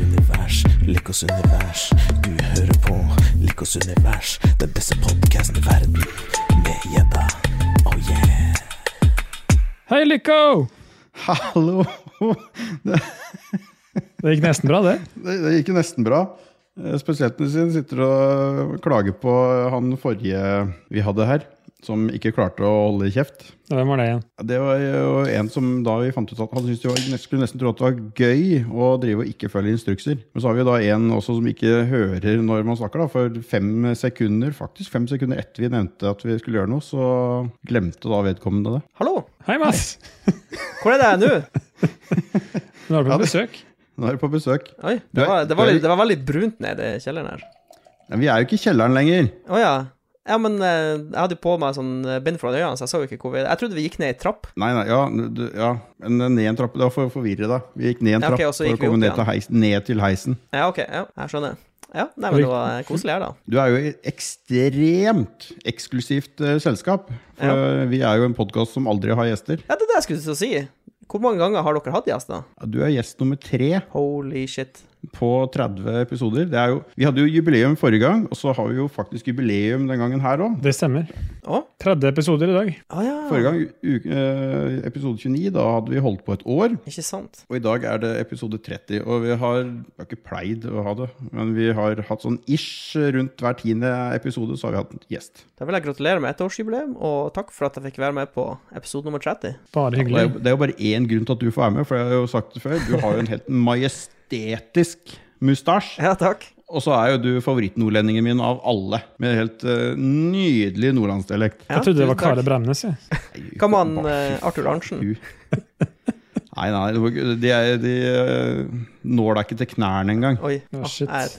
univers, lekk oss univers. Du hører på Lekk oss univers, den beste podkasten i verden. Med gjedda. Oh yeah. Hei, Lyko! Hallo! Det, Det gikk nesten bra, det. det, det gikk jo nesten bra. Eh, Spesielt når du sitter og klager på han forrige vi hadde her, som ikke klarte å holde kjeft. Hvem var det igjen? Det var jo en som da vi fant ut at han syntes det var, skulle nesten tro at det var gøy å drive og ikke følge instrukser. Men så har vi jo da en også som ikke hører når man snakker, da. For fem sekunder, faktisk fem sekunder etter vi nevnte at vi skulle gjøre noe, så glemte da vedkommende det. Hallo, Hei, Mads! hvor er det nå? Nå er du Ja, på det- besøk. Nå er du på besøk. Oi, det var, det var, litt, det var veldig brunt nede i kjelleren her. Men Vi er jo ikke i kjelleren lenger. Å ja. Ja, men eh, jeg hadde jo på meg sånn eh, bind foran øynene, så jeg så jo ikke hvor vi Jeg trodde vi gikk ned i trapp. Nei, nei, ja, du, ja. Men eh, ned en trapp, det var for å forvirre deg. Vi gikk ned en Ja, trapp ok, og så for gikk å vi komme opp ned igjen. til, heisen, ned til heisen. Ja, OK, ja, jeg skjønner. Ja, nei, men det var eh, koselig her, da. Du er jo i ekstremt eksklusivt eh, selskap. For eh, vi er jo en podkast som aldri har gjester. Ja, det er det jeg skulle til å si. Hvor mange ganger har dere hatt gjester? Du er gjest nummer tre Holy shit. på 30 episoder. Det er jo, vi hadde jo jubileum forrige gang, og så har vi jo faktisk jubileum den gangen her òg. Det stemmer. Å? 30 episoder i dag. Å ja. Forrige gang, u eh, episode 29, da hadde vi holdt på et år. Ikke sant. Og i dag er det episode 30, og vi har, vi har ikke pleid å ha det, men vi har hatt sånn ish rundt hver tiende episode, så har vi hatt en gjest. Da vil jeg gratulere med ettårsjubileum, og takk for at jeg fikk være med på episode nummer 30. Bare Og Det er, hyggelig. jo- det er jo bare én grunn til at du får være med, for jeg har jo sagt det før, du har jo en helt majestetisk mustasj. Ja, takk. Og så er jo du favorittnordlendingen min av alle, med helt eh, nydelig nordlandsdialekt. Ja, Jeg trodde det var tusen takk. Kare Bremnes. jeg. Hva med han, eh, Arthur Arntzen? Du. Nei, nei, det var ikke- de, er- de eh, når deg ikke til knærne engang. Oi. Å, ah, shit. Jeg,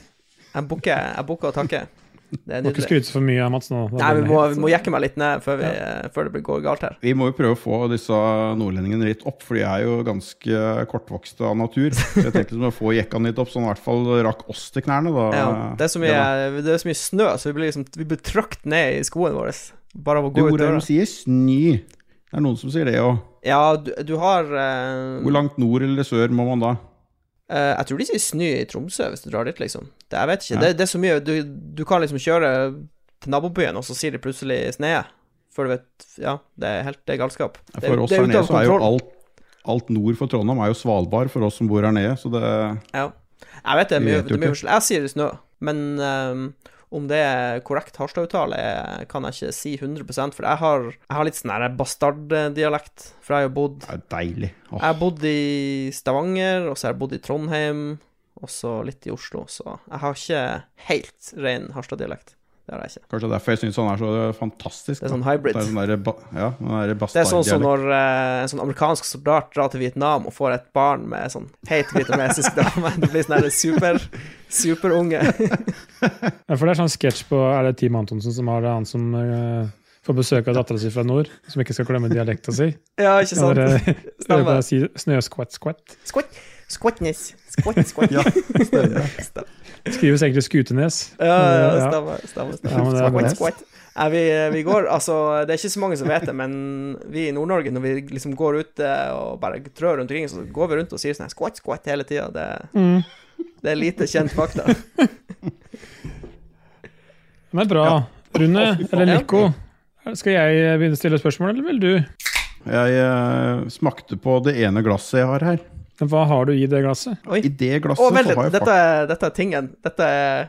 jeg bukker- jeg bukker og takker. Det er Må ikke nydelig. skryte så for mye av Mats nå. Da Nei, vi blir det må, vi helt- sånn. må jekke meg litt ned før, vi, eh, før det blir- går galt her. Vi må jo prøve å få disse nordlendingene litt opp, for de er jo ganske kortvokste av natur. Så jeg tenkte å få jekkene litt opp, så han i hvert fall rakk oss til knærne. Da. Ja, det, er så mye, Ja, da. det er så mye snø, så vi blir liksom Vi blir trøkt ned i skoene våre bare av å Du, gå ut Hvor er døra. det de sier snø? Det er noen som sier det òg. Ja, du, du har eh, Hvor langt nord eller sør må man da? eh, Jeg tror de sier snø i Tromsø hvis du drar dit, liksom. Det, jeg vet ikke. Ja. Det, det er så mye du, du kan liksom kjøre til nabobyen, og så sier de plutselig snø. Før du vet Ja, det er helt det er galskap. Det, For oss det her nede ute av så er jo kontroll. alt, alt nord for Trondheim er jo Svalbard for oss som bor her nede. Så det, Ja. Jeg vet det er Vi mye, vet jo det er mye ikke. forskjell. Jeg sier snø, men ehm, om det er korrekt Harstad-uttale, eh, kan jeg ikke si 100 for jeg har, jeg har litt sånn her bastarddialekt. For jeg har jo bodd det er deilig. Åh, Jeg har bodd i Stavanger, og så har jeg bodd i Trondheim, og så litt i Oslo, så jeg har ikke helt ren Harstad-dialekt. Det har jeg ikke. kanskje det er derfor jeg syns han er så fantastisk. Det er sånn da. hybrid. Det er sånn der, ba- ja, den der Det er sånn som bastarddialekt. når eh, en sånn amerikansk soldat drar til Vietnam og får et barn med sånn heit vietnamesisk dame. Det blir sånn her super, superunge. Ja, For det er sånn sketsj på Er det Team Antonsen som har det, han som eh, får besøk av dattera si fra nord, som ikke skal glemme dialekta si? Ja, ikke sant? Eller eh, Stemmer. bare si snøskvett-skvett. Squat, squatness. Squat, squat. Ja, stemmer. Stem- Skrives egentlig Skutenes. Ja, ja, Ja. stemmer. Ja, stemmer, men det er stemmer. bra. Squat, squat. Nei, vi, vi går, altså, Det er ikke så mange som vet det, men vi i Nord-Norge, når vi liksom går ut eh, og bare trør rundt omkring, så går vi rundt og sier sånn her squat, squat hele tida. Det, Mm. det er lite kjent fakta. Men bra. Rune, eller Ja. Nico, skal jeg begynne å stille spørsmål, eller vil du? Jeg eh, smakte på det ene glasset jeg har her. Hva har du i det glasset? Oi. I det Å, glasset vent så litt. har jeg Dette, er- dette er tingen. Dette er,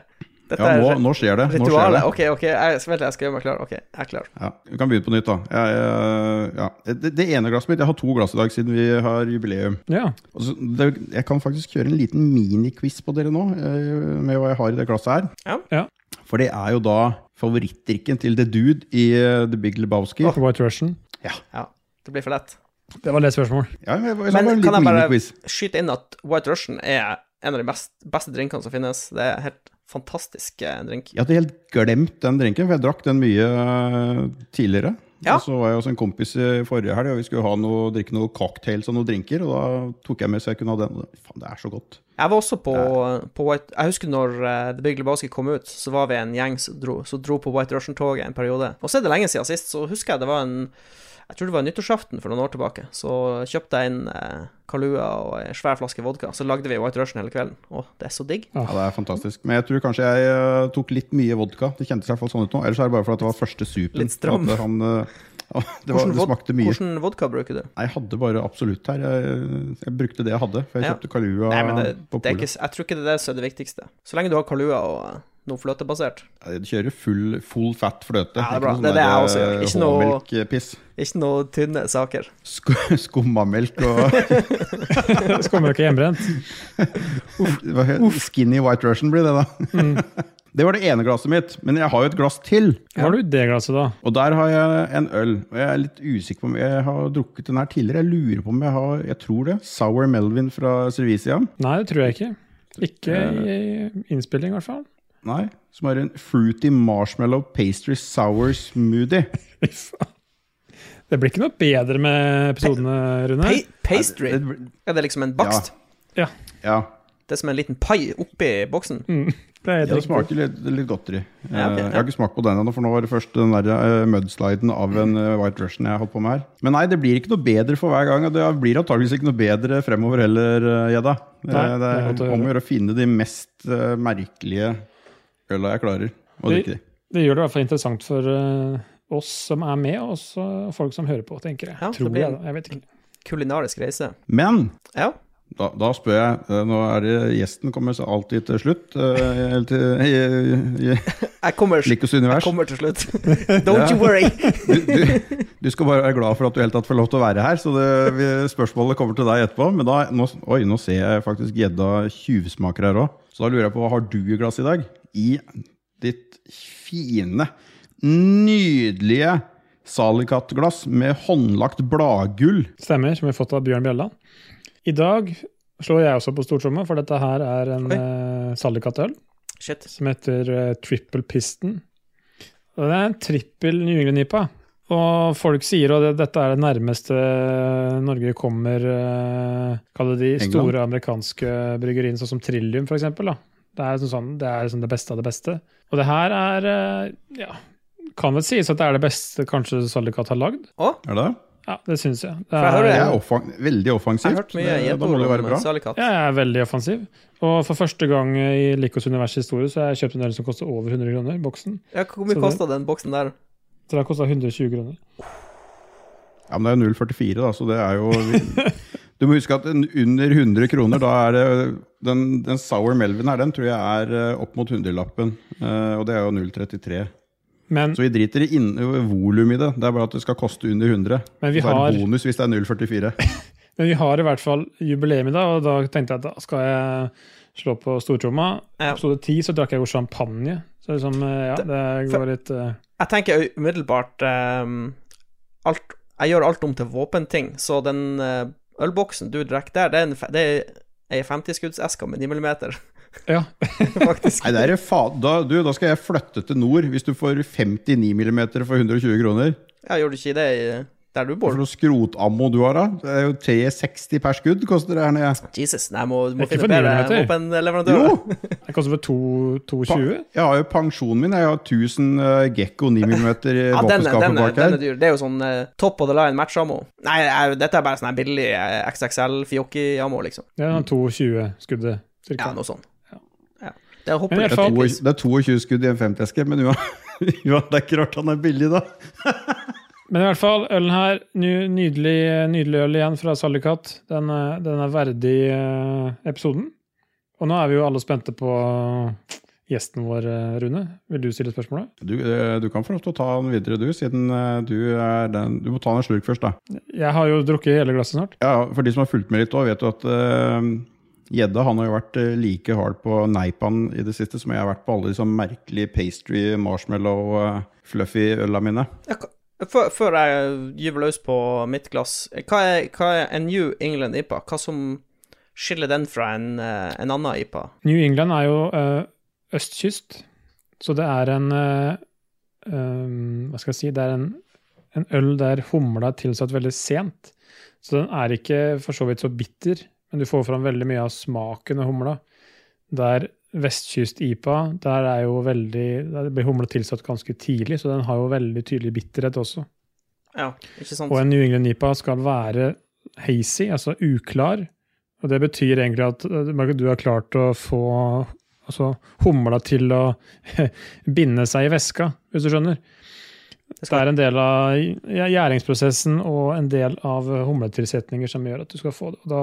dette Ja, nå, er nå skjer det. Nå skjer det. ritualet. OK, OK. Jeg, vent, litt, jeg skal gjøre meg klar. OK, jeg er klar. Ja, vi kan begynne på nytt, da. Jeg, eh, ja. det, det ene glasset mitt Jeg har to glass i dag siden vi har jubileum. Ja. Og så- det, jeg kan faktisk kjøre en liten miniquiz på dere nå, eh, med hva jeg har i det glasset her. Ja. Ja. For det er jo da favorittdrikken til The Dude i eh, The Big Lebowski. White Russian. Ja, det blir for lett. Det var det spørsmål. Ja, men, jeg, jeg, Men bare en kan liten jeg bare- miniquiz. skyte inn at White Russian er en av de best, beste drinkene som finnes. Det er en helt fantastisk eh, drink. Jeg hadde helt glemt den drinken, for jeg drakk den mye eh, tidligere. Ja. Og så var jeg hos en kompis i forrige helg, og vi skulle ha noe, drikke noen cocktails og noen drinker. Og da tok jeg med så jeg kunne ha den. Og Faen, det er så godt. Jeg var også på, på White Jeg husker når eh, The Big Lebowski kom ut, så var vi en gjeng som dro, som dro på White Russian-toget en periode. Og så er det lenge siden sist, så husker jeg det var en Jeg tror det var nyttårsaften for noen år tilbake. Så kjøpte jeg inn eh, Kalua og en svær flaske vodka. Så lagde vi White Russian hele kvelden. Å, det er så digg. Ja, det er fantastisk. Men jeg tror kanskje jeg eh, tok litt mye vodka. Det kjentes i hvert fall sånn ut nå. Ellers er det bare fordi det var første supen. Litt stram. At Han, eh, det, var, det vod- smakte mye. hvordan vodka bruker du? Nei, jeg hadde bare absolutt her. Jeg, jeg brukte det jeg hadde, for jeg Ja. kjøpte Kalua Nei, men det, på det er polet. ikke, jeg tror ikke det er det som er det viktigste. Så lenge du har Kalua og eh, noe fløtebasert. Jeg kjører full, full fat fløte. Ja, det er bra. Ikke noe sånn Det er det jeg der, også gjør. eh, Ikke noe- Håmelkpiss. Ikke noe tynne saker. Sk skummamelk og Så kommer dere hjemmebrent. hva heter- Skinny white russian blir det, da. det var det ene glasset mitt, men jeg har jo et glass til. Hva har du i det glasset, da? Og der har jeg en øl. Og jeg er litt usikker på om jeg har drukket den her tidligere. Jeg lurer på om jeg har Jeg tror det. Sour Melvin fra Cervisia. Nei, det tror jeg ikke. Ikke Eh. i innspilling, i hvert fall. Nei. Som har en fruity marshmallow pastry sour smoothie. Fy faen. Det blir ikke noe bedre med episodene, Rune. Pa pastry? Det- det- Er det liksom en bakst? Ja. Det er som en liten pai oppi boksen? Det er helt Det riktig. smaker litt, litt godteri. Ja, ok, Eh, Jeg har ikke smakt på den ennå, for nå var det først den der eh, mudsliden av en eh, White Russian jeg har holdt på med her. Men nei, det blir ikke noe bedre for hver gang, og det blir antageligvis ikke noe bedre fremover heller, eh, Gjedda. Eh, Nei, Det det er godt å er om å gjøre å finne de mest eh, merkelige øla jeg klarer å Vi- drikke. Det gjør det i hvert fall interessant for eh, oss som er med, og også folk som hører på, tenker jeg. Ja, det Tror blir- jeg, da. Jeg vet ikke. Kulinarisk reise. Men Ja. Da, da spør jeg eh, Nå er det gjesten kommer så alltid til slutt. eh, Eller til i, i, i Jeg kommer, jeg Likos univers. kommer til slutt. Don't you worry. Du, du, du skal bare være glad for at du i hele tatt får lov til å være her. Så det, vi, spørsmålet kommer til deg etterpå. Men da, nå, oi, nå ser jeg faktisk gjedda tjuvsmaker her òg. Så da lurer jeg på hva har du i glasset i dag? I ditt fine, nydelige Salicat-glass med håndlagt bladgull. Stemmer, som vi har fått av Bjørn Bjelland. I dag slår jeg også på stortromma, for dette her er en Oi. uh, saldekatøl Shit. som heter eh, Triple Piston. Og det er en trippel New England-nipa. Og folk sier at dette er det nærmeste Norge kommer eh, Kall det de England? store amerikanske bryggeriene, sånn som Trillium f.eks. Det er liksom sånn, det er liksom det beste av det beste. Og det her er eh, Ja, kan vel sies at det er det beste kanskje Saldikat har lagd? Er det? Ja, det syns jeg. Det jeg hører Det det. er offan veldig Jeg har offensivt. hørt mye Det- da må det jo gjetord være om bra. Salikat. Ja, jeg er veldig offensiv. Og for første gang i Likos univers historie så har jeg kjøpt en øl som koster over 100 kroner, boksen. Ja, hvor Så mye det- kosta den boksen der? Så den kosta 120 kroner. Ja, men det er jo 0,44, da, så det er jo Du må huske at en under 100 kroner, da er det Den, den sour melvin her, den tror jeg er eh, opp mot hundrelappen. eh, Og det er jo 0,33. Mm. Men, Så vi driter i inn- volum i det. Det er bare at det skal koste under 100. Men vi så er har- det bonus hvis det er 0,44. men vi har i hvert fall jubileum i dag, og da tenkte jeg at da skal jeg slå på stortromma. I Ja. episode 10 så drakk jeg jo champagne. Så liksom, eh, ja, det går litt eh, Jeg tenker umiddelbart ehm, alt, Jeg gjør alt om til våpenting, så den eh, ølboksen du drikker der, det er en, fe- det er ei 50-skuddseske med 9 mm, Ja, faktisk. Nei, det er det fa da, du, da skal jeg flytte til nord hvis du får 59 mm for 120 kroner. Ja, gjør du ikke det i, der du Hva bor? for noe skrotammo du har, da? Det er jo 360 per skudd koster det her nede. Jesus, nei, jeg må, du må Det er ikke for finne 9 bedre millimeter. våpenleverandører. Jo! det koster vel to- 220? Jeg har jo pensjonen min. Jeg har 1000 eh, Gekko 9 mm i Ja, den, er- den, våpenskapet er, bak den her. er dyr. Det er jo sånn eh, top of the line match-ammo. Nei, jeg, dette er bare sånn her billig eh, XXL Fiocchi-ammo, liksom. Ja, 220-skuddet. Ja, cirka. noe sånt. Ja. Ja. Det hopper Men i litt. hvert Det er fall- to- det er 22 skudd i en 50-eske, men ua- ua, det er ikke rart han er billig, da. Men i hvert fall, ølen her, ny- nydelig, nydelig øl igjen fra Sallikat. Den, er- den er verdig eh, episoden. Og nå er vi jo alle spente på gjesten vår, eh, Rune. Vil du stille spørsmålet? Du, eh, du kan få lov til å ta den videre, du, siden eh, du er den Du må ta den en slurk først, da. Jeg har jo drukket hele glasset snart. Ja, ja, for de som har fulgt med litt òg, vet jo at eh, Gjedda han har jo vært eh, like hard på Neipan i det siste som jeg har vært på alle de sånn merkelige pastry, marshmallow, eh, fluffy øla mine. Ja, hva- Før, før jeg gyver løs på mitt glass, hva er, hva er en New England IPA? Hva som skiller den fra en, eh, en annen IPA? New England er jo eh, østkyst, så det er en eh, um, Hva skal jeg si Det er en, en øl der humla er tilsatt veldig sent. Så den er ikke for så vidt så bitter, men du får fram veldig mye av smaken av humla. Der vestkyst-IPA, der er jo veldig Der blir humla tilsatt ganske tidlig, så den har jo veldig tydelig bitterhet også. Ja, ikke sant? Og en New England IPA skal være hazy, altså uklar. Og det betyr egentlig at eh, du har klart å få altså, humla til å binde seg i væska, hvis du skjønner. Det Det er en del av gj- gjæringsprosessen og en del av eh, humletilsetninger som gjør at du skal få det. Og da,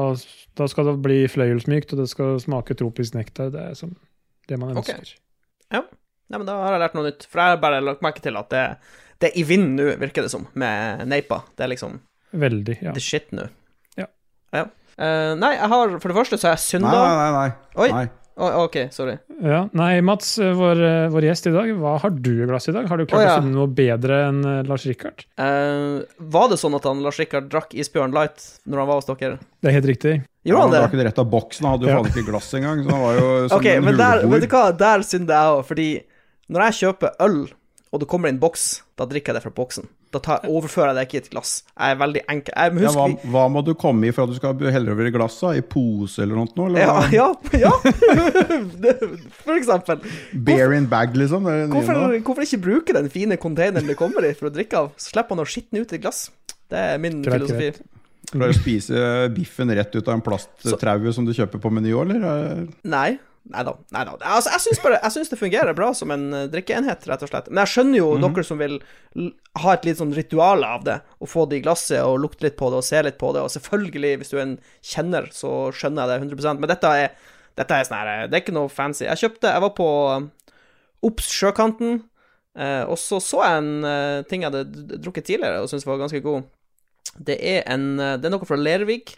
da skal det bli fløyelsmykt, og det skal smake tropisk nektar. Det er som, det man Ok. ønsker. Nei, men da har jeg lært noe nytt. For jeg har bare lagt merke til at det, det er i vinden nå, virker det som, med Neipa. Det er liksom Veldig, ja. the shit nå. Ja. ja. Eh, nei, jeg har For det første så har jeg Nei, synda. nei, nei. nei. Oi. nei. Å, OK, sorry. ja. Nei, Mats, eh, vår, eh, vår gjest i dag, hva har du i glasset i dag? Har du klart Å, ja. å finne noe bedre enn eh, Lars Rikard? Eh, var det sånn at han Lars Rikard drakk Isbjørn Light når han var hos dere? Det er helt riktig. Gjorde han Han det? drakk det rett av boksen, han hadde jo Ja. faen ikke glass engang. Så han var jo som Ok, en men der, huleboer. vet du hva, der synder jeg òg, fordi når jeg kjøper øl, og det kommer i en boks, da drikker jeg det fra boksen. Da tar, overfører jeg det ikke i et glass. Jeg er veldig enkel. Jeg ja, hva, husker hva må du komme i for at du skal helle over i glasset? I pose eller noe? sånt nå, Eller? Ja, hva? ja, ja. Det- For eksempel. Bear in bag, liksom? Det er det nye Hvorfor, nå. hvorfor ikke bruke den fine containeren det kommer i, for å drikke av? Så slipper han å skitne ut i et glass. Det er min Greit, filosofi. greit. Klarer du å spise biffen rett ut av en plasttraue som du kjøper på Meny, eller? Eh, Nei. Nei da. Nei da. Altså, jeg syns bare Jeg synes det fungerer bra som en eh, drikkeenhet, rett og slett. Men jeg skjønner jo dere som vil l- ha et litt sånn ritual av det, og få det i glasset og lukte litt på det og se litt på det, og selvfølgelig, hvis du er en kjenner, så skjønner jeg det 100 Men dette er Dette er sånn her eh, Det er ikke noe fancy. Jeg kjøpte Jeg var på eh, Ops Sjøkanten, eh, og så så jeg en eh, ting jeg hadde d- d- drukket tidligere og syntes var ganske god. Det er en eh, Det er noe fra Lervik.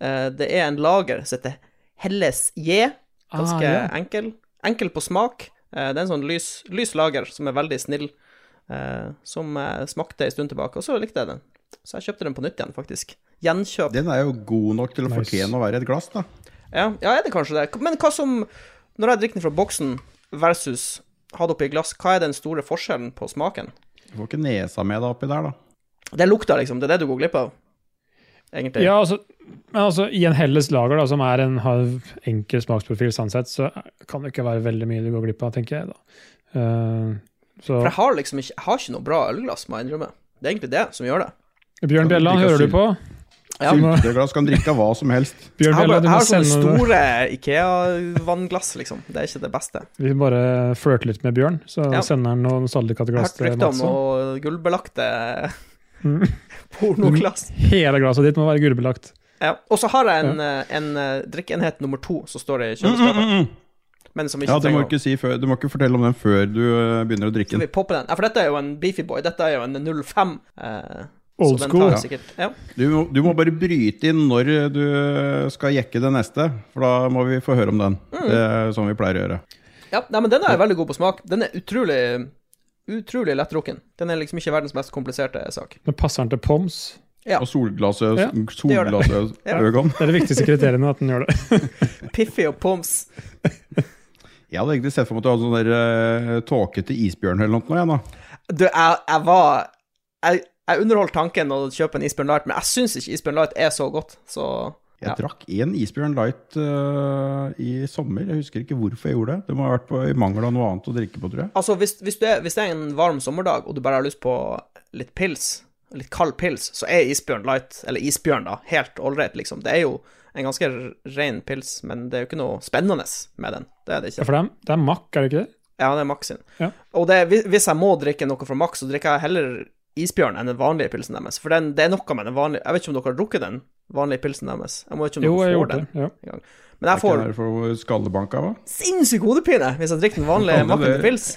Eh, det er en lager som heter Helles J. Ganske Ah, ja. enkel. Enkel på smak. Eh, det er en sånn lys, lys lager som er veldig snill, eh, som jeg smakte en stund tilbake, og så likte jeg den. Så jeg kjøpte den på nytt igjen, faktisk. Gjenkjøp. Den er jo god nok til å Nice. fortjene å være i et glass, da. Ja, ja, er det kanskje det? Men hva som Når jeg drikker den fra boksen versus ha det oppi glass, hva er den store forskjellen på smaken? Du får ikke nesa med deg oppi der, da. Det er lukta, liksom. Det er det du går glipp av, egentlig. Ja, altså, men altså, I en Helles lager, da, som er en har enkel smaksprofil, sånn sett, så kan det ikke være veldig mye du går glipp av, tenker jeg. da. Eh, så For jeg har liksom ikke Jeg har ikke noe bra ølglass, må jeg innrømme. Det er egentlig det som gjør det. Bjørn Kan du Bjelland, drikke hører du sylt? på? Ja. Du må- Sylteglass kan drikke av hva som helst. Bjørn Jeg har, bare, Bjelland, jeg du må har sånne sende noe. store Ikea-vannglass, liksom. Det er ikke det beste. Vi bare flørter litt med Bjørn, så Ja. sender han noen Jeg har salgikatteglass hørt til rykter om Mats. også. noe gullbelagte Mm. pornoglass. Hele glasset ditt må være gullbelagt. Ja. Og så har jeg en, eh, en eh, drikkeenhet nummer to som står i kjøleskapet, men som ikke Mm, Ja, du må trenger å- ikke, si før, du må ikke fortelle om den før du eh, begynner å drikke Skal den. vi poppe den? Ja, for dette er jo en Beefy Boy. Dette er jo en 05. Eh, Old så den school. tar jeg sikkert. Ja. Du må, du må bare bryte inn når du skal jekke det neste, for da må vi få høre om den. Mm. Det er sånn vi pleier å gjøre. ja. Nei, men den er jo veldig god på smak. Den er utrolig Utrolig lettdrukken. Den er liksom ikke verdens mest kompliserte sak. Men passer den til Poms? Ja. Og solglasset Ja, gjør det. solglasset Ja. øgon. Det er det viktigste kriteriene, at den gjør det. Piffy og Poms. Jeg hadde egentlig sett for meg at du hadde sånn der eh, tåkete isbjørn eller noe. Igjen, da. Du, jeg, jeg var Jeg, jeg underholdt tanken å kjøpe en Isbjørn Light, men jeg syns ikke Isbjørn Light er så godt, så Jeg Ja. drakk én isbjørn light eh, i sommer. Jeg husker ikke hvorfor jeg gjorde det. Det må ha vært på, i mangel av noe annet å drikke på, tror jeg. Altså, hvis, hvis, du er, hvis det er en varm sommerdag, og du bare har lyst på litt pils, litt kald pils, så er Isbjørn Light, eller Isbjørn, da, helt ålreit, liksom. Det er jo en ganske ren pils, men det er jo ikke noe spennende med den. Det er det Ja, ikke. For det er, det er makk, er det ikke det? Ja, det er Max sin. Ja. Og det, hvis- hvis jeg må drikke noe fra Max, så drikker jeg heller Isbjørn enn den vanlige pilsen deres. For den, det er noe med den vanlige Jeg vet ikke om dere har drukket den vanlige pilsen deres? Jeg må ikke om Jo, dere jeg har får gjort den. det. Ja. Men jeg Er ikke får det for skallebanka, hva? sinnssyk hodepine hvis jeg drikker den vanlige Ja, men makken det- til pils.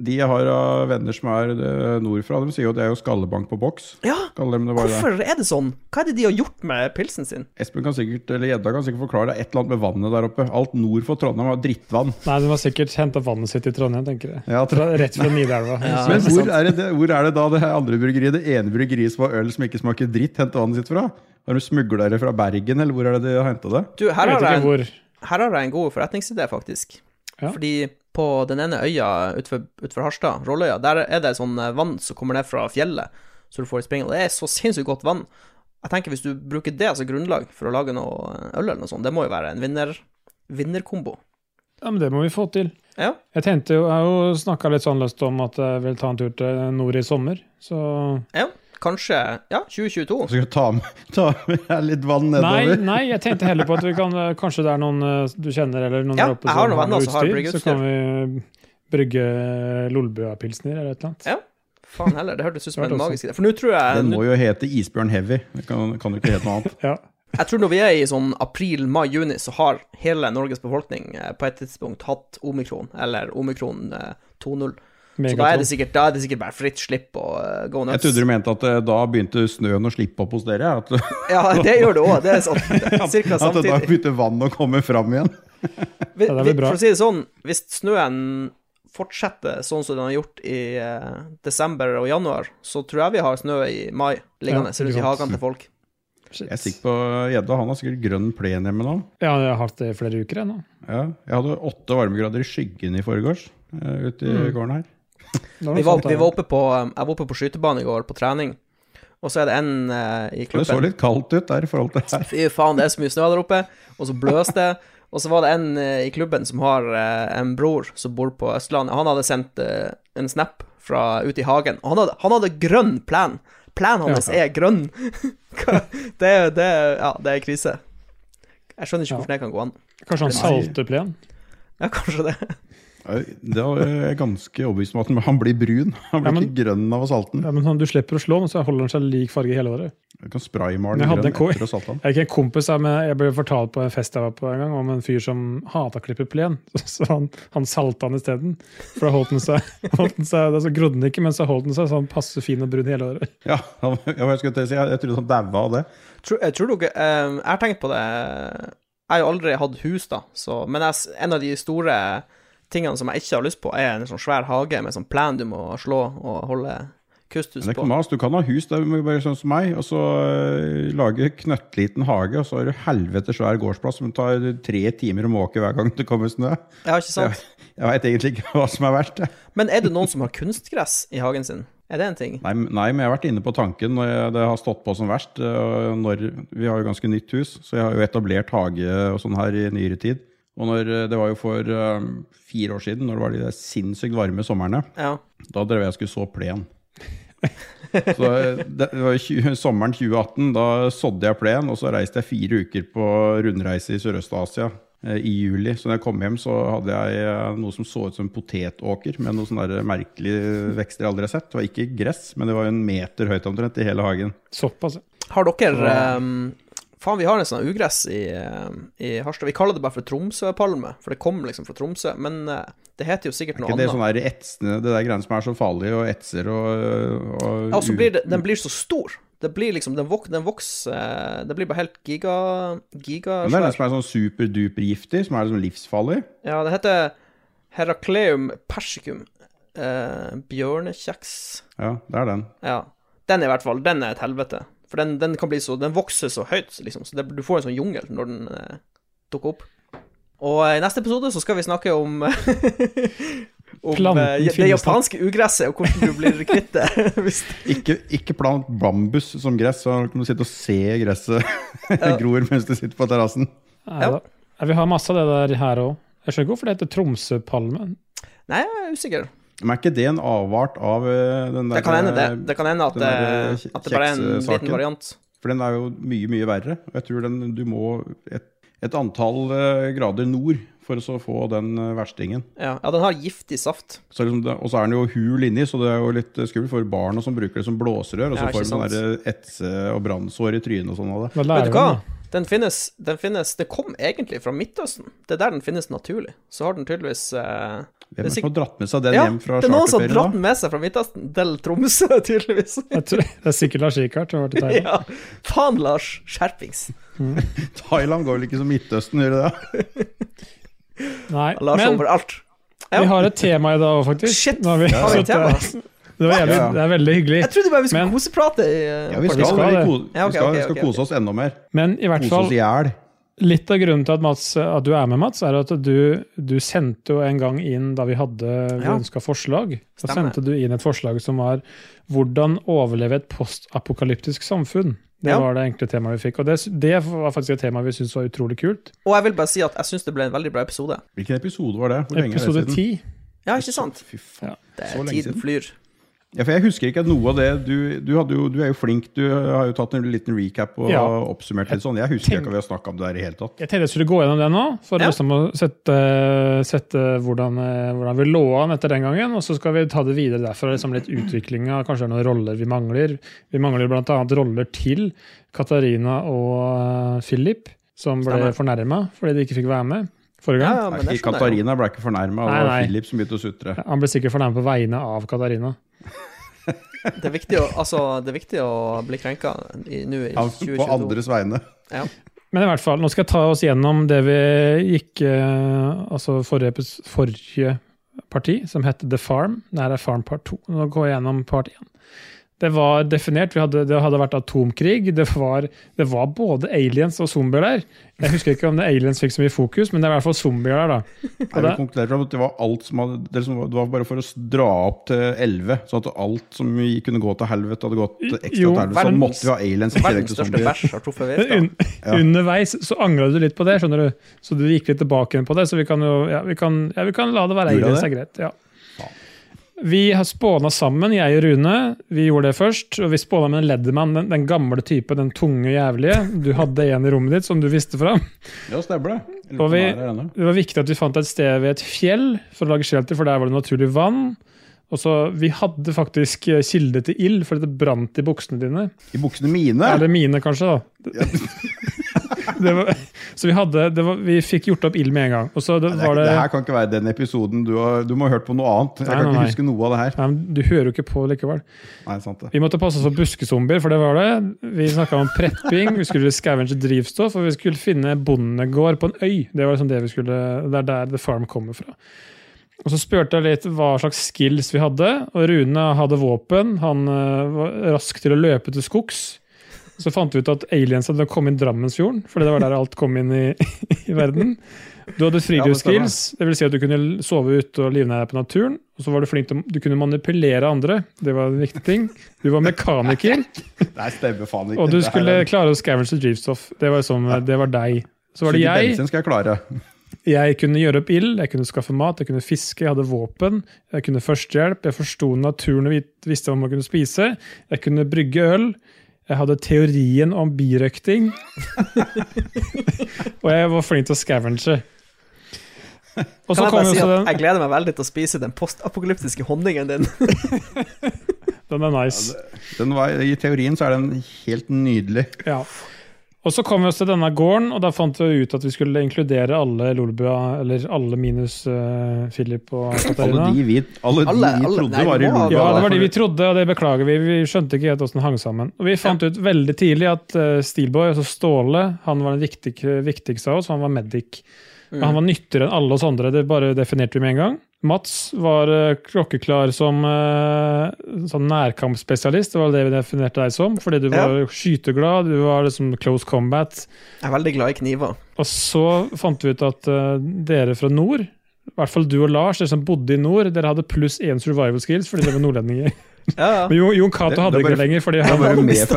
De jeg har av venner som er eh, nordfra, de sier jo at det er jo skallebank på boks. Ja, Kaller de det bare det. hvorfor er det sånn? Hva er det de har gjort med pilsen sin? Espen kan sikkert, eller Gjedda kan sikkert forklare deg et eller annet med vannet der oppe. Alt nord for Trondheim har drittvann. Nei, den har sikkert henta vannet sitt i Trondheim, tenker jeg. Ja, Fra, rett fra Nidelva. Ja. Men hvor er, det, det- hvor er det da det her andre bryggeriet, det ene bryggeriet som har øl som ikke smaker dritt, henter vannet sitt fra? Har de smugla det fra Bergen, eller hvor er det de har henta det? Du, Jeg her har vet ikke jeg, en, hvor. her har jeg en god forretningsidé, faktisk. Ja. Fordi på den ene øya utenfor, utenfor Harstad, Rolløya, der er det sånn eh, vann som kommer ned fra fjellet, så du får i springen. Og det er så sinnssykt godt vann. Jeg tenker Hvis du bruker det som grunnlag for å lage noe øl eller noe sånt, det må jo være en vinner vinnerkombo. Ja, men det må vi få til. Ja. Jeg tenkte jo, jeg har jo snakka litt sånn løst om at jeg vil ta en tur til nord i sommer, så Ja, kanskje ja, 2022. Så skal jeg ta med, ta med her litt vann Nei, nedover. nei, jeg tenkte heller på at vi kan eh, Kanskje det er noen eh, du kjenner eller noen Ja, der oppe jeg har noen venner som har Så kan vi brygge Lolbua-pilsner eller et eller annet. Ja. Faen heller, det hørtes ut som Det en hørte også. magisk idé. For nå tror jeg Den nå- må jo hete Isbjørn Heavy. Det kan, kan jo ikke hete noe annet. Ja. Jeg tror når vi er i sånn april, mai, juni, så har hele Norges befolkning eh, på et tidspunkt hatt omikron, eller omikron eh, 2.0. Så da er, det Megatron. sikkert, da er det sikkert bare fritt slipp og eh, go Jeg nuts. trodde du mente at eh, da begynte snøen å slippe opp hos dere. At, Ja, det gjør det òg. Det er sånn det er cirka at da samtidig. begynte vann å komme fram igjen. Vi, Ja, det er vi, vel bra. for å si det sånn, hvis snøen fortsetter sånn som den har gjort i eh, desember og januar, så tror jeg vi har snø i mai liggende Ja, rundt i ikke sant. hagen til folk. Jeg er sikker på Gjedda. Han har sikkert grønn plen hjemme nå. Ja, jeg har hatt det i flere uker ennå. Ja, jeg hadde åtte varmegrader i skyggen i forgårs eh, ute i Mm. gården her. Det noe Vi var, sånt, vi ja. var oppe på, eh, jeg var oppe på skytebanen i går på trening, og så er det en eh, i Det så klubben litt kaldt ut der i forhold til her. Fy faen, det er så mye snø der oppe. Og så bløs det. Og så var det en eh, i klubben som har eh, en bror som bor på Østlandet. Han hadde sendt eh, en snap fra ute i hagen. Og han hadde, han hadde grønn plan. Planen hans Ja. er grønn. Hva- det, er- det, er- ja, det er krise. Jeg skjønner ikke Ja. hvorfor det kan gå an. Kanskje sånn han salte plen? Ja, kanskje det. Det er jeg ganske overbevist om at han- han blir brun. Han blir Ja, men- ikke grønn av å salte den. Ja, men sånn, Du slipper å slå den, så holder den seg lik farge hele året. Du kan spraymale Men jeg den hadde grønn en ko- etter å ha salta den. Jeg er ikke en kompis av meg, jeg ble fortalt på en fest jeg var på en gang, om en fyr som hata å klippe plen. Så han, han salta den isteden. For da holdt den seg, holdt den seg da så grodde den ikke, men så holdt den seg sånn passe fin og brun hele året. Ja, han- ja, hva jeg, skulle til å si, jeg, jeg trodde han daua av det. Tror, eh, tror dere eh, Jeg har tenkt på det Jeg har jo aldri hatt hus, da, så Men jeg, s- en av de store tingene som jeg ikke har lyst på, er en sånn svær hage med sånn plen du må slå og holde kusthus Men det er på. ikke noe mas. Du kan ha hus, det er bare sånn som meg, og så øh, lage knøttliten hage, og så har du helvete svær gårdsplass som tar tre timer å måke hver gang det kommer snø. Ja, ikke sant? Jeg veit egentlig ikke hva som er verst. jeg. Men er det noen som har kunstgress i hagen sin? Er det en ting? Nei, men- nei, men jeg har vært inne på tanken når jeg, det har stått på som verst. øh, Når, vi har jo ganske nytt hus, så jeg har jo etablert hage og sånn her i nyere tid. Og når, øh, det var jo for øh, fire år siden, når det var de der sinnssykt varme somrene. Ja. Da drev jeg og skulle så plen. Så eh, det var 20, sommeren 2018, da sådde jeg plen, og så reiste jeg fire uker på rundreise i Sørøst-Asia eh, i juli. Så når jeg kom hjem, så hadde jeg eh, noe som så ut som en potetåker, med noen sånne der merkelige vekster jeg aldri har sett. Det var ikke gress, men det var en meter høyt omtrent i hele hagen. Såpass. ja. Har dere ehm, Faen, vi har en sånn ugress i, ehm, i Harstad. Vi kaller det bare for Tromsøpalme, for det kom liksom fra Tromsø. Men eh, det heter jo sikkert Er noe ikke det annet. sånn der etsende, det der greiene som er så farlige og etser og, og Ja, og så blir det, den blir så stor. Det blir liksom, den, vok, den vokser eh, Det blir bare helt giga... Men Det er den gigasvær. som er sånn superdupergiftig, som er liksom livsfarlig. Ja, det heter Heracleum persicum. Eh, bjørnekjeks. Ja, det er den. Ja. Den i hvert fall, den er et helvete. For den, den kan bli så Den vokser så høyt, liksom. Så det, du får en sånn jungel når den eh, dukker opp. Og eh, i neste episode så skal vi snakke om Om Planten eh, det finnes da. japanske ugresset, og hvordan du blir kvitt det. Hvis Ikke, ikke plant bambus som gress, så kan du sitte og se gresset gror mens du sitter på terrassen. Nei, Ja. da. Nei, Vi har masse av det der her òg. Jeg skjønner ikke hvorfor det heter Tromsøpalmen. Nei, jeg er usikker. Men er ikke det en avart av eh, den der Det kan hende det. Det kan hende at, den der, eh, eh, at det bare er en kjekssaken. liten variant. eh, For den er jo mye, mye verre. Og jeg tror den, du må et, et antall eh, grader nord for å så få den eh, verstingen. Ja, ja den har giftig saft. Så liksom det, og så er den jo hul inni, så det er jo litt eh, skummelt for barn og som bruker det som blåserør. Og så Ja, ikke får de sånn sant. der etse- og brannsår i trynet og sånn av det. Da Vet lærer du vi hva? den, da. Den finnes, den finnes Det kom egentlig fra Midtøsten. Det er der den finnes naturlig. Så har den tydeligvis eh, Hvem er det sikk- som har dratt med seg den ja, hjem fra det er noen som har charterferien? dratt da? den med seg fra Midtøsten til Tromsø, tydeligvis. Jeg tror, det er sikkert Lars Rikard som har vært i Thailand. ja. Faen, Lars. Skjerpings. Thailand går vel ikke som Midtøsten, gjør det det? Nei, Lars men overalt. Ja. vi har et tema i dag òg, faktisk. Shit, Nå har vi, har vi et så det- det, var jævlig, Ja, ja. det er veldig hyggelig. Jeg trodde bare vi skulle Men- koseprate. i, eh, Ja, vi skal, Vi skal vi det. ko- Ja, ok, vi skal, ok, vi skal ok, kose oss enda mer. Men i hvert Kose fall oss i hjel. Litt av grunnen til at, Mats, at du er med, Mats, er at du, du sendte jo en gang inn da vi hadde vi Ja. ønska forslag. Da Stemmer. sendte du inn et forslag som var 'Hvordan overleve et postapokalyptisk samfunn'. Det Ja. var det enkle temaet vi fikk. Og det, det var faktisk et tema vi syntes var utrolig kult. Og jeg vil bare si at jeg syns det ble en veldig bra episode. Hvilken episode var det? Hvor lenge er det Episode siden? ti. Ja, ikke sant? Fy faen, Ja. Det, så lenge tiden siden. flyr. Ja, for jeg husker ikke at noe av det Du, du, hadde jo, du er jo flink, du har jo tatt en liten recap og Ja. oppsummert litt sånn. Jeg husker ikke at vi har snakka om det her i det hele tatt. Jeg tenkte jeg skulle gå gjennom det nå, for Ja. å liksom å sette, sette hvordan, eh, hvordan vi lå an etter den gangen. Og så skal vi ta det videre derfra. Liksom litt utvikling av kanskje noen roller vi mangler. Vi mangler bl.a. roller til Katarina og eh, Philip, som ble Stemmer. fornærma fordi de ikke fikk være med forrige Ja, gang. ja, men det skjønner jeg jo. Katarina ble ikke fornærma, det Nei, var nei. Philip som begynte å sutre. Han ble sikkert fornærma på vegne av Katarina. Det er viktig å, altså, det er viktig å bli krenka i- nå i Ja, på 2022. andres vegne. Ja. Men i hvert fall, nå skal jeg ta oss gjennom det vi gikk eh, Altså forrige, epis- forrige parti, som het The Farm. Det her er Farm part 2. Nå går jeg gjennom part 1. Det var definert. Vi hadde, det hadde vært atomkrig. Det var, det var både aliens og zombier der. Jeg husker ikke om det aliens fikk så mye fokus, men det er i hvert fall zombier der, da. Jeg vil konkludere fra at det var alt som hadde, det, som var, det var bare for å s- dra opp til 11, sånn at alt som vi kunne gå til helvete, hadde gått ekstra Jo, til helvete. Så verdens- måtte vi ha aliens i tillegg Verdens til største zombier. bæsj har truffet Men vifta. un Underveis så angra du litt på det, skjønner du. Så du gikk litt tilbake igjen på det. Så vi kan jo ja, vi kan, ja, vi kan la det være Gjorde aliens, det er jeg greit. Ja. Faen. Vi har spåna sammen, jeg og Rune. Vi gjorde det først. Og vi spåna med en Leddermann, den, den gamle type, den tunge jævlige. Du hadde en i rommet ditt som du visste fra. Ja, stemmer det. Jeg lurer Og på om vi- det er her ennå. Det var viktig at vi fant et sted ved et fjell for å lage shelter, for der var det naturlig vann. Og så, Vi hadde faktisk eh, kilde til ild, for det brant i buksene dine. I buksene mine! Eller mine, kanskje, da. det var, så vi hadde det var, Vi fikk gjort opp ild med en gang. Og så det, Nei, det, er var ikke- det det her kan ikke være den episoden du har Du må ha hørt på noe annet. Jeg Nei, kan nei, ikke nei. huske noe av det her. Nei, men Du hører jo ikke på likevel. Nei, sant det. Vi måtte passe oss for buskesombier, for det var det. Vi snakka om prepping, vi skulle scavenge drivstoff, og vi skulle finne bondegård på en øy. Det var liksom det vi skulle, det er der The Farm kommer fra. Og Så spurte jeg litt hva slags skills vi hadde, og Rune hadde våpen. Han eh, var rask til å løpe til skogs. Så fant vi ut at aliens hadde kommet inn Drammensfjorden, fordi det var der alt kom inn i, i verden. Du hadde Ja, det friluftsskills, det vil si at du kunne sove ute og livnære deg på naturen. Og så var du flink til å Du kunne manipulere andre, det var en viktig ting. Du var mekaniker, Nei, stemmer faen ikke. og du Det her skulle er- klare å scavenge drivstoff. Det var, liksom, det var deg. Så var det Slik jeg. Bensin skal jeg klare. Jeg kunne gjøre opp ild, jeg kunne skaffe mat, jeg kunne fiske, jeg hadde våpen, jeg kunne førstehjelp, jeg forsto naturen og vit- visste hva man kunne spise, jeg kunne brygge øl, jeg hadde teorien om birøkting, og jeg var flink til å scavenge. Og Kan så jeg kom bare jo si også at den, jeg gleder meg veldig til å spise den postapokalyptiske honningen din. den er nice. Den var, I teorien så er den helt nydelig. Ja. Og så kom vi oss til denne gården, og da fant vi ut at vi skulle inkludere alle Lolbua, eller alle minus eh, Philip og Katarina. Alle de vi, alle de Alle- vi alle- trodde nei, var i vi må ha- Lolbua. Ja, da, det var de vi trodde, og det beklager vi. Vi skjønte ikke helt hvordan det hang sammen. Og vi fant ut veldig tidlig at eh, Steelboy, altså Ståle, han var den viktig, viktigste av oss, han var medic. Og Han var nyttigere enn alle oss andre, det bare definerte vi med en gang. Mats var eh, klokkeklar som eh, sånn nærkampspesialist, det var det vi definerte deg som. Fordi du var skyteglad, du var liksom close combat. Jeg er veldig glad i kniver. Og så fant vi ut at eh, dere fra nord, i hvert fall du og Lars, dere som bodde i nord, dere hadde pluss én survival skills fordi dere var nordlendinger. Ja, ja. Men Jon, Jon Det- Cato det hadde er ikke bare- det lenger, fordi Da han, var du Han med mistet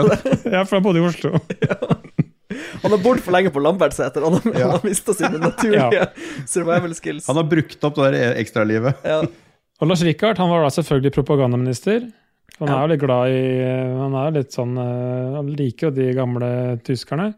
før. ja, for han bodde i Oslo. Han har bodd for lenge på Lambertseter, og han, Ja. han har mista sine naturlige survival skills. Han har brukt opp det der ekstralivet. Ja. Og Lars Rikard han var da selvfølgelig propagandaminister. Han er jo litt glad i Han er jo litt sånn eh, Han liker jo de gamle tyskerne.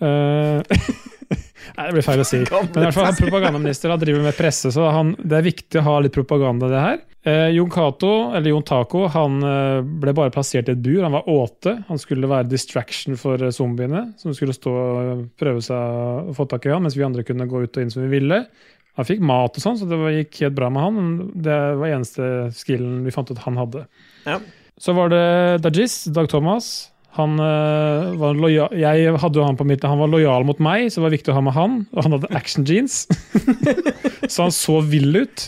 Eh, Nei, det blir feil å si. Gamle Men i hvert fall han propagandaminister han driver med presse, så han, det er viktig å ha litt propaganda, i det her. Eh, Jon Cato, eller Jon Taco, han eh, ble bare plassert i et bur. Han var åte. Han skulle være distraction for eh, zombiene, som skulle stå og prøve seg å få tak i han, mens vi andre kunne gå ut og inn som vi ville. Han fikk mat og sånn, så det var- gikk helt bra med han. men Det var eneste skillen vi fant ut han hadde. Ja. Så var det Dajis, Dag Thomas. Han eh, var lojal Jeg hadde jo han på mitt Han var lojal mot meg, så det var viktig å ha med han. Og han hadde action jeans, så han så vill ut.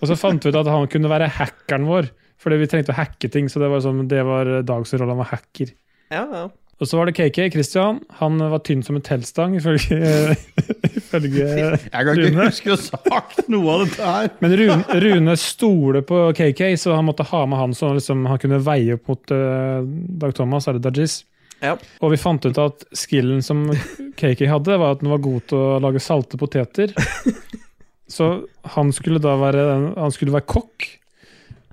Og så fant vi ut at han kunne være hackeren vår, fordi vi trengte å hacke ting. Så det var, sånn, det var Dags rolle, han var hacker. Ja, ja. Og så var det KK, Christian. Han var tynn som en teltstang, ifølge, ifølge Jeg kan ikke Rune. huske å ha sagt noe av dette her. Men Rune, Rune stoler på KK, så han måtte ha med han så liksom, han kunne veie opp mot eh, Dag Thomas eller Dajis. Ja. Og vi fant ut at skillen som KK hadde, var at den var god til å lage salte poteter. Så han skulle da være, han skulle være kokk.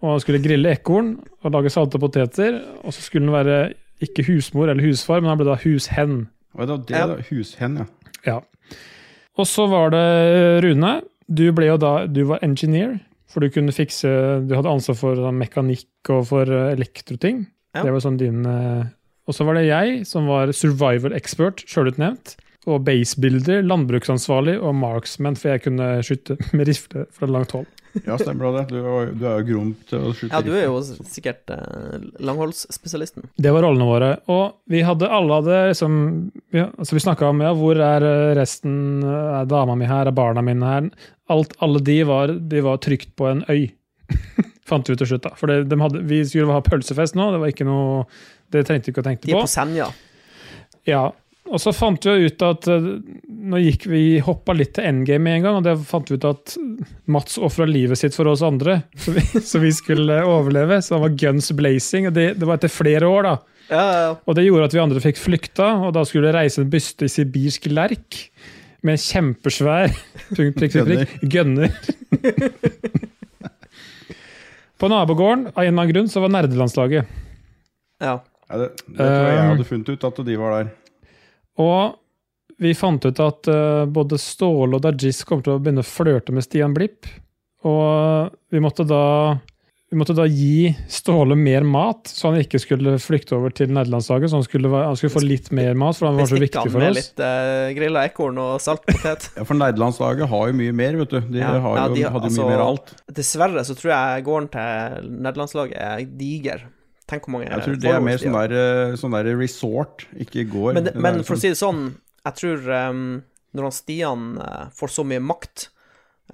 Og han skulle grille ekorn og lage salte poteter. Og så skulle han være ikke husmor eller husfar, men han ble da hushen. Og det var det, Ja. da. Hushen, ja. Ja. Og så var det eh, Rune. Du ble jo da Du var engineer, for du kunne fikse Du hadde ansvar for sånn mekanikk og for eh, elektroting. Ja. Det var sånn din eh, Og så var det jeg, som var survival expert, sjølutnevnt. Og basebuilder, landbruksansvarlig og marksman, for jeg kunne skyte med rifle fra langt hold. Ja, stemmer det. Du, er- du er jo grom til å skyte Ja, du er jo sikkert eh, langholdsspesialisten. Det var rollene våre. Og vi hadde alle hadde liksom vi, altså vi snakka om ja, hvor er eh, resten, eh, er dama mi her, er barna mine her? Alt, alle de var, de var trygt på en øy, fant vi ut til slutt. da. For det, de hadde, vi skulle ha pølsefest nå, det var ikke noe det trengte vi ikke å tenke De er på. på Senja. Ja, og så fant vi jo ut at eh, Nå gikk vi hoppa litt til endgame med en gang, og det fant vi ut at Mats ofra livet sitt for oss andre, så vi, så vi skulle overleve. Så han var guns blazing, og det, det var etter flere år, da. Ja, ja, ja. Og det gjorde at vi andre fikk flykta, og da skulle det reise en byste i sibirsk lerk med en kjempesvær punkt, prikk, prikk, prikk, gønner. På nabogården, av en eller annen grunn, så var nerdelandslaget. ja. Ja, det, det tror jeg jeg Um, hadde funnet ut, at de var der. Og vi fant ut at eh, både Ståle og Dajis kom til å begynne å flørte med Stian Blipp. Og vi måtte da vi måtte da gi Ståle mer mat, så han ikke skulle flykte over til nerdelandslaget. Så han skulle, være- han skulle få litt mer mat, for han Vi var så stikker viktig han for med oss. litt eh, grilla ekorn og saltpotet. Ja, For nerdelandslaget har jo mye mer, vet du. De Ja. har jo, Ja, de har- hadde jo altså- mye mer av alt. Dessverre så tror jeg gården til nerdelandslaget er diger. Tenk hvor mange Jeg tror det er mer followers de sånn har. der, eh, sånn der resort, ikke gård. Men, Det er men jo for å sånn- si det sånn, jeg tror ehm, når han Stian eh, får så mye makt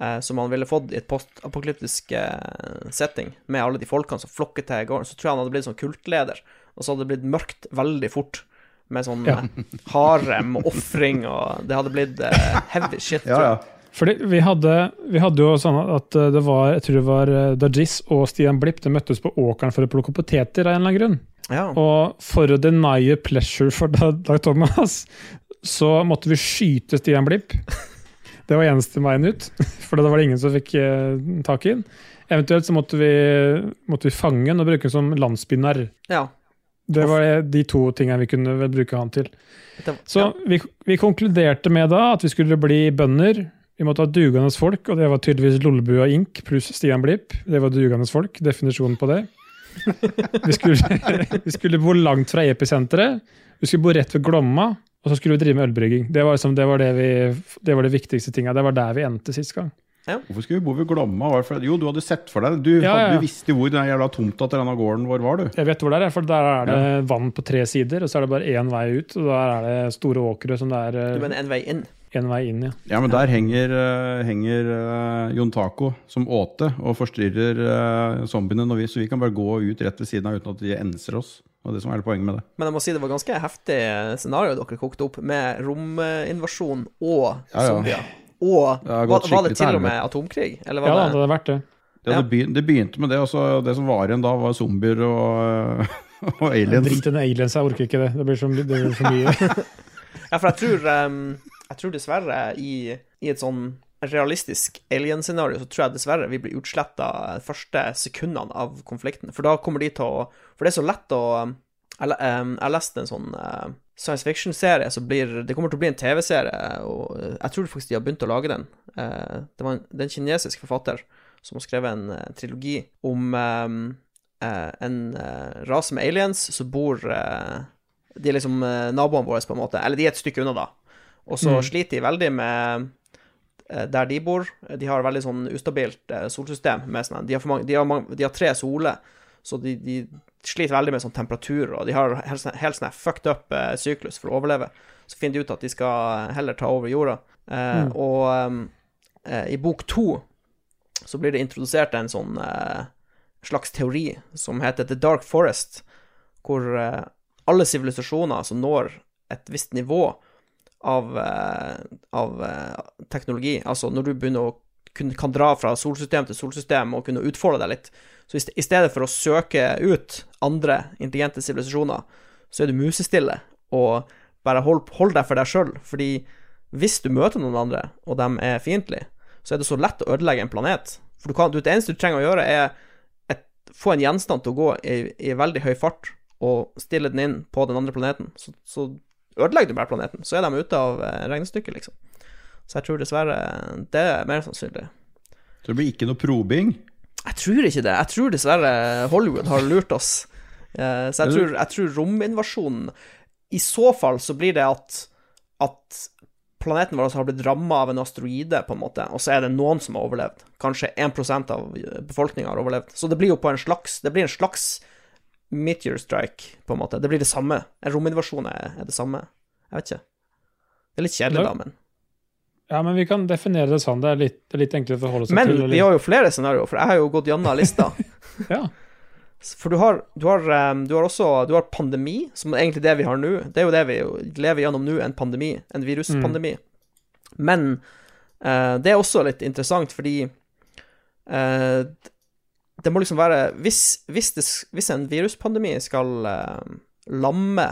eh, som han ville fått i et postapokalyptisk eh, setting, med alle de folkene som flokker til gården, så tror jeg han hadde blitt sånn kultleder, og så hadde det blitt mørkt veldig fort. Med sånn Ja. eh, harem og ofring og Det hadde blitt eh, heavy shit. Ja, tror ja. jeg. Fordi vi hadde, vi hadde jo sånn at eh, det var jeg tror det var eh, Dajis og Stian Blipp de møttes på åkeren for å plukke poteter av en eller annen grunn. Ja. Og for å deny pleasure for Da- Dag Thomas, så måtte vi skyte Stian Blipp. Det var eneste veien ut, for da var det ingen som fikk eh, tak i den. Eventuelt så måtte vi, måtte vi fange den og bruke den som landsbynarr. ja. Det var det- de to tingene vi kunne vel bruke han til. Det, Så ja. vi, vi konkluderte med da at vi skulle bli bønder. Vi måtte ha dugende folk, og det var tydeligvis Lollebua Ink pluss Stian Blipp. Det var dugende folk, definisjonen på det. Vi skulle, vi skulle bo langt fra episenteret. Vi skulle bo rett ved Glomma, og så skulle vi drive med ølbrygging. Det var, liksom, det, var det, vi, det var det viktigste tinga. Det var der vi endte sist gang. Hvorfor skulle vi bo ved Glomma? Var det fordi- Jo, du hadde sett for deg Du, Ja, hadde, ja. du visste jo hvor den jævla tomta til denne gården vår var, du. Jeg vet hvor det er, for der er det vann på tre sider, og så er det bare én vei ut. Og der er det store åkre som det Du er mener en vei inn? én vei inn i. Ja, men der henger, eh, henger eh, Jon Taco som åte og forstyrrer eh, zombiene, når vi, så vi kan bare gå ut rett ved siden av uten at de enser oss. Og det som er hele poenget med det. Men jeg må si det var ganske heftig scenario dere kokte opp, med rominvasjon og Ja, ja. zombier. Og Det har var, gått var skikkelig det til til og med atomkrig? Eller Ja var da, det det, hadde vært det. Det, hadde begynt, det begynte med det, og så det som var igjen da, var zombier og, eh, og aliens. Drit i den aliens, jeg orker ikke det. Det blir så, my- det blir så mye. Ja, for jeg tror, em, jeg tror dessverre i, i et sånn realistisk alien-scenario, så tror jeg dessverre vi blir utsletta de første sekundene av konflikten. For da kommer de til å For det er så lett å Jeg, le- em, jeg leste en sånn eh, science fiction-serie som blir Det kommer til å bli en TV-serie, og eh, jeg tror faktisk de har begynt å lage den. Eh, Det var en, det er en kinesisk forfatter som har skrevet en eh, trilogi om em, eh, en eh, rase med aliens som bor eh, de er liksom eh, naboene våre, på en måte. Eller de er et stykke unna, da. Og så Mm. sliter de veldig med eh, der de bor. De har veldig sånn ustabilt eh, solsystem. Med sånn, de, har for mange, de, har mange, de har tre soler, så de, de sliter veldig med sånn temperatur, og de har helt sånn- helt sånn her fucked up eh, syklus for å overleve. Så finner de ut at de skal heller ta over jorda. Eh, Mm. Og eh, eh, i bok to så blir det introdusert en sånn eh, slags teori som heter The Dark Forest, hvor eh, alle sivilisasjoner som når et visst nivå av, eh, av eh, teknologi, altså når du begynner å kunne, kan dra fra solsystem til solsystem og kunne utfolde deg litt, så i st- i stedet for å søke ut andre intelligente sivilisasjoner, så er du musestille og bare hold, hold deg for deg sjøl, fordi hvis du møter noen andre, og de er fiendtlige, så er det så lett å ødelegge en planet. For du kan, du, det eneste du trenger å gjøre, er et få en gjenstand til å gå i, i veldig høy fart og stille den inn på den andre planeten, så, så ødelegger du bare planeten. Så er de ute av eh, regnestykket, liksom. Så jeg tror dessverre eh, det er mer sannsynlig. Så det blir ikke noe probing. Jeg tror ikke det. Jeg tror dessverre Hollywood har lurt oss. Eh, Så jeg tror, jeg tror rominvasjonen I så fall så blir det at, at planeten vår har blitt ramma av en asteroide, på en måte, og så er det noen som har overlevd. Kanskje 1 av befolkninga har overlevd. Så det blir jo på en slags Det blir en slags meteor strike, på en måte. Det blir det samme. En rominvasjon er, er det samme. Jeg vet ikke. Det er litt kjedelig, Ja. da, men Ja, men vi kan definere det sånn. Det er litt, det er litt enklere å forholde seg Men til. eller- vi har jo flere scenarioer, for jeg har jo gått gjennom lista. Ja. For du har, du har, ehm, du har også du har pandemi, som er egentlig det vi har nå. Det er jo det vi jo lever gjennom nå, en pandemi, en viruspandemi. Men eh, det er også litt interessant, fordi eh, det må liksom være Hvis, hvis, det, s- hvis en viruspandemi skal eh, lamme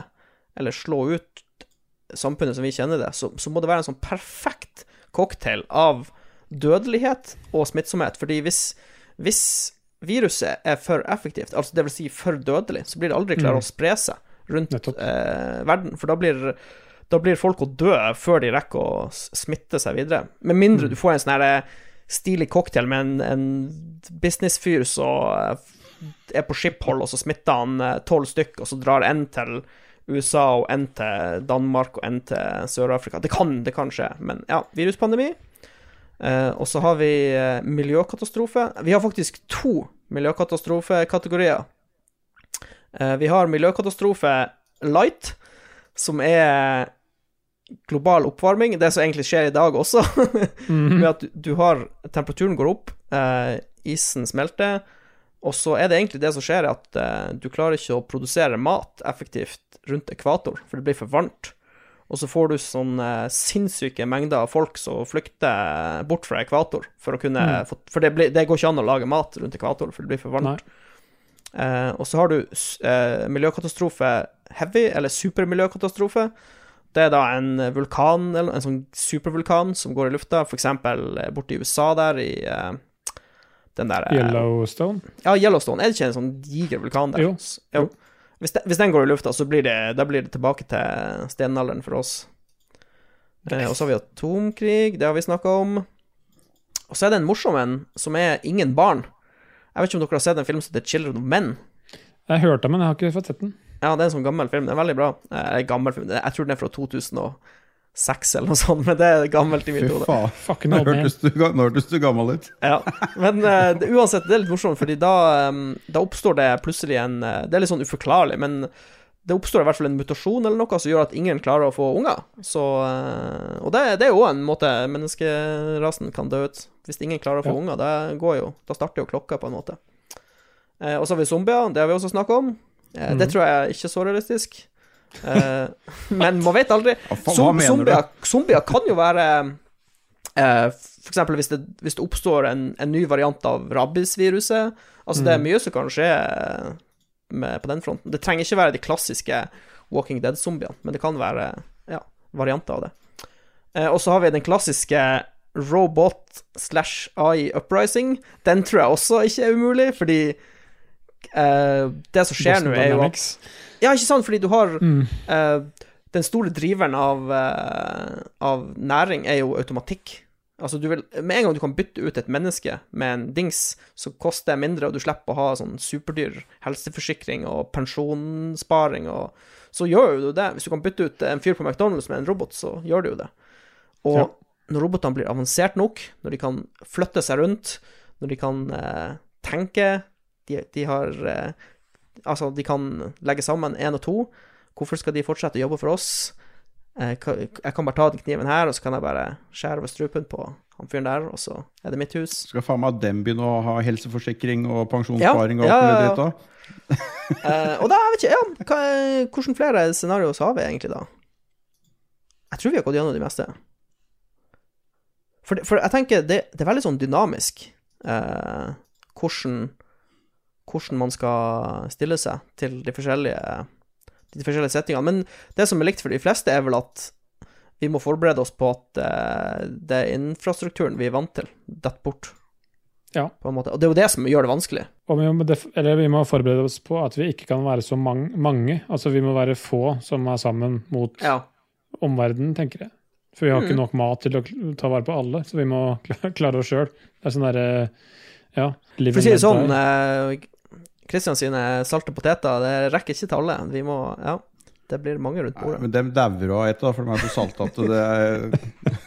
eller slå ut samfunnet som vi kjenner det, så, så må det være en sånn perfekt cocktail av dødelighet og smittsomhet. Fordi hvis, hvis viruset er for effektivt, altså det vil si for dødelig, så blir det aldri klart Mm. å spre seg rundt Nettopp. eh, verden. For da blir, da blir folk å dø før de rekker å s- smitte seg videre. Med mindre du får en sånn herre stilig cocktail med en, en businessfyr som eh, er på skiphold, og så smitter han eh, tolv stykk, og så drar en til USA, og en til Danmark, og en til Sør-Afrika. Det kan, det kan skje, men ja, viruspandemi. Eh, og så har vi eh, miljøkatastrofe. Vi har faktisk to miljøkatastrofekategorier. Eh, vi har miljøkatastrofe light, som er global oppvarming, det som egentlig skjer i dag også. Mhm. Ved at du, du har Temperaturen går opp, eh, isen smelter, og så er det egentlig det som skjer, er at eh, du klarer ikke å produsere mat effektivt rundt ekvator, for det blir for varmt. Og så får du sånn eh, sinnssyke mengder av folk som flykter bort fra ekvator, for å kunne Mm. få- For det, blir, det går ikke an å lage mat rundt ekvator, for det blir for Nei. varmt. Eh, og så har du s- eh, miljøkatastrofe heavy, eller supermiljøkatastrofe. Det er da en vulkan, eller en sånn supervulkan, som går i lufta, f.eks. borti USA der, i eh, den der eh, Yellowstone. Ja, Yellowstone. Er det ikke en sånn diger vulkan der? Jo. S- jo. Hvis, de, hvis den går i lufta, så blir det, da blir det tilbake til stenalderen for oss. Eh, og så har vi atomkrig, det har vi snakka om. Og så er det en morsom en, som er Ingen barn. Jeg vet ikke om dere har sett en film som heter Children of Men? Jeg hørte om den, jeg har ikke fått sett den. Ja, det er en sånn gammel film. Den er veldig bra. Eh, gammel film. Jeg tror den er fra 2006 eller noe sånt, men det er gammelt i Fy mitt hode. faen. Fucking Nå old man. hørtes du, ga- nå hørtes du gammel ut. Ja. Men eh, det, uansett, det er litt morsomt, fordi da, eh, da oppstår det plutselig en eh, Det er litt sånn uforklarlig, men det oppstår i hvert fall en mutasjon eller noe som gjør at ingen klarer å få unger. Så, eh, og det, det er jo en måte menneskerasen kan dø ut. Hvis ingen klarer å få Ja. unger, det går jo, da starter jo klokka, på en måte. Eh, og så har vi zombier, det har vi også snakka om. Eh, Det Mhm. tror jeg er ikke så realistisk. Eh, men man vet aldri. Ja, faen, hva Zom- mener du? zombier, zombier kan jo være eh, For eksempel hvis det, hvis det oppstår en, en ny variant av rabiesviruset. Altså, det er Mm. mye som kan skje eh, med, på den fronten. Det trenger ikke være de klassiske Walking Dead-zombiene, men det kan være ja, varianter av det. Eh, og så har vi den klassiske robot slash AI uprising. Den tror jeg også ikke er umulig, fordi eh, det som skjer Boston nå, er jo at Dynamics. Ja, ikke sant, fordi du har Mm. Eh, den store driveren av, eh, av næring er jo automatikk. Altså, du vil, med en gang du kan bytte ut et menneske med en dings, så koster det mindre, og du slipper å ha sånn superdyr helseforsikring og pensjonssparing og Så gjør jo du det. Hvis du kan bytte ut en fyr på McDonald's med en robot, så gjør du jo det. Og Ja. når robotene blir avansert nok, når de kan flytte seg rundt, når de kan eh, tenke de, de har eh, Altså, de kan legge sammen én og to. Hvorfor skal de fortsette å jobbe for oss? Eh, ka- Jeg kan bare ta den kniven her, og så kan jeg bare skjære over strupen på han fyren der, og så er det mitt hus. Skal faen meg dem begynne å ha helseforsikring og pensjonssparing og alt Ja, ja, mulig ja, ja. dritt òg? Eh, og da, jeg vet ikke, ja, hva, hvordan flere scenarioer har vi egentlig da? Jeg tror vi har gått gjennom de meste. For, for jeg tenker, det, det er veldig sånn dynamisk eh, hvordan, hvordan man skal stille seg til de forskjellige, de forskjellige settingene. Men det som er likt for de fleste, er vel at vi må forberede oss på at eh, det er infrastrukturen vi er vant til, detter bort. Ja. på en måte. Og det er jo det som gjør det vanskelig. Og vi må, def eller vi må forberede oss på at vi ikke kan være så mang mange. Altså vi må være få som er sammen mot Ja. omverdenen, tenker jeg. For vi har ikke Mm. nok mat til å kl- ta vare på alle, så vi må kla- klare oss sjøl. Det er sånn derre Ja. For å si det sånn, eh, Christian sine salte poteter, det rekker ikke til alle. Vi må Ja. Det blir mange rundt Nei, bordet. men dem dauer av etter, da, for de er så salte at det er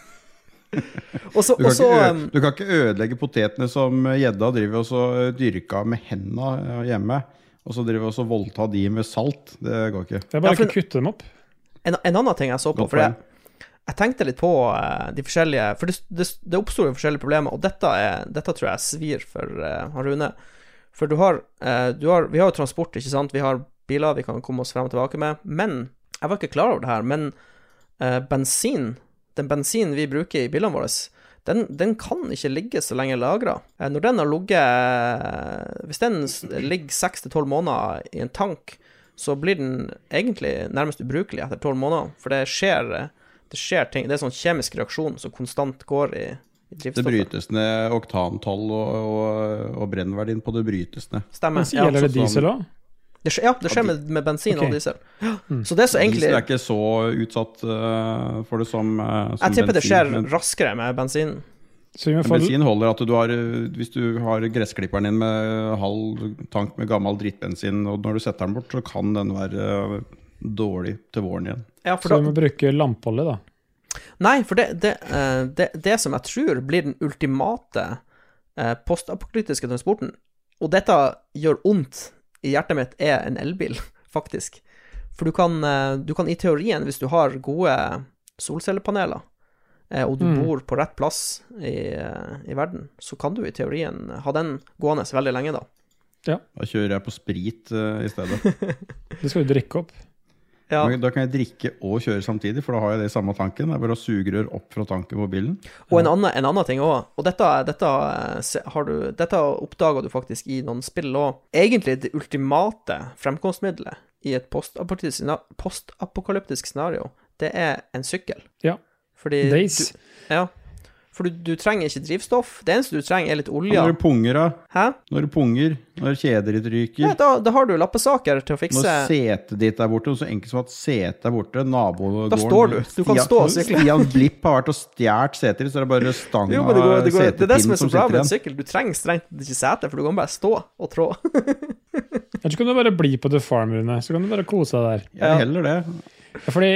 Og så Du kan, og så, ikke, ø- um, du kan ikke ødelegge potetene som gjedda driver og så dyrka med henda ø, hjemme. Og så driver og så voldta de med salt. Det går ikke. Det er bare Ja, for- ikke kutte dem opp. en, en annen ting jeg så på, Godt for jeg, poeng. jeg tenkte litt på eh, de forskjellige For det, det, det oppstår jo forskjellige problemer, og dette, er, dette tror jeg svir for eh, han Rune. For du har, eh, du har Vi har jo transport, ikke sant? Vi har biler vi kan komme oss frem og tilbake med. Men jeg var ikke klar over det her, men eh, bensin Den bensinen vi bruker i bilene våre den, den kan ikke ligge så lenge lagra. Når den har ligget eh, Hvis den s- ligger seks til tolv måneder i en tank, så blir den egentlig nærmest ubrukelig etter tolv måneder. For det skjer, det skjer ting Det er sånn kjemisk reaksjon som konstant går i, i Det drivstoffet. brytes ned oktantall og, og, og brennverdien på det brytes ned. Men Stemmer. så Ja, gjelder det sånn- diesel òg. det skjer, ja, det skjer med, med bensin Ok. og diesel. Ja, Så det er så egentlig Diesel er ikke så utsatt ø, for det som, ø, som Jeg tipper det skjer men- raskere med bensin. Så vi må men få bensin holder at du har ø, Hvis du har gressklipperen din med halv tank med gammel drittbensin, og når du setter den bort, så kan den være ø, dårlig til våren igjen. Ja, for Så vi da, må bruke lampeolje, da. nei, for det, det, eh, det, det som jeg tror blir den ultimate eh, postapokalyptiske transporten, og dette gjør vondt i hjertet mitt, er en elbil, faktisk. For du kan, eh, du kan i teorien, hvis du har gode solcellepaneler, eh, og du Mm. bor på rett plass i, eh, i verden, så kan du i teorien ha den gående veldig lenge, da. Da kjører jeg på sprit ø, i stedet. Det skal du drikke opp. Ja. Men Da kan jeg drikke og kjøre samtidig, for da har jeg det i samme tanken. Det er bare å sugerør opp fra tanken på bilen. Og en annen, en annen ting òg, og dette, dette, eh, se- har du- dette oppdaga du faktisk i noen spill òg. Egentlig det ultimate fremkomstmiddelet i et postapokalyptisk scenar- postapokalyptisk scenario, det er en sykkel. Ja. Fordi Days. Eh, Du, ja. For du, du trenger ikke drivstoff. Det eneste du trenger, er litt Når olje. du punger, da. Hæ? Når du punger, når kjedet ditt ryker. Ja, da, da har du lappesaker til å når fikse setet ditt er borte, og så enkelt som at setet er borte Nabogården Da står du. Du kan Stian- stå og sykle. Stian Blipp har vært og stjålet setet ditt, så er det bare stang jo, men det, går, av det, går, det er det som er setepinn som så bra sitter med en igjen. sykkel. Du trenger strengt ikke sete, for du kan bare stå og trå. Eller så kan du bare bli på The Farm, Rune. Så kan du bare kose deg der. Jeg Ja. heller det. Ja, Fordi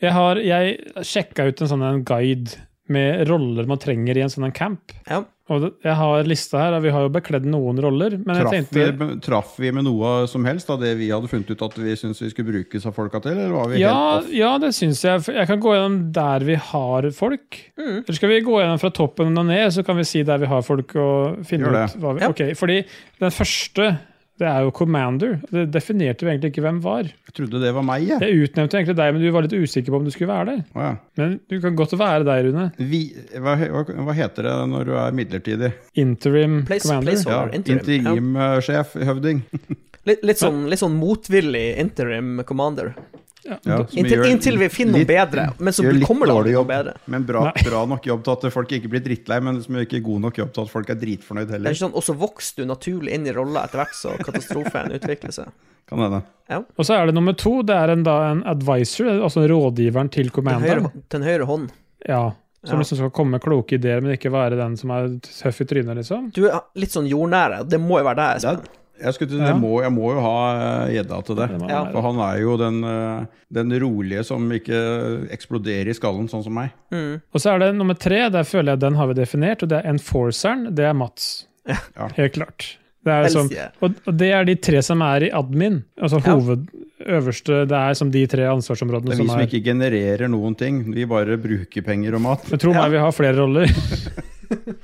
jeg har jeg sjekka ut en sånn en guide med roller man trenger i en sånn en camp. Ja. Og det- jeg har lista her, og vi har jo bekledd noen roller, men jeg Traff vi, tenkte traff vi med noe som helst av det vi hadde funnet ut at vi syntes vi skulle brukes av folka til, eller var vi ja, helt off? ja, det syns jeg. Jeg kan gå gjennom der vi har folk. Mm. Eller skal vi gå gjennom fra toppen og ned, så kan vi si der vi har folk, og finne Gjør ut det. hva vi Ja. Ok, fordi den første, det er jo Commander. Det definerte vi egentlig ikke hvem var. Jeg trodde det var meg, jeg. Jeg utnevnte egentlig deg, men du var litt usikker på om du skulle være der. Å, ja. Men du kan godt være der, Rune. Vi, hva, hva hva heter det når du er midlertidig? Interim Place- Commander. place- Ja, Over interim, Interimsjef, høvding. Litt, litt, sånn, litt sånn motvillig interim commander. Ja. Ja, som Inntil, gjør- inntil vi finner noe litt- bedre. Men så gjør blir- litt kommer det aldri dårlig noe jobb. bedre. Men bra, Nei. bra nok jobb til at folk ikke blir drittlei, men som ikke er god nok jobb til at folk er dritfornøyd Det er heller. ikke sånn, Og så vokser du naturlig inn i rolla etter hvert, så katastrofen utvikler seg. Kan hende. Og så er det nummer to, det er en, da, en advisor, altså rådgiveren til Den commanderen. høyre, den høyre hånd. Ja, som Ja. liksom skal komme med kloke ideer, men ikke være den som er tøff i trynet, liksom. Du er litt sånn jordnære. Det må jo være deg, Det er, Espen. jeg, skulle, til å si, Ja. jeg, må, jeg må jo ha eh, gjedda til det. Det må Ja. være. For han er jo den, eh, den rolige som ikke eksploderer i skallen, sånn som meg. Mm. Og så er det nummer tre, der føler jeg den har vi definert, og det er enforceren, det er Mats. Ja. Helt klart. Det sånn- er som, Elsie. og, og det er de tre som er i admin, altså Ja. hoved, øverste, det er som de tre ansvarsområdene Det er som vi som er. ikke genererer noen ting. Vi bare bruker penger og mat. Men tro Ja. meg, vi har flere roller.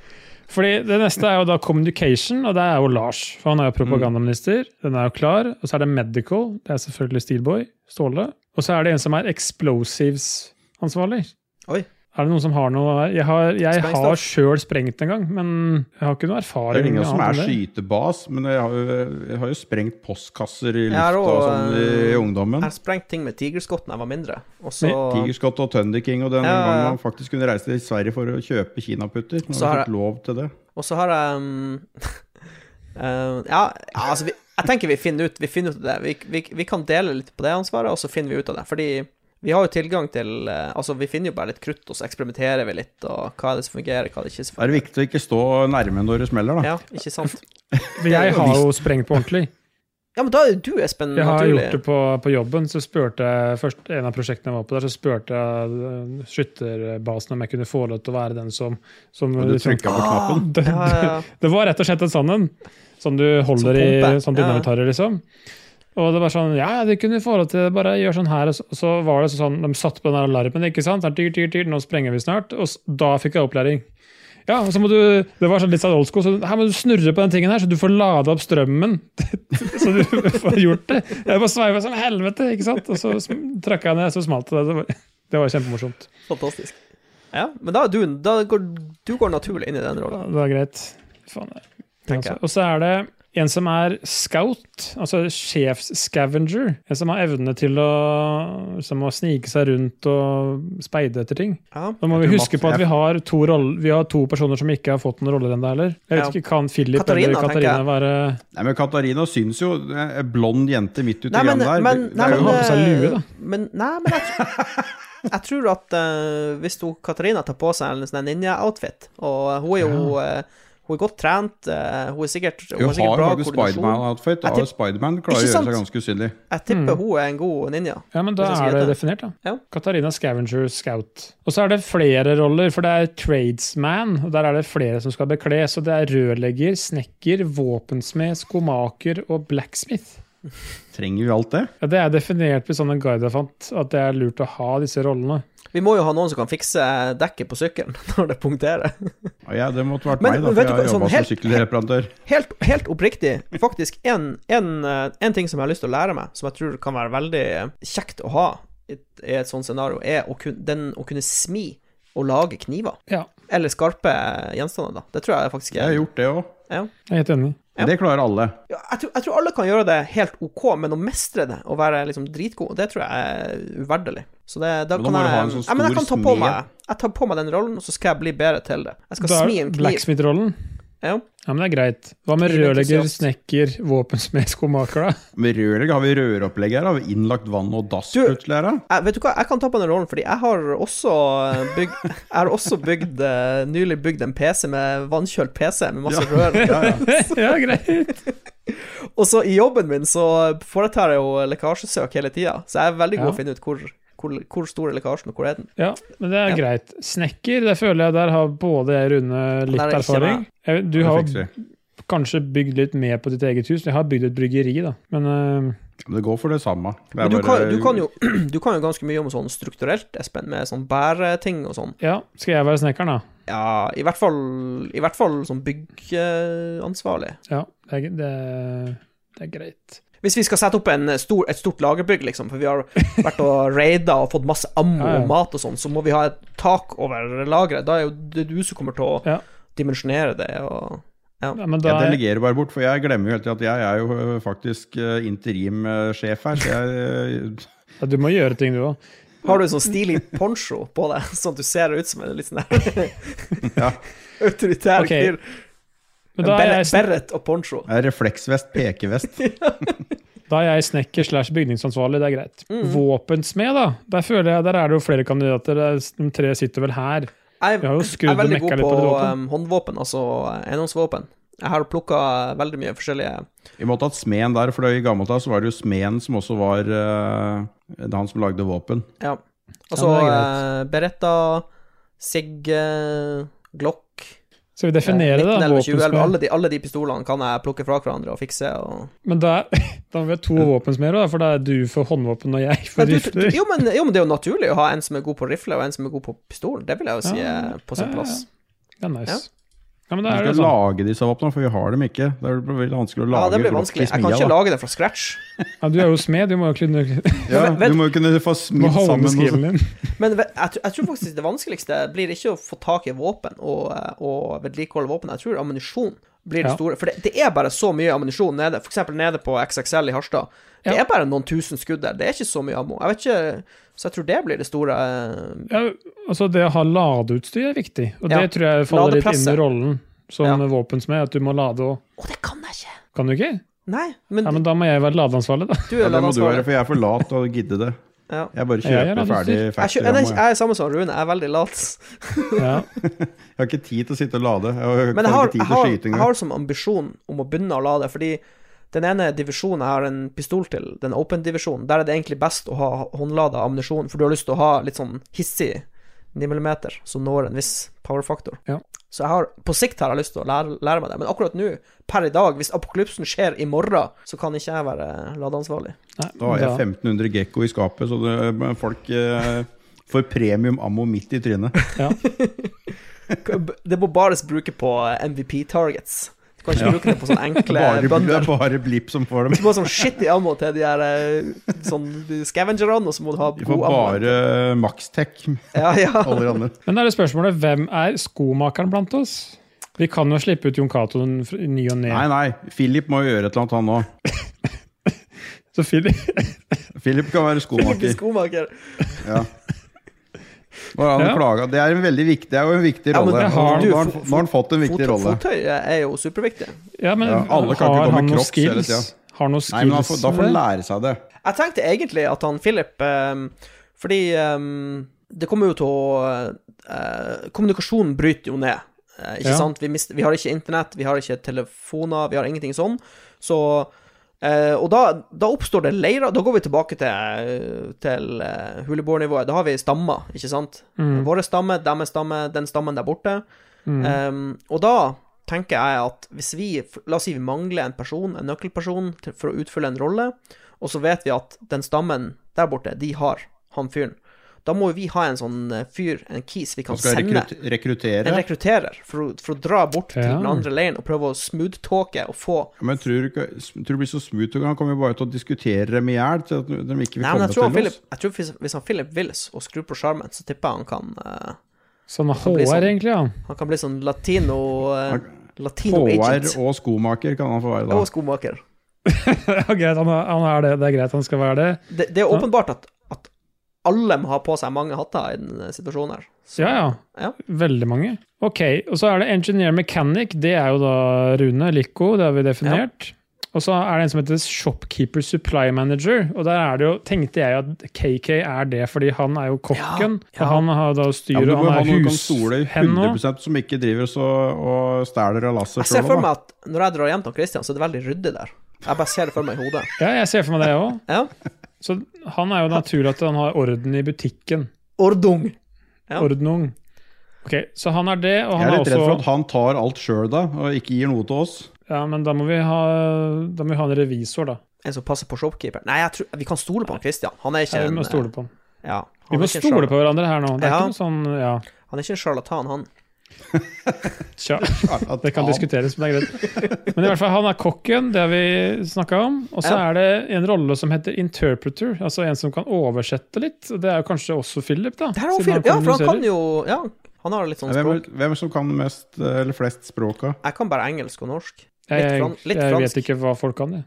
Fordi Det neste er jo da communication, og det er jo Lars. For Mm. han er jo propagandaminister. Den er jo klar. Og så er det medical. Det er selvfølgelig Steelboy. Ståle. Og så er det en som er explosives-ansvarlig. Oi. Er det noen som har noe Jeg har, jeg Sprengstoff. har sjøl sprengt en gang, men jeg har ikke noe Det er erfaring. ingen som er annet enn det. skytebas, men jeg har jo, jeg har jo sprengt postkasser i Jeg har lufta og sånn i også, eh, ungdommen. Jeg har sprengt ting med tigerskott da jeg var mindre, og så Tigerskott og Thunder King og den Ja, ja, ja. gangen man faktisk kunne reise til Sverige for å kjøpe kinaputter. Man Så har har fått lov til det. Og så har jeg mm, eh, ja, ja, altså vi, Jeg tenker vi finner ut Vi finner ut av det. Vi, vi, vi kan dele litt på det ansvaret, og så finner vi ut av det. Fordi vi har jo tilgang til eh, Altså, vi finner jo bare litt krutt, og så eksperimenterer vi litt, og hva er det som fungerer, hva er det ikke som Da er det viktig å ikke stå nærme når det smeller, da. Ja, ikke sant? For jeg har jo sprengt på ordentlig. Ja, men da er jo du, Espen, Jeg har naturlig. gjort det på, på jobben. Så spurte jeg først en av prosjektene jeg var på der, så spurte jeg eh, skytterbasen om jeg kunne få lov til å være den som, som liksom- Ah, Og du trykket på knappen. det, Ja, ja, ja. det var rett og slett en sånn en, som du Som holder i pumpe. sånn Ja. dynamittarer, liksom. Og det var sånn Ja, ja, du kunne få lov til det, bare gjør sånn her. Og så, og så var det sånn, de satte på den der alarmen, ikke sant. Sånn, Tyr, tyr, tyr, nå sprenger vi snart. Og s- da fikk jeg opplæring. Ja, og så må du, Det var sånn litt sånn old school, så her må du snurre på den tingen her, så du får lada opp strømmen. så du får gjort det. Jeg bare sveiva som helvete, ikke sant. Og så sm- trakk jeg ned, så smalt det. Det var, det var kjempemorsomt. Fantastisk. Ja, men da, er du, da går du går naturlig inn i den Ja, rollen. Det var greit. Faen, jeg. Altså, Tenker jeg. Og så er det en som er scout, altså sjefsscavenger. En som har evne til å, som å snike seg rundt og speide etter ting. Ja. Nå må Jeg vi tror huske Mats- på at jeg- vi har to, roll, vi har to personer som ikke har fått noen roller ennå heller. Jeg vet Ja. ikke, Kan Philip Katarina, eller tenker jeg. Katarina være Nei, men Katarina syns jo eh, en blond jente midt ute i Nei, men, grann der. men, Det- det nei, er men, eh, Hun jo- har på seg lue, da. Men, nei, men jeg, tr- jeg tror at eh, hvis hun, Katarina tar på seg en sånn ninja-outfit Og hun er jo eh, Hun er godt trent, eh, hun er sikkert, hun Hun har sikkert har bra faktisk koordinasjon. Spiderman-outfit, Jeg og Spiderman klarer å Ikke gjøre seg sant? ganske usynlig. Jeg tipper hun er en god ninja. Ja, men da Hvis jeg skal er det gjette. definert, da. Ja. Katarina Scavenger Scout. Og så er det flere roller, for det er tradesman, og der er det flere som skal bekles. Og det er rørlegger, snekker, våpensmed, skomaker og blacksmith. Trenger vi alt det? Ja, det er definert ved sånne guider jeg fant, at det er lurt å ha disse rollene. Vi må jo ha noen som kan fikse dekket på sykkelen når det punkterer. Ja, jeg- det måtte vært Men- meg, da, for men vet jeg du har hva, sånn jobba som helt- sykkelreparatør. Helt, helt oppriktig, faktisk en, en, eh, en ting som jeg har lyst til å lære meg, som jeg tror kan være veldig eh, kjekt å ha i et, i et sånt scenario, er å kun, den å kunne smi og lage kniver. Ja, Eller skarpe eh, gjenstander, da. Det tror jeg faktisk Jeg har er gjort det òg. ja. jeg er helt enig. Ja. Det klarer alle. Ja, jeg, tror, jeg tror alle kan gjøre det helt ok, men å mestre det og være liksom dritgod, det tror jeg er uverdelig. Så det, da Men da kan må du jeg ha en sånn ja, men stor jeg kan ta på smed. meg Jeg tar på meg den rollen, og så skal jeg bli bedre til det. Jeg skal Da smi er en kniv. blacksmith-rollen. Ja. Ja, men det er greit. Hva med rørlegger, Kniventusiast. snekker, våpensmed, skomaker, da? Med rørlegger har vi røropplegg her. Har vi innlagt vann og dass Du- plutselig her? da? Jeg, vet du hva, jeg kan ta på den rollen, fordi jeg har også eh, bygd, jeg har også bygd eh, nylig bygd en PC med vannkjølt PC med masse rør. Ja, ja. ja, greit. Og så i jobben min så foretar jeg jo lekkasjesøk hele tida, så jeg er veldig god Ja. å finne ut hvor, hvor, hvor stor er lekkasjen, og hvor er den. Ja, men det er Ja. greit. Snekker, det føler jeg der har både jeg og Rune litt Der er ikke erfaring. meg. Jeg, vet- du Det har fikser vi. kanskje bygd litt mer på ditt eget hus. Jeg har bygd et bryggeri, da. Men øh, Men Det går for det samme. Det er Men du, bare- kan, du, kan jo, du kan jo ganske mye om sånn strukturelt, Espen, med sånn bæreting og sånn. ja, skal jeg være snekkeren, da? Ja, i hvert fall, i hvert fall sånn eh, byggeansvarlig. Ja, det er, det, er- det er greit. Hvis vi skal sette opp en eh, stor, et stort lagerbygg, liksom, for vi har vært og raida og fått masse ammo Ja, ja. og mat og sånn, så må vi ha et tak over lageret. Da er jo det du som kommer til å Ja. dimensjonere det og Ja, men da Jeg er, delegerer bare bort, for jeg glemmer jo helt til at jeg er jo øh, faktisk øh, interimsjef her. Så jeg, øh, ja, du må gjøre ting, du òg. Har du en sånn stilig poncho på deg, sånn at du ser ut som en litt sånn der ja, autoritær Ok, fyr? Men da er, jeg, Beret, sn- beret og poncho. jeg er refleksvest, pekevest. da er jeg snekker slash bygningsansvarlig, det er greit. Mm. Våpensmed, da. Der føler jeg, der er det jo flere kandidater. Det er- De tre sitter vel her. Jeg, Vi har jo Jeg skrudd er og veldig mekka god litt på på det våpen. um, håndvåpen, altså eiendomsvåpen. Jeg har plukka veldig mye forskjellige Vi måtte hatt smeden der, for i gammelt av så var det jo smeden som også var øh, det han som lagde våpen. Ja. Altså Ja, men det eh, Beretta, Sig, eh, Glock Skal vi eh, definere det, da? 1911, 2011, Våpensmed. alle, de, alle de pistolene kan jeg plukke fra hverandre og fikse. Og... Men da, da må vi ha to våpensmeder, da, for da er du for håndvåpen og jeg for Men, du, du, rifler. jo, men, jo, men det er jo naturlig å ha en som er god på rifle, og en som er god på pistol. Det vil jeg jo si Ja, er på sin ja, plass. Ja, nice. Ja. Ja. men Vi da er det skal sånn. lage disse våpnene, for vi har dem ikke. Det er veldig vanskelig å Ja, lage det blir blokk i vanskelig. Jeg smia, kan ikke da. lage det fra scratch. Ja, du er jo smed, du må jo kunne Ja, Men vent- du må jo kunne du må få smidd sammen. holde noe sånt. skillen din. Men ve- jeg, tr- jeg tror faktisk det vanskeligste blir ikke å få tak i våpen og, eh, og vedlikeholde våpen. Jeg tror ammunisjon blir det Ja. store. For det, det er bare så mye ammunisjon nede, f.eks. nede på XXL i Harstad. Det Ja. er bare noen tusen skudd der. Det er ikke så mye ammo. Jeg vet ikke, så jeg tror det blir det store eh, Ja, altså det å ha ladeutstyr er viktig, og Ja. det tror jeg faller litt inn Ladeplasser. i rollen. som Ja. våpensmed, at du må lade og Å, det kan jeg ikke! Kan du ikke? Nei, men, Ja, men da må jeg være ladeansvarlig, da. du Ja, det må du er være, landansvarlig. for jeg er for lat til å gidde det. Ja. Jeg bare Ja, jeg er kjøper radiostyrt. ferdig Jeg, kjø- jeg, factory. er- jeg er samme som Rune, jeg er veldig lat. Ja. Jeg har ikke tid til å sitte og lade. Jeg har Men jeg ikke har, tid til å jeg, har, skyte jeg engang. har som ambisjon om å begynne å lade, fordi den ene divisjonen jeg har en pistol til, den open-divisjonen, der er det egentlig best å ha håndlada ammunisjon, for du har lyst til å ha litt sånn hissig 9 mm som når en viss power-faktor. Ja. Så jeg har, på sikt har jeg lyst til å lære, lære meg det, men akkurat nå, per i dag, hvis apokalypsen skjer i morgen, så kan ikke jeg være ladeansvarlig. Nei, Da har jeg 1500 Gekko i skapet, så det, folk eh, får premium ammo midt i trynet. ja. Det må bare bruke på eh, MVP-targets. Du kan ikke bruke det på sånne enkle Bare, det bønder. er bare blipp som får dem. Du må ha sånn shitty ammo til de her eh, sånn de scavengerne, og så må du ha De god får ammo. bare eh, Maxtech, Ja, ja. alle de andre. Men da er det spørsmålet hvem er skomakeren blant oss? Vi kan jo slippe ut Jon Cato den fr- i ny og ne. Nei, nei, Philip må jo gjøre et eller annet, han òg. Så Philip Philip kan være Philip skomaker. er skomaker. Ja. Nå har han Ja. klaget. Det er, en veldig viktig, det er jo en viktig Ja, men rolle. det Nå har- har, du, han- fot- nå har han fått en viktig Fot, rolle. fottøy er jo superviktig. Ja, men Ja, alle kan ikke har gå han med noen crocs hele skills? tida. Har han noen Nei, men han får, skills? da får han eller? lære seg det. Jeg tenkte egentlig at han Philip ehm, Fordi ehm, det kommer jo til å eh, Kommunikasjonen bryter jo ned. eh, ikke Ja. sant? Vi, mister, vi har ikke internett, vi har ikke telefoner, vi har ingenting sånn. Så eh, Og da, da oppstår det leirer. Da går vi tilbake til, eh, til eh, huleboernivået. Da har vi stammer, ikke sant? Våre stammer, deres stamme, den stammen der borte. Mm. Ehm, og da tenker jeg at hvis vi La oss si vi mangler en person, en nøkkelperson, til, for å utfylle en rolle, og så vet vi at den stammen der borte, de har han fyren. Da må jo vi ha en sånn eh, fyr, en kis, vi kan Han skal sende. rekrut rekruttere. En rekrutterer, for å, for å dra bort til Ja. den andre leiren og prøve å smooth-talke og få Ja, Men tror du ikke tror du det blir så smooth? og Han kommer jo bare til å diskutere dem i hjel til at de ikke vil Nei, men komme jeg tror, han til Philip, oss. jeg tror hvis, hvis han Philip vil og skrur på sjarmen, så tipper jeg han kan eh, Så han er blir HR, sånn. egentlig, ja. Han kan bli sånn latino eh, Latino HR agent. og skomaker kan han få være da. Og skomaker. ja greit, han er, han er det. Det er greit han skal være det. Det, det er åpenbart at, at alle må ha på seg mange hatter i denne situasjonen her. Så- Ja, ja. Ja. Veldig mange. Ok, og så er det engineer mechanic. Det er jo da Rune Lico, det har vi definert. Og så er det en som heter shopkeeper supply manager. Og der er det jo, tenkte jeg at KK er det, fordi han er jo kokken. Ja, ja. Og han har da Ja, styret, men du og må ha han noen er du kan stole i hushenne. 100 som ikke driver så, og stjeler av lasset Jeg ser selv for om, da. meg at når jeg drar hjem til Christian, så er det veldig ryddig der. Jeg bare ser det for meg i hodet. Ja, jeg ser for meg det òg. Ja. Så han er jo naturlig at han har orden i butikken. Ordung. Ja. Ordnung. Ok, så han er det, og Jeg han er er litt redd for at også han tar alt sjøl da, og ikke gir noe til oss. Ja, men da må vi ha, da må vi ha en revisor, da. En som passer på shopkeeper. Nei, jeg tror, vi kan stole på han Christian. Han er ikke Ja, vi en må stole på han. Ja, han Vi er må ikke en stole charla- på hverandre her nå. Det er Ja. ikke noe sånn, ja. Han er ikke en sjarlatan, han. Tja, At det kan han- diskuteres, men det er greit. Men i hvert fall, han er kokken, det har vi snakka om. Og så Ja. er det en rolle som heter interpreter, altså en som kan oversette litt. Og Det er jo kanskje også Philip, da. Det her er jo siden fyr. Ja, for han kan kommuniserer. jo Ja, han har litt sånn Hvem, er- språk. hvem som kan mest, eller flest språka? Jeg kan bare engelsk og norsk. Litt, Jeg, fran jeg litt vet fransk. ikke hva folk kan, jeg.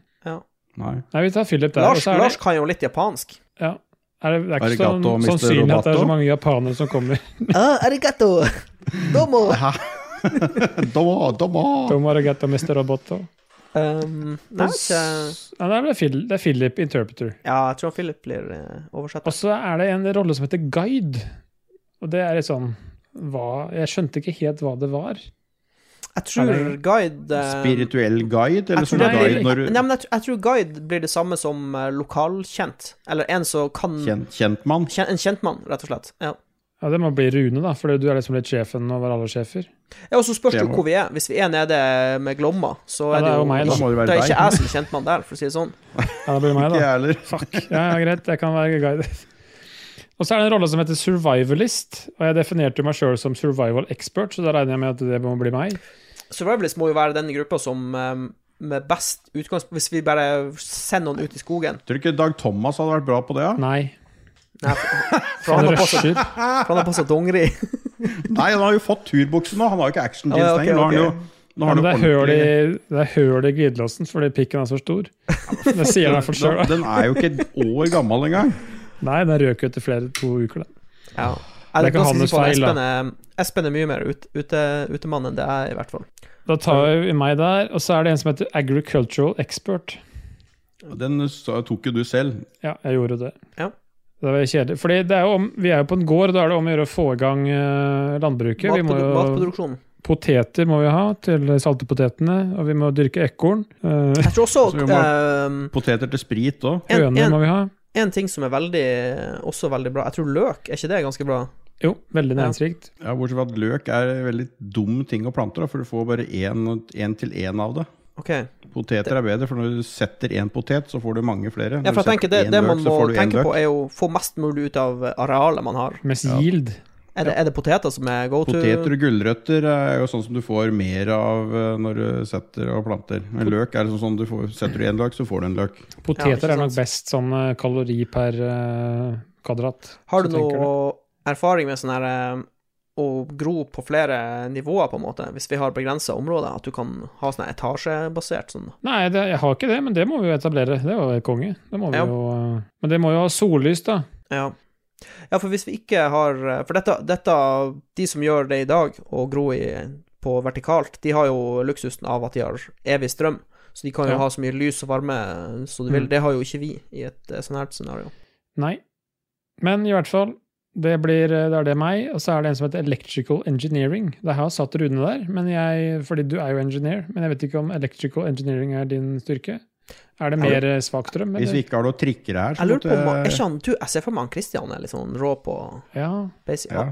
Nei. Nei, vi tar Philip der. og Lars, så er Lars det, kan jo litt japansk. ja, er det, det er ikke Arigato, sånn, Mr. sannsynlig at det er Roboto. så mange japanere som kommer. Ah, arigato! Domo! Doma, doma. Tom Arigato, Mr. Roboto. Um, nei, ikke Ja, det er vel Phil- det er Philip interpreter. Ja, jeg tror han Philip blir eh, oversatt. Og så er det en rolle som heter guide. Og det er litt sånn hva, Jeg skjønte ikke helt hva det var. Jeg tror Er det- guide eh, Spirituell guide, eller jeg tror, sånn det det er- guide blir, når nei, du men jeg, tr- jeg tror guide blir det samme som eh, lokalkjent. Eller en som kan Kjent, kjent mann. kjen- En kjentmann, rett og slett. Ja. Ja, Det må bli Rune, da, for du er liksom litt sjefen over alle sjefer. Ja, og så spørs det Det jo må- hvor vi er. Hvis vi er nede med Glomma, så Ja, er det det er jo jo meg, da. Da må det være Det er ikke deg. jeg som er kjentmann der, for å si det sånn. Ja, det blir meg, Ikke jeg da. heller. Fuck. Ja, ja, greit, jeg kan være guide. Og så er det en rolle som heter survivalist, og jeg definerte jo meg sjøl som survival expert, så da regner jeg med at det må bli meg. Survivalist må jo være den gruppa som eh, med best utgangspunkt Hvis vi bare sender noen ut i skogen Tror du ikke Dag Thomas hadde vært bra på det? da? Nei. Nei, for, for Han han har passet- rusher. for han har passa dongeri. Nei, han har jo fått turbukse nå. Han har jo ikke action Å, ja, jeans ok, lenger. Nå har han jo ok. nå Ja, har men det han er jo høl i, ordentlig- det er høl i glidelåsen fordi pikken er så stor. Det sier han i hvert fall sjøl. Den, den er jo ikke et år gammel engang. Nei, den røk jo etter flere to uker, da. Ja. Jeg Det er er ikke ganske hans sikker på at feil, Espen er, Espen er mye mer ut, ute, utemann enn det jeg er, i hvert fall. Da tar vi meg der, og så er det en som heter Agricultural Expert. Den sa- tok jo du selv. Ja, jeg gjorde det. Ja. Det var kjedelig. Fordi det er jo om, vi er jo på en gård, og da er det om å gjøre å få i gang eh, landbruket. Vi må Matprodu jo, matproduksjon. poteter må vi ha til de salte potetene, og vi må dyrke ekorn. Eh, Jeg tror også Så vi Poteter til sprit òg. eh, en, høner en, må vi ha. en ting som er veldig, også veldig bra Jeg tror løk, er ikke det ganske bra? Jo, veldig Ja. næringsrikt. Ja, bortsett fra at løk er en veldig dum ting å plante, da, for du får bare én til én av det. Ok. Ja, Poteter er bedre, for når du setter én potet, så får du mange flere. Når for du jeg tenker setter det, én det løk, man så må får du én tenke løk. på, er jo å få mest mulig ut av arealet man har. Mest Ja. yield. Er det, er det poteter som er go to? Poteter og gulrøtter er jo sånn som du får mer av eh, når du setter og planter. Men løk er sånn som du får, setter du én løk, så får du en løk. Ja, Poteter ikke er nok sant. best sånn eh, kalori per eh, kvadrat. Har så du tenker noe erfaring med sånn her eh, å gro på flere nivåer, på en måte, hvis vi har begrensa områder? At du kan ha sånn her etasjebasert sånn? Nei, det, jeg har ikke det, men det må vi jo etablere. Det var jo konge. Det må vi Ja. jo, eh, men det må jo ha sollys, da. Ja. ja, for hvis vi ikke har For dette, dette de som gjør det i dag, og gro i, på vertikalt, de har jo luksusen av at de har evig strøm. Så de kan jo Ja. ha så mye lys og varme som de vil. Mm. Det har jo ikke vi i et eh, sånn her scenario. Nei. Men i hvert fall, det, blir, eh, det er det meg, og så er det en som heter Electrical Engineering. Det har jeg satt Rune der, men jeg, fordi du er jo engineer. Men jeg vet ikke om Electrical Engineering er din styrke. Er det Er mer svakstrøm, Hvis vi eller? ikke har noen trikkere her, så Jeg lurer på om måtte Er ikke han du, Jeg ser for meg han Christian er litt sånn rå på Ja. basic. ja.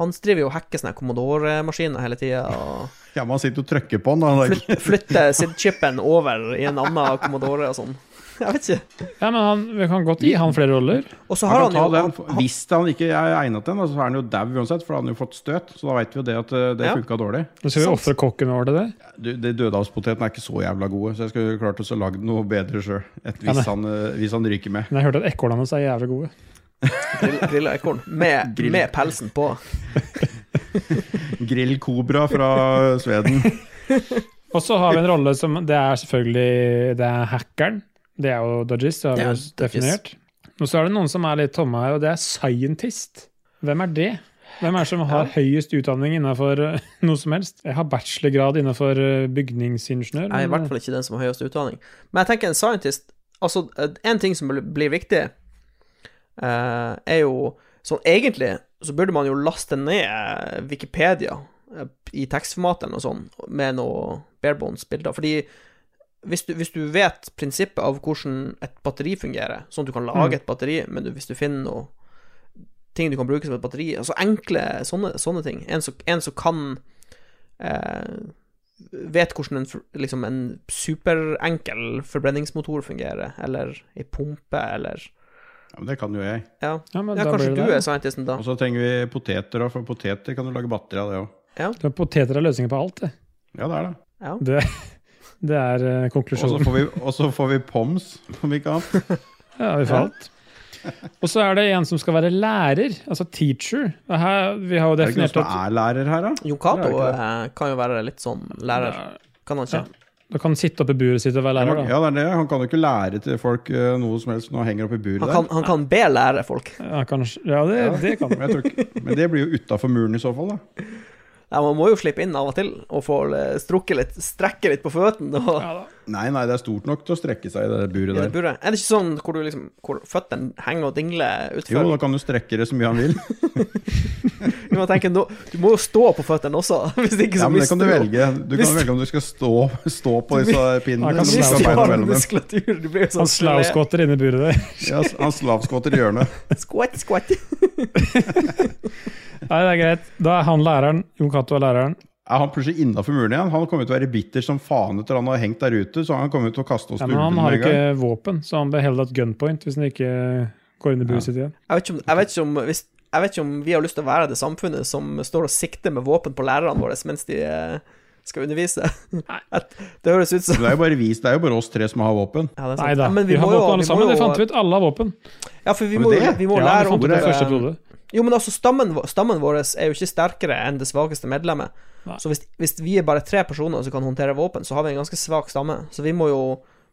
Han driver jo og hacker sånne her Commodore-maskiner hele tida og ja, man sitter og trykker på den. Da. Det er flyt, flytter SID-chipen over i en annen Commodore og sånn. Jeg vet ikke. ja, men han, vi kan godt gi han flere roller. Og så har Han kan han ta jo den. han- han- Hvis han ikke er egnet til den, da, så er han jo dau uansett, for da har han jo fått støt. Så da veit vi jo det at eh, det Ja. funka dårlig. Nå skal vi Sant. ofre kokken over til det. Du, det Dødehavspotetene er ikke så jævla gode, så jeg skulle klart å lage noe bedre sjøl Ja, hvis, han, eh, hvis han ryker med. Men jeg hørte at ekornene hans er jævlig gode. grill- grilla ekorn med, Grill. med pelsen på. Grill Cobra fra Sveden. Og så har vi en rolle som Det er selvfølgelig det er hackeren. Det er jo Dodges, det har vi Ja, jo Dodges. definert. Og så er det noen som er litt tomme her, og det er scientist. Hvem er det? Hvem er det som har høyest utdanning innenfor eh, noe som helst? Jeg har bachelorgrad innenfor eh, bygningsingeniør. Jeg er i men- eh, hvert fall ikke den som har høyest utdanning. Men jeg tenker en scientist Altså, en ting som blir- blir viktig, eh, er jo Sånn egentlig så burde man jo laste ned eh, Wikipedia eh, i tekstformat eller noe sånt, med noe barebones-bilder. Fordi hvis du, hvis du vet prinsippet av hvordan et batteri fungerer, sånn at du kan Mm. lage et batteri, men du, hvis du finner noe ting du kan bruke som et batteri Altså enkle sånne, sånne ting. En som, en som kan eh, vet hvordan en, fr- liksom en superenkel forbrenningsmotor fungerer, eller ei pumpe, eller Ja, men det kan jo jeg. Ja, Ja, men ja da kanskje blir det du det. er scientisten, da. Og så trenger vi poteter òg, for poteter kan du lage batteri av, det òg. Det er Poteter er løsningen på alt, det. Ja, det er det. Ja. Det, det er eh, Og så konklusjonen. får vi, og så får vi poms, om ikke annet. Ja, vi får alt. Og så er det en som skal være lærer, altså teacher. Og Her, vi har jo Er det ikke noen definert som at er lærer her, da? Jon Det er Cato jo ikke eh, kan jo være litt sånn lærer, kan han ikke? Ja. Du kan sitte oppe i buret sitt og være lærer, da. Ja, det er det. Han kan jo ikke lære til folk eh, noe som helst når han henger opp i buret Han kan, der. han kan be lære folk. Ja, kanskje. Ja, det, Ja. det kan Men, jeg tror ikke. Men det blir jo utafor muren i så fall, da. Ja, man må jo slippe inn av og til, og få eh, strukket litt, strekke litt på føttene. Og... ja, da. Nei, nei, det er stort nok til å strekke seg i det i buret det der. buret. Er det ikke sånn hvor, du liksom, hvor føttene henger og dingler Jo, utfor? da kan du strekke det så mye han vil. Du må tenke, nå, du må jo stå på føttene også, hvis ikke så Ja, men det kan du mister du velge. Du kan Hvis- velge om du skal stå, stå på disse pinnene. Ja, eller om du kanskje skal ha Mister du beina all mellom dem. muskulatur? Du blir jo sånn Han slauskotter inne i buret der. Ja, han slavskåter i hjørnet. Skvatt, skvatt. Nei, det er greit. Da er han læreren. Jon Cato er læreren. Er han plutselig innafor muren igjen? Han kommer til å være bitter som faen etter han har hengt der ute. Så han kommer til å kaste oss Ja, til men han ulvene har med en gang. ikke våpen, så han blir heller hatt gunpoint hvis han ikke går inn i buret sitt igjen. Jeg vet, ikke om, jeg, vet ikke om, hvis, jeg vet ikke om vi har lyst til å være det samfunnet som står og sikter med våpen på lærerne våre mens de eh, skal undervise. At, det høres ut som Det er jo bare vis, det er jo bare oss tre som har våpen. ja, det er sant. Nei da, Ja, vi, har våpen alle sammen. Det fant vi ut. Alle har våpen. Ja, for vi Men må, det- vi må Ja, vi lære fant opp ut det i eh, første episode. Jo, men altså, stammen, vå- stammen vår er jo ikke sterkere enn det svakeste medlemmet. Nei. Så hvis, hvis vi er bare tre personer som kan håndtere våpen, så har vi en ganske svak stamme. Så vi må jo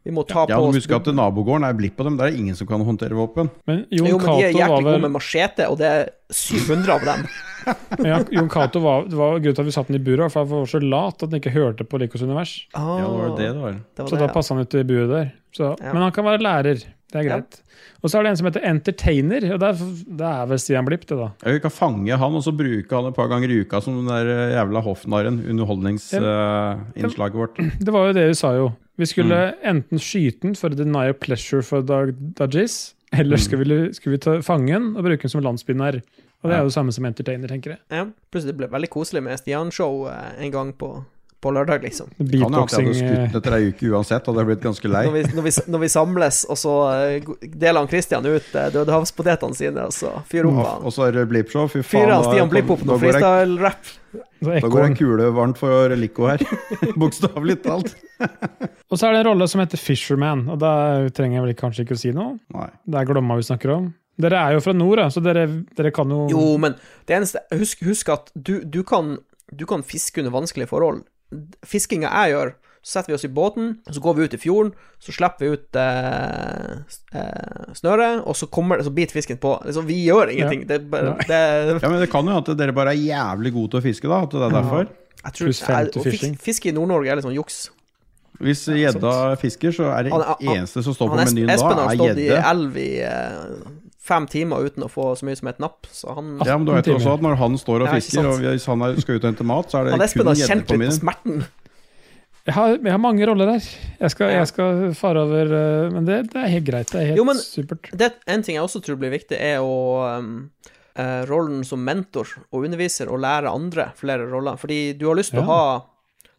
Vi må ta Ja, på du må oss huske at nabogården er blipp på dem. Der er ingen som kan håndtere våpen. Men Jon Jo, men de er Cato jæklig var gode vel med machete, og det er 700 av dem. ja, Jon Cato var, det var grunnen til at vi satte den i buret, var for han var så lat at han ikke hørte på Rikos univers. Ah, Ja, det var det det var. det var Så det, da ja. passer han ut i buret der. Så, Ja. Men han kan være lærer. Det er Ja. greit. Og så er det en som heter Entertainer. Og det er, det er vel Stian Blipp, det, da. Ja, Vi kan fange han og så bruke han et par ganger i uka som den der eh, jævla hoffnarren. Underholdningsinnslaget vårt. Det var jo det vi sa, jo. Vi skulle Mm. enten skyte den for å deny pleasure for Dag Dajis, Mm. eller skulle vi, skulle vi ta fange den og bruke den som landsbynær. Og det er jo det samme som Entertainer, tenker jeg. ja. Plutselig ble det veldig koselig med Stian-show eh, en gang på, på lørdag, liksom. Han hadde Beatboxing. jeg eh, skutt etter ei uke uansett, hadde jeg blitt ganske lei. Når vi, når, vi, når vi samles, og så eh, go- deler han Christian ut eh, dødehavspotetene sine, og så fyrer opp han. Og så er det blippshow. Fy faen, Fyrer han da- Stian Blipp opp da noe går jeg- freestyle-rap. så Da går ekorn. en kule varmt for Lico her. Bokstavelig talt. Og så er det en rolle som heter Fisherman, og da trenger jeg vel kanskje ikke å si noe. Nei. Det er Glomma vi snakker om. Dere er jo fra nord, da, så dere, dere kan jo Jo, men det eneste Husk, husk at du, du, kan, du kan fiske under vanskelige forhold. Fiskinga jeg gjør, så setter vi oss i båten, så går vi ut i fjorden, så slipper vi ut eh, s- eh, snøret, og så kommer det, så biter fisken på. Liksom, vi gjør ingenting. Det, er bare- det, Ja, men Det kan jo at dere bare er jævlig gode til å fiske, da. At det er derfor. jeg tror, Pluss fem jeg- til å fis- fishing. Fiske i Nord-Norge er litt sånn juks. Hvis gjedda fisker, så er det Han- han- eneste som står på Han Es- menyen da, Espen har er stått i gjedde. elv i eh, fem timer uten å få så mye som et napp, så han Ja, men du vet jo også at Når han står og Ja, ikke fisker, sant. og hvis han er, skal ut og hente mat, så er han det Espen kun har gjedde kjent på litt på menyen. smerten. jeg, har, jeg har mange roller der. Jeg skal, Ja. jeg skal fare over eh, Men det, det er helt greit. Det er helt Jo, men- supert. Det er en ting jeg også tror blir viktig, er å ehm, eh, rollen som mentor og underviser og lære andre flere roller. Fordi du har lyst til Ja. å ha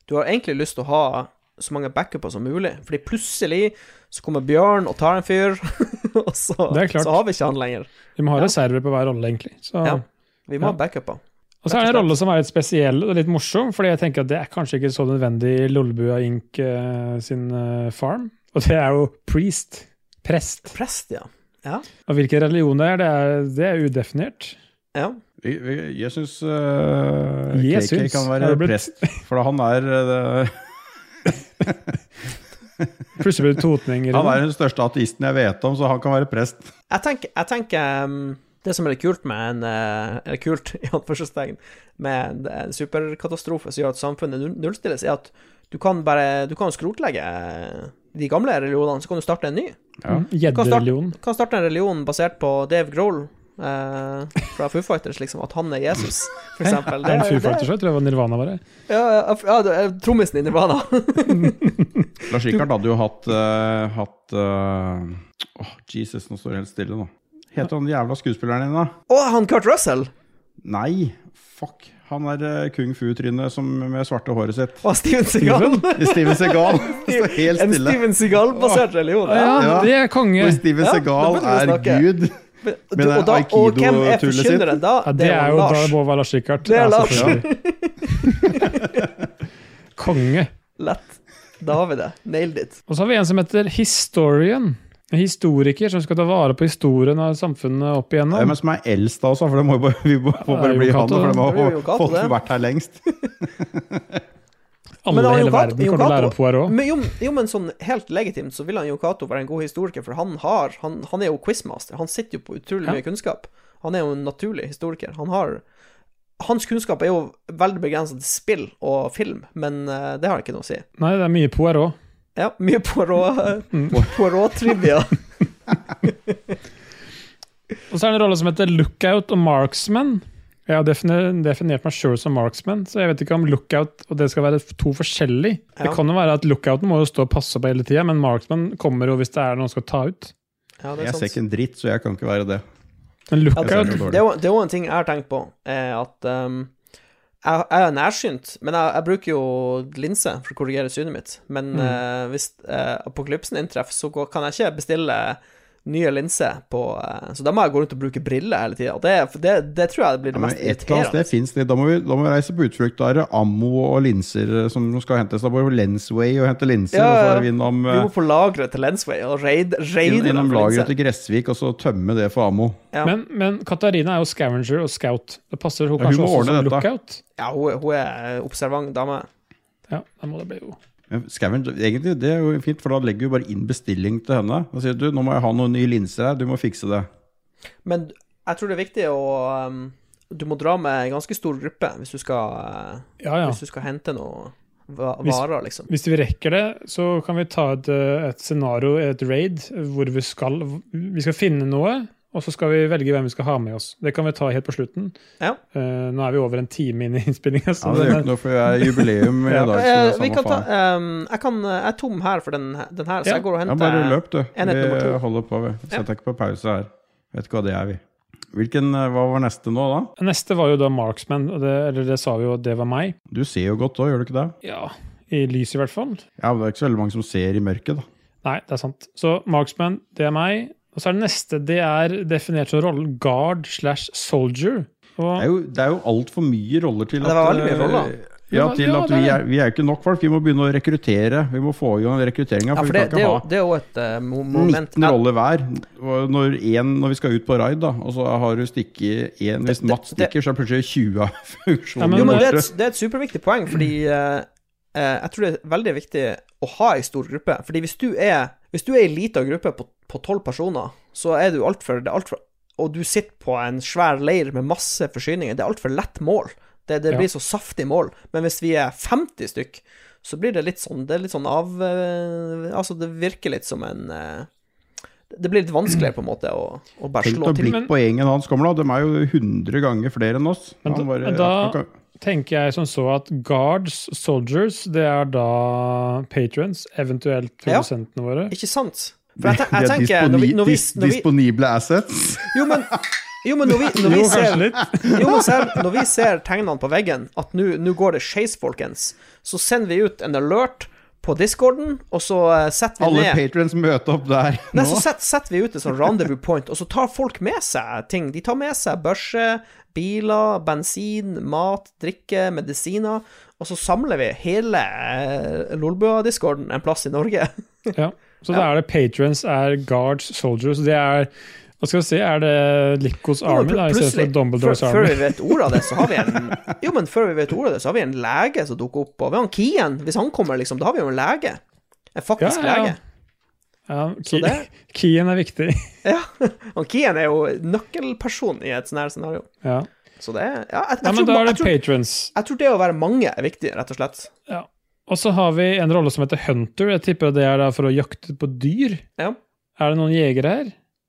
Du har egentlig lyst til å ha så mange backuper som mulig, fordi plutselig så kommer Bjørn og tar en fyr, og så, Det er klart. så har vi ikke han lenger. Vi må ha Ja. reserver på hver rolle, egentlig. Så, Ja. Vi må Ja. ha backuper. Og så er det rett og en rolle som er litt spesiell og litt morsom, fordi jeg tenker at det er kanskje ikke så nødvendig i Lollebua Inc. eh, sin eh, farm. Og det er jo priest. Prest. Prest, ja. Og hvilken religion det er, det er, det er udefinert. ja. Vi- vi- Jeg syns øh, Jeg KK syns, kan har være det blitt- prest, for han er øh, Plutselig blir det totninger. Han er den største ateisten jeg vet om, så han kan være prest. Jeg tenker, jeg tenker ehm, det som er litt kult med en eh, Eller kult, i anførselstegn, med en, en superkatastrofe som gjør at samfunnet null- nullstilles, er at du kan bare Du kan skrotlegge eh, de gamle religionene, så kan du starte en ny. Ja. Du kan Mm, Gjeddereligion. starte, kan starte en religion basert på Dave Grohl eh, fra Foo Fighters, liksom. At han er Jesus, for eksempel. Det er en jo- Foo Fighters, jeg tror jeg var Nirvana var det. Ja, ja, ja, det er trommisen i Nirvana. Lars Rikard hadde jo hatt, øh, hatt øh, åh, Jesus, nå står det helt stille nå. Heter han jævla skuespilleren din, da? Og han Kurt Russell! Nei, fuck. Han er eh, kung fu-trynet som- med svarte håret sitt. Og Steven Seagal. Steven Segal står helt En stille. Steven Seagal-basert religion. Ja, Ja. det er konge! Og Steven Ja, Segal da begynner vi er å snakke. gud. Men, Men du, det er og, da, og hvem er aikido-tullet sitt? forkynneren da? Ja, det, er jo da det må være Lars Rikard. Det er Ja, Lars. selvfølgelig. konge. Lett. Da har vi det. Nailed it. Og så har vi en som heter Historian. En historiker som skal ta vare på historien av samfunnet opp igjennom. Hvem er det som er eldst da også? For det må jo bare, vi må får det er bare Jon bli han, Cato, det. for de Det blir har Jon Cato, fått det. vært her lengst. Alle Men i han hele Jon Cato- verden Jon kommer til å lære Cato- Poirot. Men jo, jo, men sånn helt legitimt så vil han jo Cato være en god historiker, for han har Han, han er jo quizmaster. Han sitter jo på utrolig Ja. mye kunnskap. Han er jo en naturlig historiker. Han har Hans kunnskap er jo veldig begrenset til spill og film, men eh, det har ikke noe å si. Nei, det er mye Poirot. Ja, mye Poirot-trivia. Og så er det en rolle som heter Lookout og Marksman. Jeg har defini- definert meg sjøl som marksman, så jeg vet ikke om lookout og det skal være to forskjellig. Det Ja. kan jo være at lookouten må jo stå og passe på hele tida, men marksman kommer jo hvis det er noen som skal ta ut. Ja, det er Jeg sant. ser ikke en dritt, så jeg kan ikke være det. Men Ja, Jeg ser lookout noe dårlig. det, er jo- det er jo en ting jeg har tenkt på, er at ehm, jeg, jeg er nærsynt, men jeg, jeg bruker jo linse for å korrigere synet mitt. Men Mm. eh, hvis eh, apokalypsen inntreffer, så går, kan jeg ikke bestille nye linser på eh, Så da må jeg gå rundt og bruke briller hele tida. Det, det, det tror jeg blir Ja, men det mest et eller annet irriterende. sted finnes det. Da må vi, da må vi reise på utflukt. Da er det ammo og linser eh, som skal hentes. Da må vi på Lensway og hente linser, Ja, og så ja. er vi innom, Vi eh, må på lageret til Lensway og raid- raide inn- dem innom for lageret linser. til Gressvik og så tømme det for ammo. Ja. Men, men Katarina er jo scavenger og scout. Det passer hun Ja, hun kanskje må også ordne som dette. lookout. Ja, hun, er- hun er observant eh, dame. Ja, da må det bli jo Men Skauen, egentlig, det er jo fint, for da legger vi bare inn bestilling til henne. Da sier du nå må jeg ha noen nye linser her, du må fikse det. Men jeg tror det er viktig å um, Du må dra med en ganske stor gruppe hvis du skal, eh, Ja, ja. hvis du skal hente noe va- Hvis- varer, liksom. Hvis vi rekker det, så kan vi ta et, eh, et scenario, et raid, hvor vi skal, vi skal finne noe, og så skal vi velge hvem vi skal ha med oss. Det kan vi ta helt på slutten. Ja. Eh, nå er vi over en time inn i innspillinga, så Ja, det den gjør er- ikke noe, for jeg er jubileum i Ja. dag. Så det er Eh, vi samme kan ta, faen. um, jeg, kan, jeg er tom her for den, den her, så Ja. jeg går og Ja, henter bare løp, du. enhet Vi nummer to. holder på, vi. Setter ikke på pause her. Vet ikke hva det er, vi. Hvilken, eh, hva var neste nå, da? eh, Neste var jo da Marksman, og det, eller det sa vi jo at det var meg. Du ser jo godt òg, gjør du ikke det? Ja, I lys, i hvert fall. Ja, men Det er ikke så veldig mange som ser i mørket, da. Nei, det er sant. Så Marksman, det er meg. Og så er det neste, det er definert som rollen guard slash soldier. Det er Og jo, det er jo altfor mye roller til eh, Ja, det var veldig mye roller. Ja, Ja, til ja, at det er vi det. er, vi er jo ikke nok folk. Vi må begynne å rekruttere. Vi må få i gang rekrutteringa. Ja, For, for det, vi det, er jo, kan det er jo et eh, mo- ikke ha moment 19 roller hver. Og Når, en, når vi skal ut på raid, da, og så har du stikket én Hvis det- Mats det- stikker, så er plutselig 20 av Ja, funksjonene men- Jo, men det er, borte. et, det er et superviktig poeng, fordi eh, eh, jeg tror det er veldig viktig å ha ei stor gruppe. Fordi hvis du er Hvis du er ei lita gruppe på- på tolv personer, så er du altfor alt for, Og du sitter på en svær leir med masse forsyninger, det er altfor lett mål. Det, det Ja. blir så saftig mål. Men hvis vi er 50 stykk, så blir det litt sånn Det er litt sånn av eh, Altså, det virker litt som en eh, Det blir litt vanskeligere, på en måte, å, å bare Tenk slå å til. blikk på gjengen hans kommer, da. De er jo 100 ganger flere enn oss. Men Han da- bare- men da- han kan- tenker jeg som så at guards, soldiers, det er da patrons, eventuelt Ja. produsentene våre. Ikke sant? For jeg, ten- de jeg er tenker når vi, disponi- når vi, dis- når vi Disponible assets. Jo, men, jo, men når, vi, når, vi Jo, kanskje ser, litt. jo, men ser, når vi ser tegnene på veggen, at nå nå går det skeis, folkens, så sender vi ut en alert på discorden, og så eh, setter vi Alle ned patrons møter opp der Nei, nå. så setter, setter vi ut et sånn rendezvous point, og så tar folk med seg ting. De tar med seg børse, biler, bensin, mat, drikke, medisiner, og så samler vi hele eh, Lolbua-discorden en plass i Norge. Ja. Så da er det patrons er guards, soldiers. Det er Hva skal vi si, er det Likos Jo, men Army da, pl- i stedet for plutselig, Dumbledores før, før Army? vi vet ordet av det, så har vi en Jo, men før vi vet ordet av det, så har vi en lege som dukker opp. Og vi har en Kien. Hvis han kommer, liksom, da har vi jo en lege. En faktisk Ja, ja, ja. lege. Ja, ki, det- Kien er viktig. Og Kien er jo nøkkelperson i et sånt her scenario. Ja. Så det er Ja, jeg, jeg, ja, men tror, da er jeg, det tror, patrons. jeg tror det å være mange er viktig, rett og slett. Og så har vi en rolle som heter hunter. Jeg tipper det er da for å jakte på dyr. Ja. Er det noen jegere her?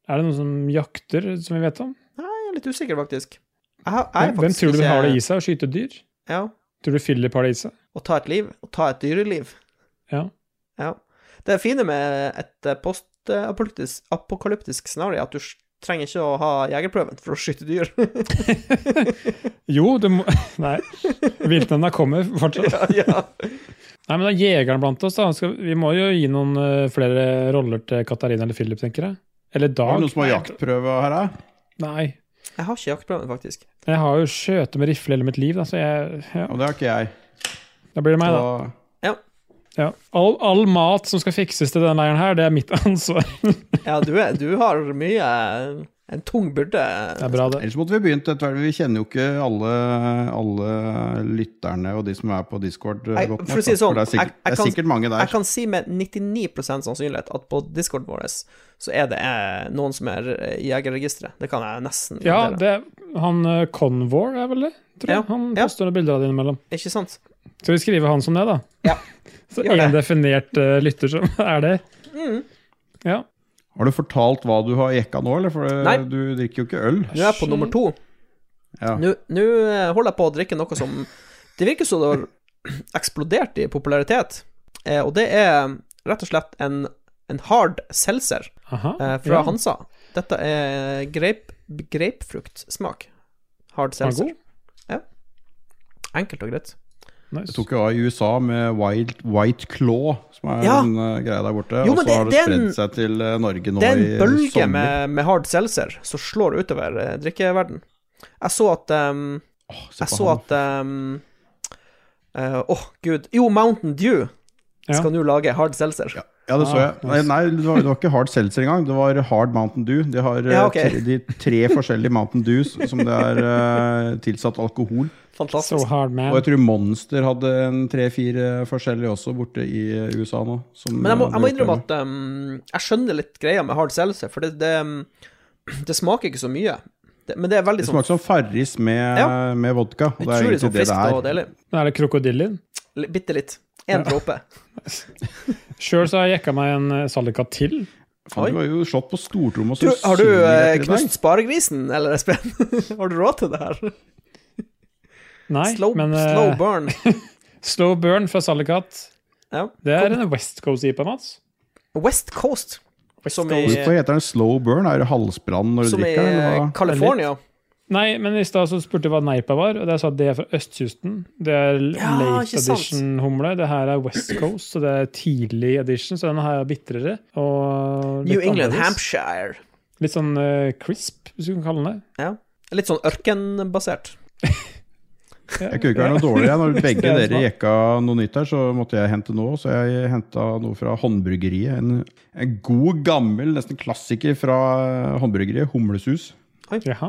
Er det noen som jakter, som vi vet om? Jeg er litt usikker, faktisk. Jeg, har- jeg er Hvem, hvem faktisk tror du ikke- har det i seg å skyte dyr? Ja. Tror du Philip har det i seg? Å ta et liv. Å ta et dyreliv. Ja. ja. Det fine med et eh, postapokalyptisk apokalyptisk scenario er at du s- trenger ikke å ha jegerprøven for å skyte dyr. Jo, du må Nei. Viltnemnda kommer fortsatt. ja, ja. Nei, men da Jegeren blant oss, da. han Skal, vi må jo gi noen eh, flere roller til Katarina eller Philip, tenker jeg. Eller Er det Dag. noen som har jaktprøve her, da? Nei. Jeg har ikke jaktprøven, faktisk. Jeg har jo skjøte med rifle hele mitt liv, da, så jeg ja, Ja, det har ikke jeg. Da blir det meg, da. Og- Ja. All, all mat som skal fikses til den leiren her, det er mitt ansvar. Ja, du, er, du har mye En tung byrde. Det er bra, det. Ellers måtte vi begynt etter hvert. Vi kjenner jo ikke alle, alle lytterne og de som er på Discord eh, Jeg- godt nok. for å si det da. sånn, det er sikkert, jeg- jeg det er kan- sikkert mange der. Jeg kan si med 99 sannsynlighet at på discorden vår så er det eh, noen som er eh, i jegerregisteret. Det kan jeg nesten Ja, garantere. det er han eh, Convor er vel det? Tror jeg. Ja, Han ja. poster noen bilder av det innimellom. Ikke sant? Skal vi skrive han som det, da? Ja. Så Gjør det. én definert eh, lytter som er det. Mm. Ja. Har du fortalt hva du har jekka nå, eller? For eh, Nei. du drikker jo ikke øl. Nå er jeg på nummer to. Ja. Nå nå, eh, holder jeg på å drikke noe som Det virker som det har eksplodert i popularitet, eh, og det er rett og slett en, en hard seltzer. Aha. eh, fra ja. Hansa. Dette er grape, grapefruktsmak. Hard Var den seltzer. Ja. Enkelt og greit. Jeg Nice. tok jo av i USA med Wild, White Claw, som er Ja. en eh, greie der borte. Jo, og men så har det- det det er en- spredd seg til eh, Norge nå Det er i en bølge sommer. med, med hard seltzer som slår utover eh, drikkeverden. Jeg så at ehm, Åh, se på Jeg så han. at ehm, eh, Åh, gud. Jo, Mountain Dew Ja. skal nå lage hard seltzer. Ja, det så jeg. Ah, Nei, nice. nei det, var, det var ikke Hard Seltzer engang. Det var Hard Mountain Dew. De har eh, Ja, ok. tre, de tre forskjellige Mountain Dews som det er eh, tilsatt alkohol. Fantastisk. So hard Og jeg man. tror Monster hadde en tre-fire forskjellige også borte i eh, USA nå. som, Men jeg må, eh, jeg må ble innrømme oppdaget. at ehm, jeg skjønner litt greia med hard seltzer, for det, det, ehm, det smaker ikke så mye. Det, men det er veldig Det sånn smaker som Farris med, Ja. med vodka. Og det er utrolig egentlig sånn det friskt det og er. deilig. Er det krokodillen? L- Bitte litt. Én dråpe. Sjøl har jeg jekka meg en eh, salika til. Faen, du var jo slått på stortrom og så Tror- Har du synger eh, etter i dag. knust sparegrisen, eller Espen? har du råd til det her? Nei, slow, men eh, slow burn. slow burn fra Salikat. Ja. Det er en West Coast IPA, Mats. West Coast, West Som Coast. i- Hvorfor heter den slow burn? Er det halsbrann når du som i eh, drikker den? eller hva? California. Nei, men i stad så spurte jeg hva Neipa var, og jeg sa det er fra østkysten. Det er Ja, late ikke sant. edition-humle. Det her er West Coast, så det er tidlig edition, så den her er bitrere. Og litt New England, annerledes. Hampshire. Litt sånn eh, crisp, hvis du kan kalle den det. Ja. Litt sånn ørkenbasert. Jeg kunne ikke være noe dårligere. Når Det begge er dere smart. jekka noe nytt her, så måtte jeg hente noe. Så jeg henta noe fra Håndbryggeriet. En, en god, gammel, nesten klassiker fra Håndbryggeriet. Humlesus. Jaha,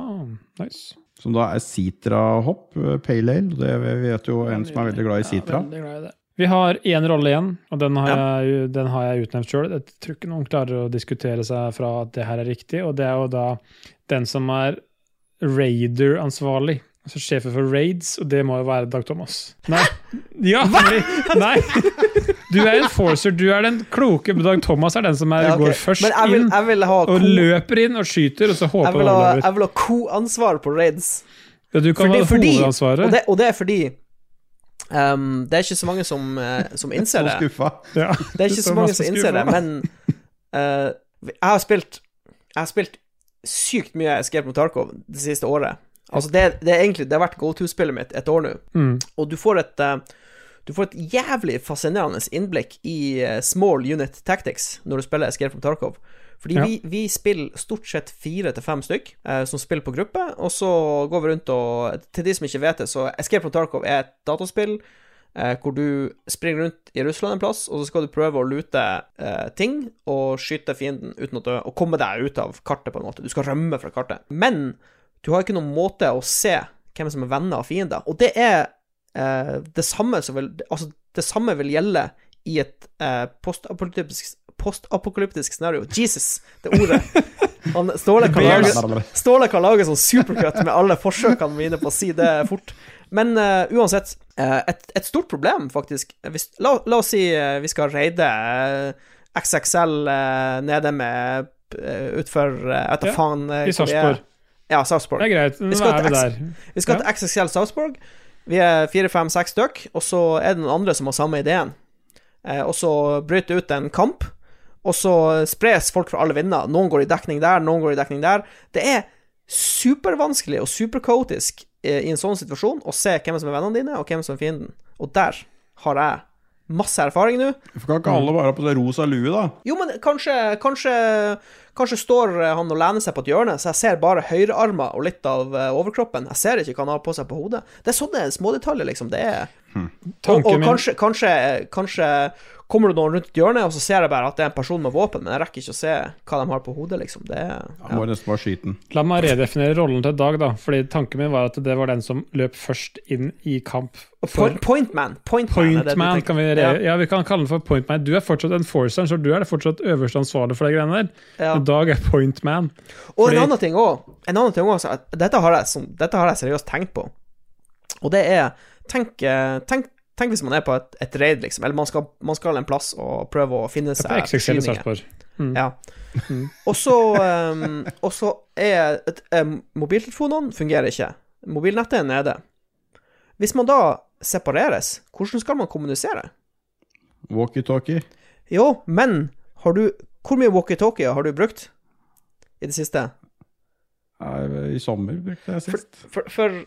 nice. Som da er sitrahopp, eh, pale ale. Det vi vet jo en som er veldig glad i sitra. Ja, veldig glad i det. Vi har én rolle igjen, og den har, Ja. jeg, den har jeg utnevnt sjøl. Jeg tror ikke noen klarer å diskutere seg fra at det her er riktig, og det er jo da den som er raider-ansvarlig. Altså sjefen for raids, og det må jo være Dag Thomas. Nei. Ja, fordi- nei. Du er enforcer, du er den kloke, men Dag Thomas er den som er, Ja, ok. går først Men jeg vil, inn jeg vil ha og ko- løper inn og skyter, og så håper Jeg han vil ha, overlever. jeg vil ha co-ansvar på raids. Ja, du kan fordi- ha fordi- hovedansvaret. Og det, og det er fordi ehm, Det er ikke så mange som, eh, som innser Så det. skuffa. ja. Det er ikke Det så er mange masse som innser det, skuffa. men eh, jeg har spilt Jeg har spilt sykt mye Escape from Tarkov det siste året. Altså, det, det er egentlig Det har vært go to-spillet mitt et år nå, Mm. og du får et eh, du får et jævlig fascinerende innblikk i eh, small unit tactics når du spiller Escape from Tarkov. Fordi Ja. vi, vi spiller stort sett fire til fem stykk eh, som spiller på gruppe, og så går vi rundt og Til de som ikke vet det, så Escape from Tarkov er et dataspill eh, hvor du springer rundt i Russland en plass, og så skal du prøve å lute eh, ting og skyte fienden uten å dø, og komme deg ut av kartet, på en måte. Du skal rømme fra kartet. Men du har ikke noen måte å se hvem som er venner og fiender, og det er eh, det samme som vil Altså, det samme vil gjelde i et eh, postapokalyptisk postapokalyptisk scenario. Jesus, det ordet. Han, Ståle kan lage Ståle kan lage sånn supercut med alle forsøkene mine på å si det fort. Men eh, uansett, eh, et, et stort problem, faktisk hvis, la, la oss si eh, vi skal raide eh, XXL eh, nede med eh, utfor eh, etter Ja, faen eh, hvor I vi er. Sarpsborg. Ja, Sarpsborg. Det er greit. Nå Vi skal er vi til der. Vi skal til XXL Sarpsborg. Vi er fire, fem, seks stykk, og så er det noen andre som har samme ideen. Eh, og så bryter ut en kamp, og så spres folk fra alle vinder. Noen går i dekning der, noen går i dekning der. Det er supervanskelig og superkaotisk eh, i en sånn situasjon å se hvem som er vennene dine, og hvem som er fienden. Og der har jeg masse erfaring nå. Hvorfor kan ikke alle bare ha på seg rosa lue, da? Jo, men kanskje, kanskje Kanskje står han og lener seg på et hjørne, så jeg ser bare høyrearma og litt av eh, overkroppen. Jeg ser ikke hva han har på seg på hodet. Det er sånne smådetaljer, liksom. Det er Og, Hmm. Tanken og min- kanskje, kanskje, kanskje kommer det noen rundt hjørnet, og så ser jeg bare at det er en person med våpen, men jeg rekker ikke å se hva de har på hodet, liksom. Det er Jeg må nesten bare skyte den. La meg redefinere rollen til Dag, da. Fordi tanken min var at det var den som løp først inn i kamp. Point, point man. Point, man, er det du Pointman, tenker. kan vi re ja. vi kan kalle den for pointman. Du er fortsatt en forceren, så du er fortsatt øverste ansvarlig for de greiene der. Ja. Men Dag er pointman. Og Fordi- en annen ting òg. En annen ting også, at dette, har jeg, som, dette har jeg seriøst tenkt på. Og det er Tenk, eh, tenk, tenk hvis man er på et, et raid, liksom. Eller man skal, man skal en plass og prøve å finne Det er XXL seg i forsyninger. Sarpsborg. Ja. Og så um, Og så er et, em, Mobiltelefonene fungerer ikke. Mobilnettet er nede. Hvis man da separeres, hvordan skal man kommunisere? Walkietalkie. Jo, men har du Hvor mye walkietalkie har du brukt i det siste? Nei, I sommer brukte jeg sist. For, for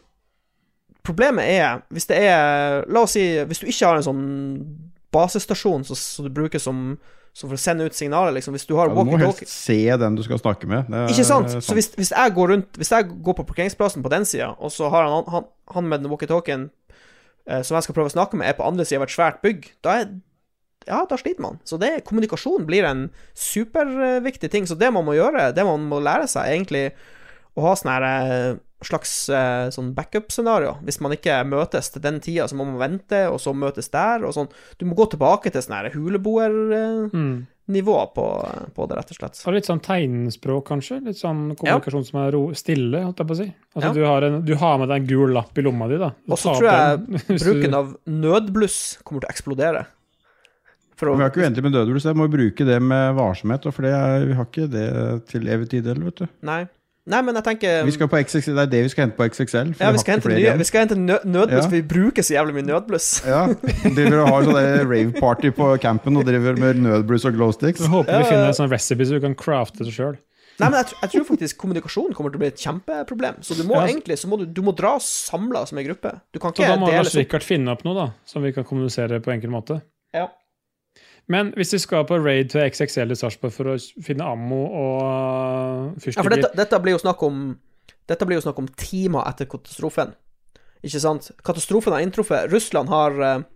problemet er Hvis det er La oss si Hvis du ikke har en sånn basestasjon som så, du bruker som, som for å sende ut signaler, liksom Hvis du Ja, har du må helst walkietalkie se den du skal snakke med. Det er Ikke sant? Så Eh, sant. hvis, hvis jeg går rundt Hvis jeg går på parkeringsplassen på den sida, og så har han, han, han med den walkietalkien eh, som jeg skal prøve å snakke med, er på andre sida av et svært bygg, da er ja, da sliter man. Så det, kommunikasjon blir en superviktig ting. Så det man må gjøre, det man må lære seg, er egentlig å ha sånn her eh, slags eh, sånn backup-scenario. Hvis man ikke møtes til den tida, så må man vente, og så møtes der, og sånn. Du må gå tilbake til sånn her huleboernivå Mm. på, på det, rett og slett. Så er det litt sånn tegnspråk, kanskje? Litt sånn kommunikasjon som er ro stille, holdt jeg på å si. Altså, Ja. du, har en, du har med deg en gul lapp i lomma di, da. Du Og så tar tror opp jeg den hvis du- bruken av nødbluss kommer til å eksplodere. For Vi å er ikke uendelig med dødhull, så jeg må bruke det med varsomhet. For det er, vi har ikke det til evig tid heller, vet du. Nei. Nei, men jeg tenker Vi skal på XXL, det er det vi skal hente på XXL. for Um, Ja, vi vi har skal ikke hente, flere nye, igjen. vi skal hente nø nødbluss, Ja. for vi bruker så jævlig mye nødbluss. Ja, Driver og har sånn der rave-party på campen og driver med nødbrus og glowsticks. Jeg håper Ja, vi ja, finner ja. en sånn recipe så du kan crafte det sjøl. Nei, men jeg, tr- jeg tror faktisk kommunikasjon kommer til å bli et kjempeproblem. Så du Ja. må egentlig så må du, du må dra samla som en gruppe. Du kan Så ikke da må dele Lars sånn. Rikard finne opp noe, da, som vi kan kommunisere på enkel måte. Ja. Men hvis vi skal på raid til XXL i Sarpsborg for å finne ammo og Ja, for fyrstikker dette, dette blir jo snakk om Dette blir jo snakk om timer etter katastrofen. Ikke sant? Katastrofen har inntruffet. Russland har eh,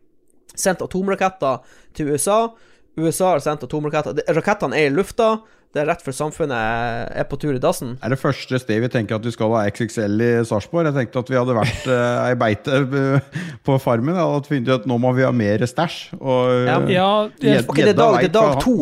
sendt atomraketter til USA. USA har sendt atomraketter. Det- Rakettene er i lufta. Det er rett før samfunnet er på tur i dassen. Det er det første sted vi tenker at vi skal ha XXL i Sarpsborg. Jeg tenkte at vi hadde vært eh, ei beite eh, på farmen. Jeg hadde funnet ut at nå må vi ha mer stæsj. Og Ja. eh, Ja, Gjed- Ok, det er dag, det er dag to.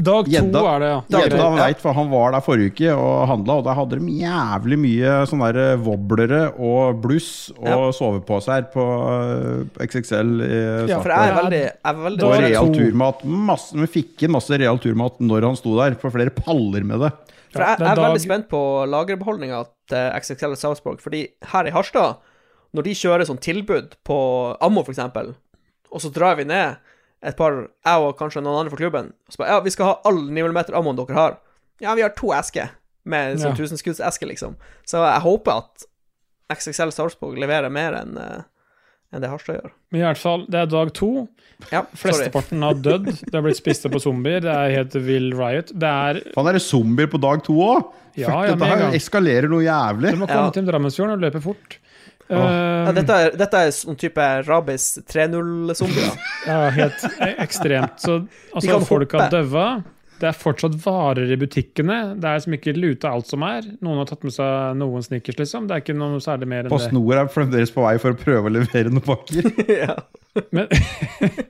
dag to Gjedda. er det, ja. Dag Gjedda to, ja. vet, for han var der forrige uke og handla, og der hadde de jævlig mye sånne der wobblere og bluss og Ja. soveposer på eh, XXL i Ja, For Sarpsborg. jeg er veldig, jeg er veldig Da Og er det real to. turmat. Masse, vi fikk inn masse real turmat når han sto der, på flere paller med det. For jeg, det jeg dag- er veldig spent på eh, lagerbeholdninga til XXL og Sarpsborg. Fordi her i Harstad, når de kjører sånn tilbud på ammo, for eksempel, og så drar vi ned et par, jeg og kanskje noen andre fra klubben, og så bare Ja, vi skal ha all 9 mm ammoen dere har. Ja, vi har to esker med sånn Ja. tusenskuddeske, liksom. Så jeg håper at XXL Sarpsborg leverer mer enn eh, enn det Harstad gjør. Men i hvert fall, det er dag to. Ja, sorry. Flesteparten har dødd. Det har blitt spist opp av zombier. Det er helt vill riot. Det er Faen, er det zombier på dag to òg? Ja, Fuck, ja, med dette en her gang. eskalerer noe jævlig. Du må Ja. komme til Drammensfjorden og løpe fort. Ja, Eh, dette, er, dette er sånn type rabies 3.0-zombier. Ja, helt e- ekstremt. Så altså, kan folk har hoppe. døva. Det er fortsatt varer i butikkene. Det er som ikke lute alt som er. Noen har tatt med seg noen snickers, liksom. Det er ikke noe særlig mer enn det. PostNord er fremdeles på vei for å prøve å levere noen pakker. ja. Men,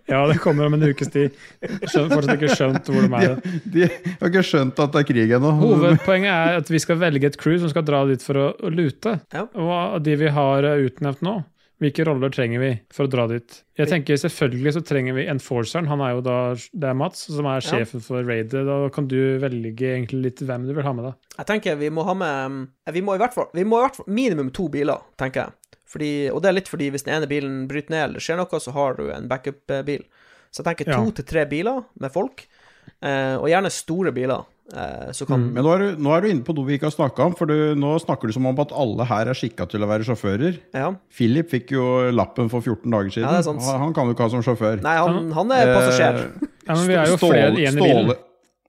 ja, det kommer om en ukes tid. Skjønner, fortsatt ikke skjønt hvor de er. De har ikke skjønt at det er krig ennå. Hovedpoenget er at vi skal velge et crew som skal dra dit for å, å lute. Ja. Og de vi har eh, utnevnt nå, hvilke roller trenger vi for å dra dit? Jeg tenker selvfølgelig så trenger vi enforceren. Han er jo da, det er Mats, som er Ja. sjefen for raidet. Da kan du velge egentlig litt hvem du vil ha med deg. Jeg tenker vi må ha med um, Vi må i hvert fall, vi må i hvert fall minimum to biler, tenker jeg. Fordi, og det er litt fordi hvis den ene bilen bryter ned eller skjer noe, så har du en backup-bil. Så jeg tenker Ja. to til tre biler med folk, eh, og gjerne store biler. eh, så kan Men nå er, du, nå er du inne på noe vi ikke har snakka om, for du, nå snakker du som om at alle her er skikka til å være sjåfører. Ja. Philip fikk jo lappen for 14 dager siden. Ja, det er sant. Han, han kan jo ikke ha som sjåfør. Nei, han, han er passasjer. Eh, Ja, men vi er jo Ståle- flere igjen i bilen. Ståle-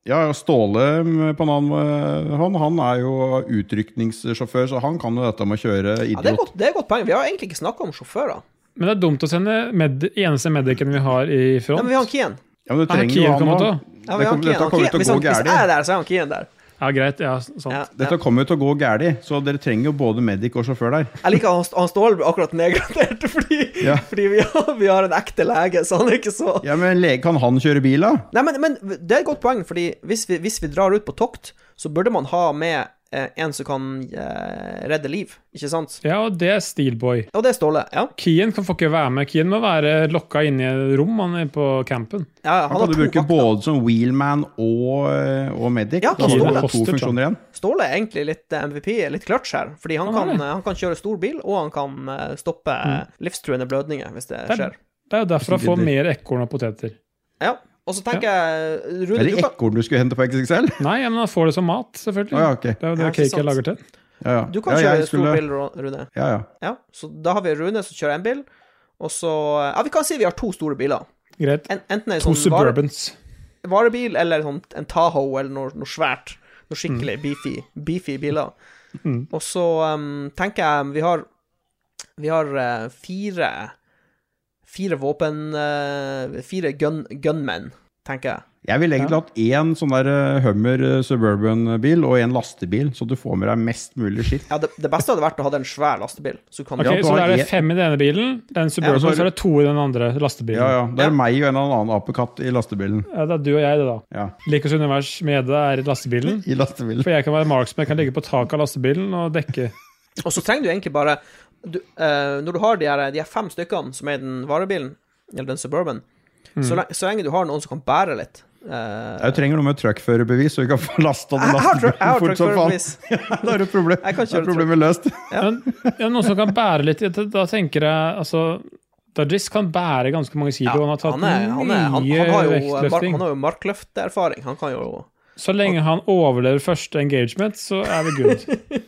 Ja, og Ståle mm, på en annen hånd, han er jo utrykningssjåfør, så han kan jo dette med å kjøre idiot. Ja, det, er godt, det er et godt poeng. Vi har egentlig ikke snakka om sjåfører. Men det er dumt å sende med, eneste medicen vi har i Nei, front. men vi har Kien. Ja, men du Han har trenger Kiev jo han kommet også. også. Ja, Det vi har kommer- Kien. Dette Han kommer Kien. jo til Hvis, å han, gå hvis jeg er gærlig. der, så er han Kien der. Ja, greit. Ja, sånn. Ja, ja. Dette kommer jo til å gå gærlig, så dere trenger jo både medic og sjåfør der. Jeg liker at han, han Ståle ble akkurat nedgradert, fordi, Ja. fordi vi, har, vi har en ekte lege, så han er ikke så Ja, men lege, kan han kjøre bil, da? Nei, men, men det er et godt poeng, fordi hvis vi, hvis vi drar ut på tokt, så burde man ha med eh, en som kan eh, redde liv, ikke sant? ja, og det er Steelboy. Og det er Ståle, ja. Kien kan få ikke være med. Kien må være lokka inne i et rom han er på campen. ja han, Han har kan du to bruke vakter. både som wheelman og, eh, og medic. Ja, da har Kien du er to hostage, funksjoner igjen. Ståle er egentlig litt eh, MVP, litt clutch her, fordi han, Han er kan, det. eh, han kan kjøre stor bil, og han kan eh, stoppe eh, livstruende blødninger hvis det Det er, skjer. det er jo derfor han får mer ekorn og poteter. Ja. Og så tenker jeg Rune, Er det du kan, Mm. ekorn du skulle hente på XXL? Nei, men han får det som mat, Å selvfølgelig. ja, ok. Det er jo Ja, det ikke cake sant. jeg lager til. Ja, ja. du kan ja, kjøre jeg skulle- stor bil, Ro- Rune. Ja, ja. Ja, så da har vi Rune som kjører en bil, og så eh, Ja, vi kan si vi har to store biler. Greit. En, enten en To sånn vare- Suburbans. varebil eller sånn, en Tahoe eller noe, noe svært. Noe skikkelig Mm. beefy, beefy biler. Mm. Og så um, tenker jeg vi har Vi har eh, fire fire våpen eh, Fire gun, gunmen, tenker jeg. Jeg ville egentlig hatt én sånn der eh, Hummer eh, Suburban-bil og én lastebil, så du får med deg mest mulig skitt. Ja, det, det beste hadde vært å ha en svær lastebil. Så kan Ok, du du Så har da er det en- fem i denne bilen, den Suburban, Ja, så så, har du- er det to i den andre lastebilen. Ja, Ja, ja. Det er Ja. meg og en eller annen apekatt i lastebilen. det er du og jeg, det, da. Ja, Likos univers med Edda er i lastebilen. i lastebilen. For jeg kan være marksman, jeg kan ligge på taket av lastebilen og dekke. Og så trenger du egentlig bare du, eh, Når du har de her, de her fem stykkene som er i den varebilen, eller den Suburban, så, lenge, så lenge du har noen som kan bære litt eh, Mm. Jeg trenger noe med truckførerbevis, så vi kan få lasta den Jeg har tru- jeg lastebilen har fort som faen. truckførerbevis. Da er det problem. Jeg Da kan er kjøre problemet løst. Men ja, noen som kan bære litt Da tenker jeg altså Dajis kan bære ganske mange kilo. Ja, han har tatt han, er, han, er, han, mye han har jo, mar, vektløfting. han har jo markløfterfaring. Han kan jo Så lenge han overlever første engagement, så er vi good.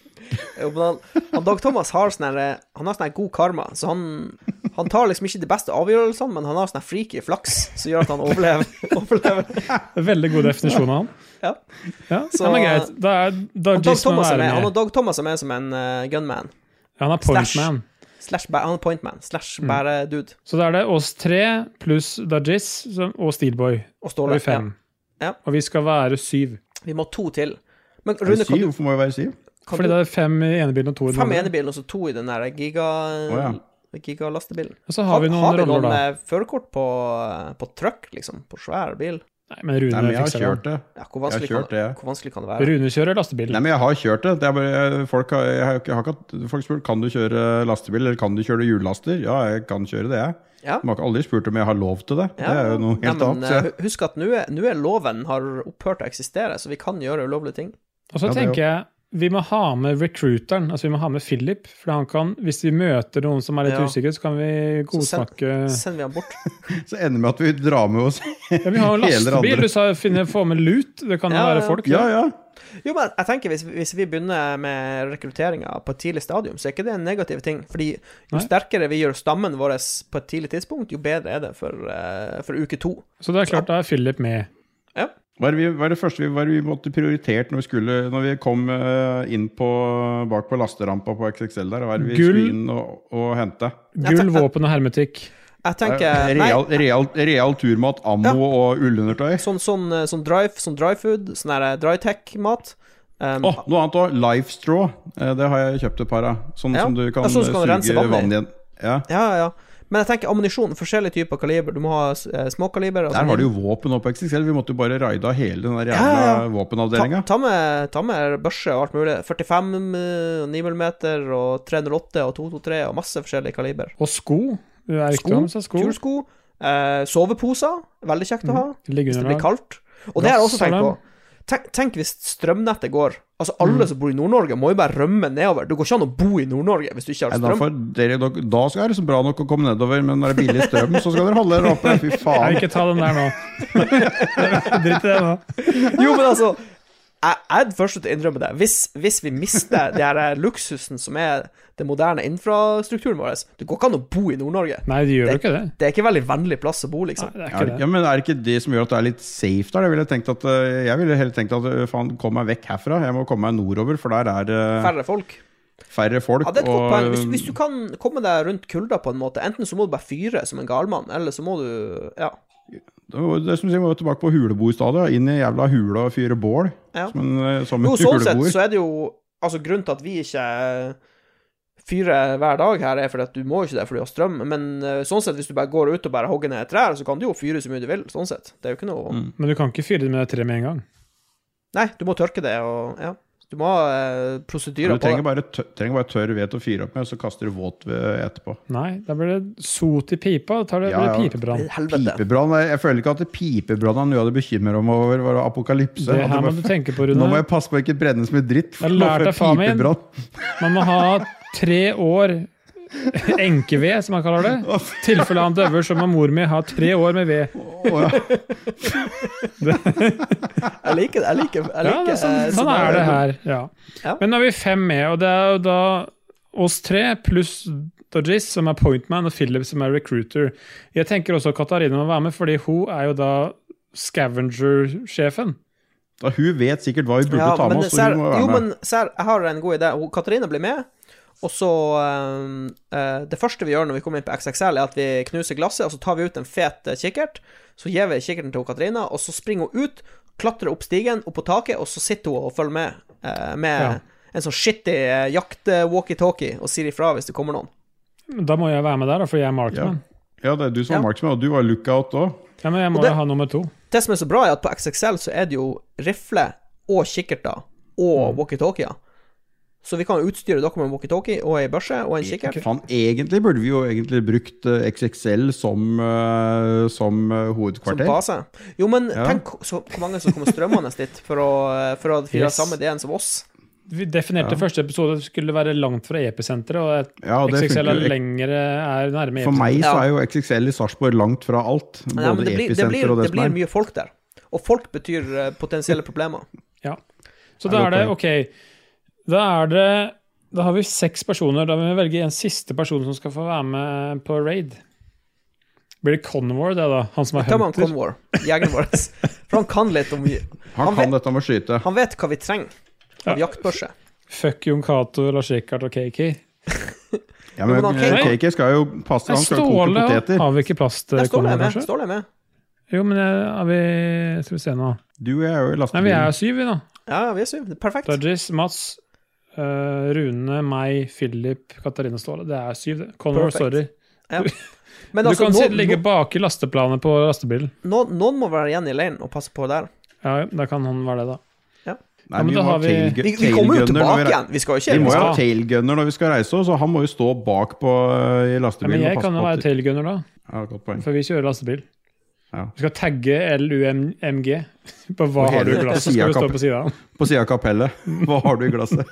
Jo, men han, han Dag Thomas har sånn her eh, Han har sånn her god karma, så han Han tar liksom ikke de beste avgjørelsene, men han har sånn her freaky flaks som gjør at han overlever. overlever. Veldig god definisjon av han. Ja. Ja, Så- ja, men greit. Da er Han, Dag Dajis må Thomas være er med, han og med. Dag Thomas er med som en eh, gunman. Ja, han er Slash. pointman. Slash bæ- han er pointman. Slash Mm. bæredude. Så da er det oss tre pluss Dajis og Steelboy. Og Da er Ståle. vi fem. Ja. Ja. Og vi skal være syv. Ja, vi må ha to til. Men Er det Rune, Siv? kan du, Hvorfor må vi være Siv? kan Fordi du det er fem i ene bilen og to i den Fem i andre. ene bilen og så to i den der giga... Å, Gigalastebilen. Og så har vi noen roller, da. med eh, førerkort på, på truck, liksom? På svær bil? Nei, men Nei, Rune men jeg har fikser det. kjørt det. Ja, Jeg hvor har vanskelig, kan, kjørt det. hvor vanskelig kan det være? Rune kjører lastebilen. Nei, men jeg har kjørt det. det er bare, jeg- folk har, jeg har, ikke- jeg har ikke hatt, folk spør kan du kjøre lastebil eller kan du kjøre hjullaster. Ja, jeg kan kjøre det, jeg. Ja. De har ikke aldri spurt om jeg har lov til det. Ja. Det er jo noe Nei, helt men, annet. Så jeg, eh, Husk at nå er, nå er loven har opphørt å eksistere, så vi kan gjøre ulovlige ting. Og så Ja, det er jo- tenker jeg vi må ha med recruiteren, altså vi må ha med Philip. For han kan, hvis vi møter noen som er litt Ja. usikker, så kan vi send- godsnakke Sender vi han bort? så ender det med at vi drar med oss ja, Vi har jo hele andre. lastebil, du sa finne, få med lut. Det kan jo Ja, være ja. folk. Ja, ja. Jo, men jeg tenker hvis, hvis vi begynner med rekrutteringa på et tidlig stadium, så er ikke det en negativ ting. Fordi jo Nei. sterkere vi gjør stammen vår på et tidlig tidspunkt, jo bedre er det for, eh, for uke to. Så det er klart, da er Philip med. Hva er, det vi, hva er det første vi, hva er det vi måtte prioritert når vi, skulle, når vi kom eh, inn på, bak på lasterampa på XXL der? Hva er det vi Gull. skulle inn og, og hente? Gull, våpen og hermetikk. Jeg tenker Nei, real, real, real turmat, ammo Ja. og ullundertøy? sånn, sånn, eh, sånn, drive, sånn dry food, sånn her drytech-mat. Um, Åh, noe annet òg. Life straw. Eh, Det har jeg kjøpt et par av. Sånn Ja. som du kan, Ja, sånn som kan eh, rense suge vann i. vann, igjen. Ja. Ja, ja, ja. Men jeg tenker ammunisjon, forskjellige typer kaliber. Du må ha eh, småkaliber. og Der sånn. har du jo våpen oppe på XXL. Vi måtte jo bare raide av hele den der jævla Ja, ja, ja. ta, våpenavdelinga. ta, med, ta med børse og alt mulig. 45, eh, 9 mm og 308 og 223 og masse forskjellige kaliber. Og sko. Det er Sko? riktig om seg sko. Tursko. Eh, soveposer. Veldig kjekt å ha hvis det blir Liggeunderlag. kaldt. Og det har jeg også tenkt Gassalarm. på. Tenk, tenk hvis strømnettet går. Altså Alle som bor i Nord-Norge, må jo bare rømme nedover. Det går ikke an å bo i Nord-Norge hvis du ikke har Nei, da, strøm. får dere, da skal det så bra nok å komme nedover, men når det er billig strøm, så skal dere holde dere oppe. Fy Nei, faen. ikke ta den der nå. Drit i det nå. Jo, men altså Jeg jeg er den første til å innrømme det. Hvis, hvis vi mister det her luksusen som er den moderne infrastrukturen vår Det går ikke an å bo i Nord-Norge. Nei, de gjør jo ikke det. Det er ikke veldig vennlig plass å bo, Nei, liksom. det er Er det, ikke ja, det. men er det ikke det som gjør at det er litt safe der? Jeg ville tenkt at eh, Jeg ville heller tenkt at eh, faen, kom meg vekk herfra. Jeg må komme meg nordover, for der er det Færre folk. færre folk. Ja, det er et godt poeng. Hvis, og, hvis du kan komme deg rundt kulda på en måte, enten så må du bare fyre som en galmann, eller så må du Ja. det var- det er som å si, vi var tilbake på huleboerstadiet. Inn i jævla hula og fyre bål. ja. Som en, eh, som Jo, en sånn sett huleboer. så er det jo Altså, grunnen til at vi ikke fyrer hver dag her, er fordi at du må jo ikke det fordi du har strøm, men eh, sånn sett, hvis du bare går ut og bare hogger ned et trær, så kan du jo fyre så mye du vil, sånn sett. Det er jo ikke noe Mm. Men du kan ikke fyre det med det treet med en gang. Nei, du må tørke det og Ja. Du må ha eh, prosedyrer Du på trenger det. bare, tør, trenger bare tørr ved å fyre opp med, og så kaster du våt ved etterpå. Nei, da blir det sot i pipa. Da tar det, Ja, blir det ja. pipebrann. Helvete. Pipebrann jeg- Jeg føler ikke at det pipebrann er noe jeg hadde bekymret meg over, var apokalypse. Det At her må det var- du tenke på, Nå må Rune. jeg passe på å ikke brenne som en dritt. Jeg lærte av faren min. Pipebrann. Man må ha tre år enkeved, som han kaller det. I tilfelle han døver, så må mor mi ha tre år med ved. Å, ja. Jeg liker det. Jeg liker, jeg Ja, liker det er sånn, eh, sånn sånn- er det her. Ja. Ja. Men nå er vi fem med, og det er jo da oss tre pluss Dodgis, som er pointman, og Philip, som er recruiter. Jeg tenker også Katarina må være med, fordi hun er jo da scavenger-sjefen. Da, hun vet sikkert hva vi burde ta med men oss, så Sær- hun må være jo, med. men Sær, jeg har en god idé. Hun- Katarina blir med, Og så eh, eh, Det første vi gjør når vi kommer inn på XXL, er at vi knuser glasset, og så tar vi ut en fet eh, kikkert. Så gir vi kikkerten til Katarina, og så springer hun ut, klatrer opp stigen, opp på taket, og så sitter hun og følger med eh, med Ja. en sånn shitty eh, jakt-walkietalkie og sier ifra hvis det kommer noen. Men Da må jeg være med der, da, for jeg er markman. Ja, det er du som Ja. var marksmann, og du var lookout òg. Ja. men jeg må Og det- jo ha nummer to. Det som er så bra, er at på XXL så er det jo rifle og kikkerter Mm. og walkietalkier. Så vi kan jo utstyre dere med en walkietalkie og ei børse og en kikkert. Faen, egentlig burde vi jo egentlig brukt eh, XXL som, eh, som eh, Som hovedkvarter. base. Jo, men Ja. tenk så, hvor mange som kommer strømmende dit for å, for å fyre Yes. samme ideen som oss. Vi definerte første episode skulle være langt fra episenteret, og Ja, at det XXL er funker. jo. lengre er nærme For meg episenteret. så Ja. er jo XXL i Sarpsborg langt fra alt. Både Nei, men det blir, det episenter blir, og det, det som blir er. mye folk der. Og folk betyr eh, potensielle problemer. Så Det er da er det godt OK. Da er det Da har vi seks personer. Da må vi velge en siste person som skal få være med på raid. Blir det Convor, det, da? Han som er Ta med hunter? han Conwar, jegeren vår. For han kan litt om Han han kan vet- dette med å skyte. Han vet hva vi trenger av Ja. jaktbørse. Fuck Jon Cato, Lars Rikard og KK. Ja, men Jo, men eh, ok. KK skal jo passe, han skal jo koke Ståle poteter. har vi ikke plass til, Der står Convor, jeg med. kanskje? Står jeg med. Jo, men jeg, er vi Skal vi se nå. Du og jeg er jo i Nei, vi er lastebilen. syv, vi, da. Ja, ja, vi er syv. Det er Perfekt. Dudgies, Mats, eh, Rune, meg, Philip, Katarina Ståle. Det er syv, det. Convor, Perfekt. sorry. Men du altså, kan si- noen, ligge bak i lasteplanet på lastebilen. noen, noen må være igjen i leiren og passe på der. Ja, ja, da kan han være det, da. Nei, Ja, men vi da må har ha vi- tailgu- Vi, vi kommer tailgunner når jo tilbake vi re- igjen. Vi skal jo Vi må ikke jo Ja. ha tailgunner når vi skal reise, så han må jo stå bak på eh, Ja, i men lastebilen jeg og kan jo være passe på. at- tailgunner, da. Ja, godt poeng. For vi kjører lastebil. Ja. Vi skal tagge LUMMG på hva Og har du i hele glasset, skal det stå sidekapp. på sida. På sida av kapellet. Hva har du i glasset?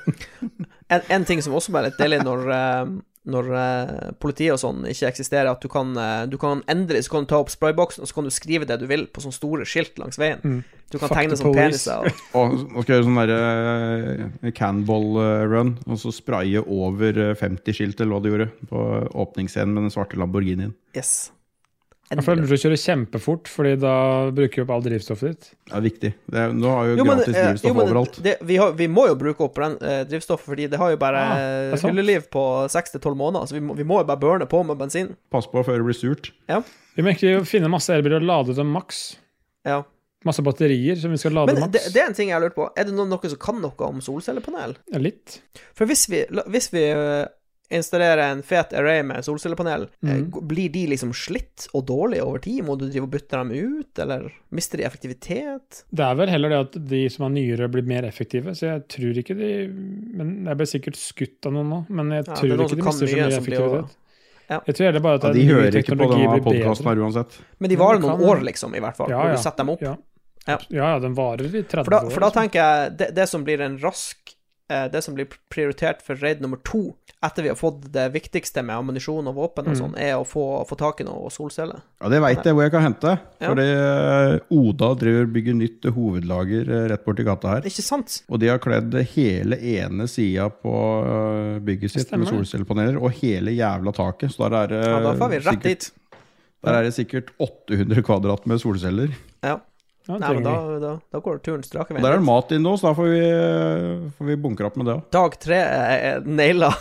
En, en ting som også er litt deilig når, eh, når eh, politiet og sånn ikke eksisterer, at du kan, eh, du kan endre Så kan du ta opp sprayboksen, og så kan du skrive det du vil på sånne store skilt langs veien. Mm. Du kan Fuck tegne the sånne police. peniser. Og, Og nå skal jeg gjøre sånn derre uh, canball-run, og så spraye over eh, 50 skilt, eller hva du gjorde, på åpningsscenen med den svarte Lamborghinien. yes. Jeg føler du kjører kjempefort, fordi da bruker du opp all drivstoffet ditt. Det er viktig. Det er, nå har jo, Jo, men, gratis eh, jo, drivstoff men overalt. Det, vi, har, vi må jo bruke opp den, eh, drivstoffet, fordi det har jo bare Ja, det er eh, sant. hylleliv på seks til tolv måneder, så vi må, vi må jo bare burne på med bensin. Pass på før det blir surt. Vi må egentlig finne masse elbiler og lade dem maks. Ja. Masse batterier som vi skal lade Men det, maks. det er en ting jeg har lurt på. Er det noen, noen som kan noe om solcellepanel? Ja, Litt. For hvis vi, la- hvis vi øh, installerer en fet array med solcellepanel, eh, Mhm. g- blir de liksom slitt og dårlige over tid? Må du drive og bytte dem ut, eller mister de effektivitet? Det er vel heller det at de som er nyere, blir mer effektive, så jeg tror ikke de Men jeg ble sikkert skutt av noen nå, men jeg Ja, det er tror noen ikke de mister som kan så mye mye som blir effektivitet. Ja. Jeg tror heller bare at Ja, de ny hører ikke på teknologi denne blir bedre. podkasten her uansett. Men de Ja, varer det noen kan- år, liksom, i hvert fall, Ja, når ja. du setter dem opp. Ja. Ja. Ja. ja, den varer i 30 For, da, år. for da liksom. tenker jeg det, det som blir en rask eh, Det som blir prioritert for raid nummer to, etter vi har fått det viktigste med ammunisjon og våpen og Mhm. sånn, er å få, få tak i noe solceller. Ja, det veit jeg hvor jeg kan hente. Ja. Fordi eh, Oda driver og bygger nytt hovedlager eh, rett borti gata her. Ikke sant? Og de har kledd hele ene sida på eh, bygget sitt med Stemmer det. solcellepaneler, og hele jævla taket. Så der er det Ja, da får vi rett Eh, sikkert, dit. der er det sikkert 800 kvadrat med solceller. Ja. Ja, den Nei, men da, trenger vi. da, da går turen strake Og der er veien. det mat inne også, så da får vi, eh, får vi bunkre opp med det òg. Dag tre eh, er er naila.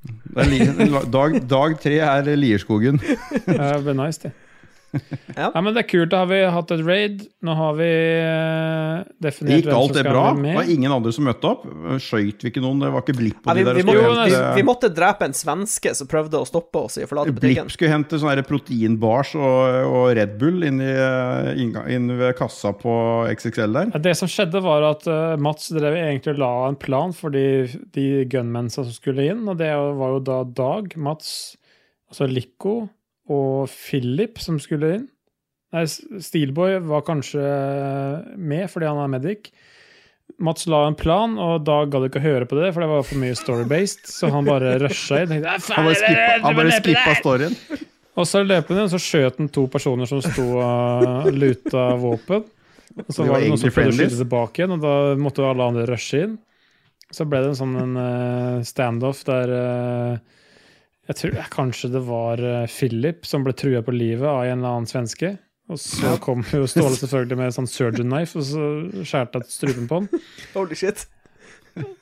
Dag, dag tre er Lierskogen. Ja, Det blir nice, det. Ja. Nei, men det er kult. Da har vi hatt et raid. Nå har vi eh, Det definert Gikk alt det bra? være Det var med. ingen andre som møtte opp? Skøyt vi ikke noen? Det var ikke Blipp Ja, og eh, de vi, der? vi, som jo, måtte, skulle vi, hente- vi måtte drepe en svenske som prøvde å stoppe oss i å forlate butikken. Blipp skulle hente sånne her proteinbars og, og Red Bull inn, i, eh, innga- inn ved kassa på XXL der. Ja, Det som skjedde, var at eh, Mats drev egentlig og la en plan for de, de gunmensa som skulle inn, og det var jo da Dag, Mats, altså Lico og Philip som skulle inn. Nei, S- Steelboy var kanskje med fordi han er medic. Mats la en plan, og Dag gadd ikke å høre på det, for det var for mye story-based, så han bare rusha inn. tenkte, «Ah, faen, Han bare skippa, jeg- jeg- han jeg- bare jeg- skippa storyen. og så løp han inn, og så skjøt han to personer som sto og eh, luta våpen. Og så Det var var det noen som egentlig prøvde å friendlies. skyte tilbake igjen, og da måtte jo alle andre rushe inn. Så ble det en sånn en eh, standoff der eh, Jeg tror eh, kanskje det var eh, Philip som ble trua på livet av en eller annen svenske. Og så kom jo Ståle selvfølgelig med en sånn surgeon knife, og så skjærte han strupen på han. Holy shit.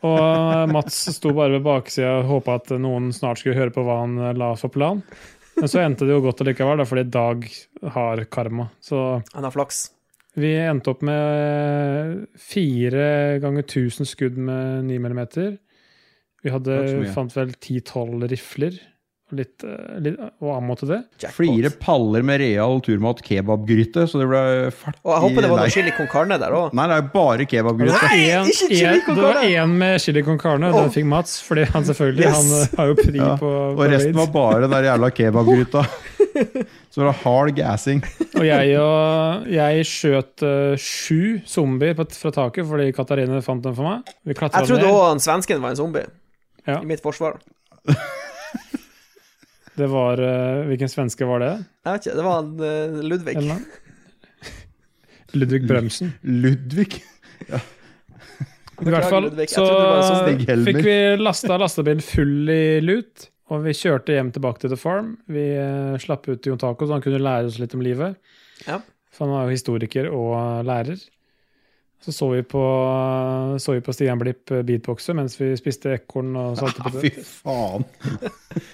Og Mats sto bare ved baksida og håpa at noen snart skulle høre på hva han la for plan. Men så endte det jo godt allikevel, da, fordi Dag har karma. Så Han har flaks. vi endte opp med fire ganger 1000 skudd med 9 mm. Vi hadde, Det var ikke så mye. fant vel 10-12 rifler og, litt, eh, litt, og ammo til det. Flere paller med real turmat kebabgryte, så det ble fart Og jeg håper det var Nei. noe chili con carne der òg. Nei, det er bare kebabgryte. Nei, En- ikke chili en- con Det var carne! én med chili con carne, og den Åh. fikk Mats. Fordi han selvfølgelig Yes. han har jo pri Ja, på Og på resten raids. var bare den der jævla kebabgryta. Så det var hard gassing. Og jeg, og jeg skjøt eh, sju zombier på, fra taket fordi Katarina fant dem for meg. Vi klatra ned. Jeg trodde òg han svensken var en zombie. Ja. I mitt forsvar. Det var eh, Hvilken svenske var det? Jeg vet ikke, det var han eh, Ludvig. Eller noe? Ludvig Bremsen. Ludvig. I hvert fall Ludvig. Jeg så trodde det var en sånn Stig Helmer. fikk vi lasta lastebilen full i lut, og vi kjørte hjem tilbake til The Farm. Vi eh, slapp ut Jon Taco, så han kunne lære oss litt om livet. Ja. For han var jo historiker og eh, lærer. Så så vi på, så vi på Stian Blipp eh, beatboxe mens vi spiste ekorn og Ja, saltepøtter. fy faen.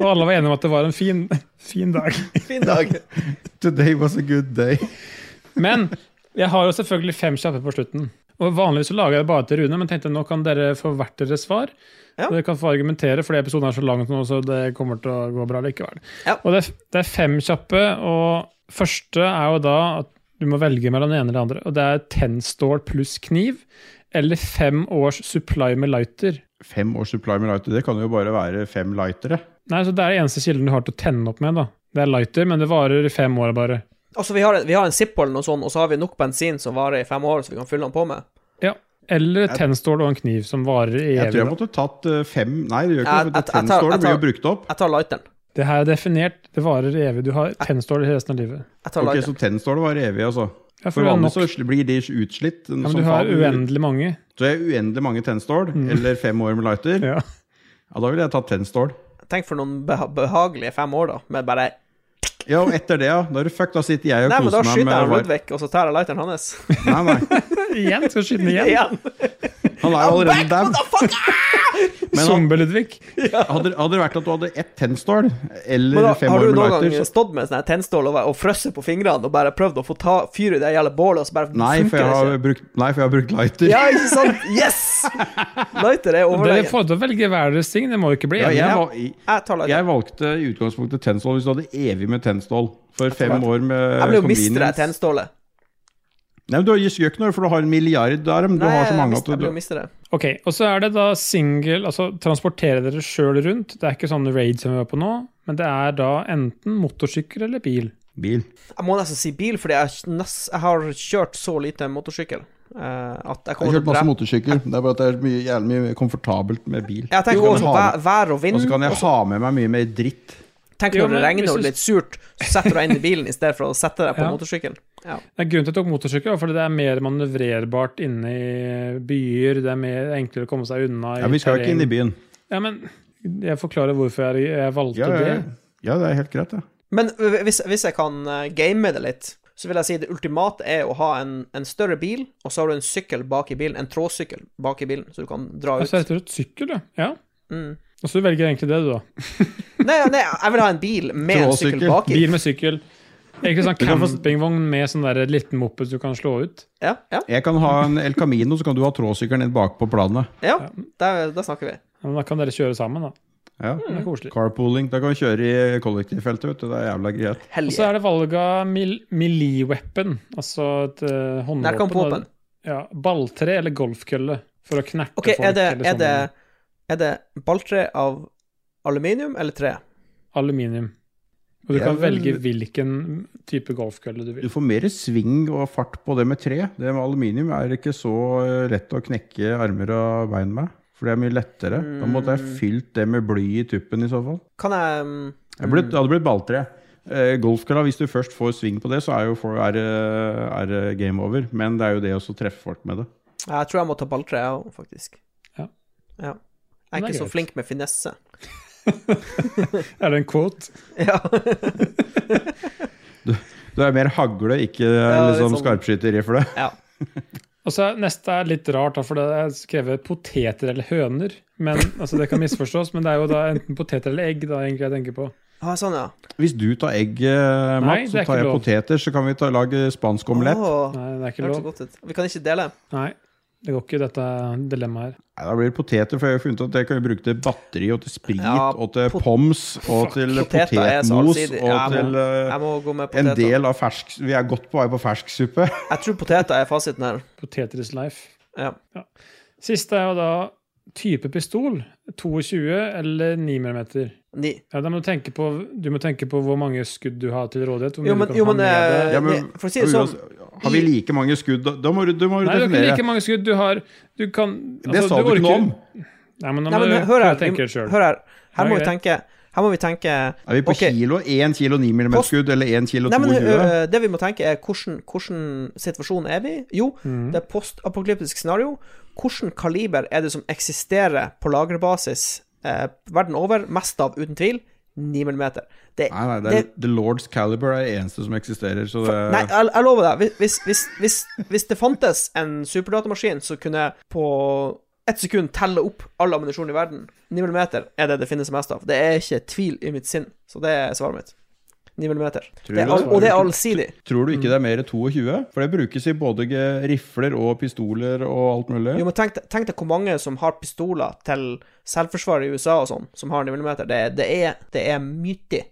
Og alle var enige om at det var en fin, fin dag. Fin dag. Today was a good day. Men jeg har jo selvfølgelig fem kjappe på slutten. Og Vanligvis så lager jeg det bare til Rune, men tenkte nå kan dere få hvert deres svar. Ja. Og dere kan få argumentere, fordi episoden er så lang nå, så det kommer til å gå bra likevel. Ja. Og det er, det er fem kjappe, og første er jo da at du må velge mellom det ene eller det andre. Og det er tennstål pluss kniv, eller fem års supply med lighter. Fem års supply med lighter, det kan jo bare være fem lightere. Nei, så Det er den eneste kilden du har til å tenne opp med. da. Det er lighter, men det varer i fem år bare. Altså, vi har, en- vi har en Zippo eller noe sånt, og så har vi nok bensin som varer i fem år, så vi kan fylle den på med. Eller Jeg- tennstål og en kniv som varer i Jeg tror evig. jeg måtte tatt eh, fem Nei, det gjør ikke noe, for Jeg- jeg- jeg tar- tennstålet jeg blir jo tar- brukt opp. Jeg tar lighteren. Det her er definert, det varer i evig. Du har tennstål i resten av livet. Jeg tar Ok, lighteren. Så tennstålet var evig, altså. Ja, for For du har vanlig nok, så sli- blir de utslitt. ja, som men du har faen. uendelig mange. Så jeg har uendelig mange tennstål, eller fem år med lighter. Ja. Ja, da ville jeg tatt tennstål. Tenk for noen beha behagelige fem år, da, med bare Ja, og etter det, ja. Da er det fuck, da sitter jeg og Nei, men da koser meg skyter jeg med var- Ludvig, og så tar jeg lighteren hans. Nei, nei. igjen skal du skyte den igjen. Igjen. Han er jo allerede dau. Men han- Zombie-Ludvig. Hadde, hadde det vært at du hadde ett tennstål, Men eller da, fem har år du med noen lighter gang så... stått med sånn her tennstål og, vært- og frosset på fingrene og bare prøvd å få ta fyr i det jævla bålet, og så bare Nei, for jeg har brukt, nei, for jeg har brukt lighter. Ja, ikke sant? Yes! Lighter er Dere overlegen. får til å velge hver deres ting, det må jo ikke bli Ja, enige. jeg, om. var- Jeg tar lighter. jeg valgte i utgangspunktet tennstål hvis du hadde evig med tennstål. For fem vet. år med Jeg ble jo miste det convenience. her tennstålet. Nei, men Du har ikke gjøk noe, for du har en milliard arm. Du Nei, har så jeg, mange miste, at jeg du ble jo miste det. Ok, Og så er det da single, altså transportere dere sjøl rundt. Det er ikke sånn raid som vi var på nå, men det er da enten motorsykkel eller bil. Bil. Jeg må nesten si bil, fordi jeg, nes- jeg har kjørt så lite motorsykkel eh, at Jeg jeg har kommer til kjørt å masse drepe motorsykkel. Det er bare at det er mye, jævlig mye komfortabelt med bil. Jeg Så tenker kan også jeg ha vær, med- vær og vind. Og så kan jeg ha med meg mye mer dritt. Tenk Jo, når det men regner hvis og du- det er litt surt, så setter du deg inn i bilen i stedet for å sette deg på Ja. motorsykkelen. Ja. Det er grunnen til at jeg tok motorsykkel, var fordi det er mer manøvrerbart inne i byer. Det er mer enklere å komme seg unna. i Ja, Vi skal jo ikke inn i terreng. byen. Ja, men jeg forklarer hvorfor jeg, jeg valgte Ja, ja, det. ja det er helt greit, det. Men ø, hvis, hvis jeg kan ø, game det litt, så vil jeg si det ultimate er å ha en, en større bil, og så har du en sykkel bak i bilen, en trådsykkel bak i bilen, så du kan dra ut. Altså, jeg tror et sykkel, ja. ja. Mm. Og så velger jeg egentlig det, du, da. Nei, nei, jeg vil ha en bil med en Trådsykkel. sykkel bak i. Bil med sykkel. Egentlig sånn Du kan få- campingvogn med sånn der liten moped du kan slå ut. Ja, ja, Jeg kan ha en El Camino, så kan du ha trådsykkelen din bak på planet. ja. Der, der snakker vi. Ja, Men da kan dere kjøre sammen, da. Ja. Mm. Det er koselig. Carpooling. Da kan vi kjøre i kollektivfeltet, vet du. Det er jævla greit. Og så Helge. er det valg av mil melee weapon, altså et eh, Der håndvåpen. kom våpen. da. Ja, balltre eller golfkølle for å knerte OK, folk. er det, eller er det, sånne. er det balltre av aluminium eller tre? sånn Aluminium. Og du Jeg kan vil- velge hvilken type golfkølle du Du vil. får mer sving og fart på det med tre. Det med aluminium er ikke så eh, lett å knekke armer og bein med. For det er mye lettere. Da måtte jeg fylt det med bly i tuppen i så fall. Kan jeg mm, Jeg ble, det hadde blitt balltre. Eh, Golfkølla, hvis du først får sving på det, så er, jo for, er, det- er det game over. Men det er jo det også å treffe folk med det. Jeg tror jeg må ta balltre, jeg òg, faktisk. Ja. Ja. Men det er Jeg er ikke så greit. flink med finesse. Er det en quote? Ja. Du er mer hagle, ikke litt liksom sånn. skarpskytterrifle. ja. Og så er- Neste er litt rart, da, for det er skrevet poteter eller høner. Men, altså Det kan misforstås, men det er jo da enten poteter eller egg da egentlig jeg tenker på. Ah, sånn, ja. Hvis du tar egg, eh, Nei, Mats, det er så ikke tar jeg lov. poteter, så kan vi ta, lage spansk omelett. Åh, Nei, det er det ikke hørtes lov. godt ut. Vi kan ikke dele. Nei, det går ikke, dette dilemmaet her. Nei, da blir det poteter, for jeg har funnet ut at det kan vi bruke til batteri og til sprit Ja, og til pot- poms og Fuck, til poteter er så potetmos allsidig. og Ja, men- til eh, Jeg må gå med en poteter. del av fersk Vi er godt på vei på fersksuppe. Jeg tror poteter er fasiten her. Poteter is life. Ja. Siste er jo da type pistol. 22 eller 9 mm. Ni. Ja, da må du, tenke på, du må tenke på hvor mange skudd du har til rådighet. Hvor mye Jo, men, du kan jo, ha men, med deg. eh, Ja, men- ni- For å si det sånn, Har vi like mange skudd? Da- Da må du, da må Nei, du du har ikke definere. like mange skudd. Du har du kan, det sa du ikke noe om. Nei, men nå Nei, må men du hør her. prøve å tenke det vi- selv. Hør her. Her Ja, må vi greit. tenke Her må vi tenke Er vi på Ok. kilo? Én kilo 9 mm Post- skudd eller én kilo Nei, men øh, 22? ø, Det vi må tenke, er hvordan, hvordan situasjon er vi i? Jo, det er postapokalyptisk scenario. Hvilken kaliber er det som eksisterer på lagerbasis eh, verden over, mest av, uten tvil? 9 mm. Det, Nei, nei, det er, The Lord's Caliber er det eneste som eksisterer, så det Nei, jeg, jeg lover deg. Hvis, hvis, hvis, hvis det fantes en superdatamaskin som kunne på ett sekund telle opp all ammunisjon i verden 9 mm er det det finnes mest av. Det er ikke tvil i mitt sinn. Så det er svaret mitt. 9 mm. Tror Det du er, all- det? og det er allsidig. Tror du ikke Mm. det er mer 22? For det brukes i både ge- rifler og pistoler og alt mulig. Jo, men tenk, deg- tenk deg hvor mange som har pistoler til selvforsvar i USA og sånn, som har 9 mm. Det, det er, det er mye.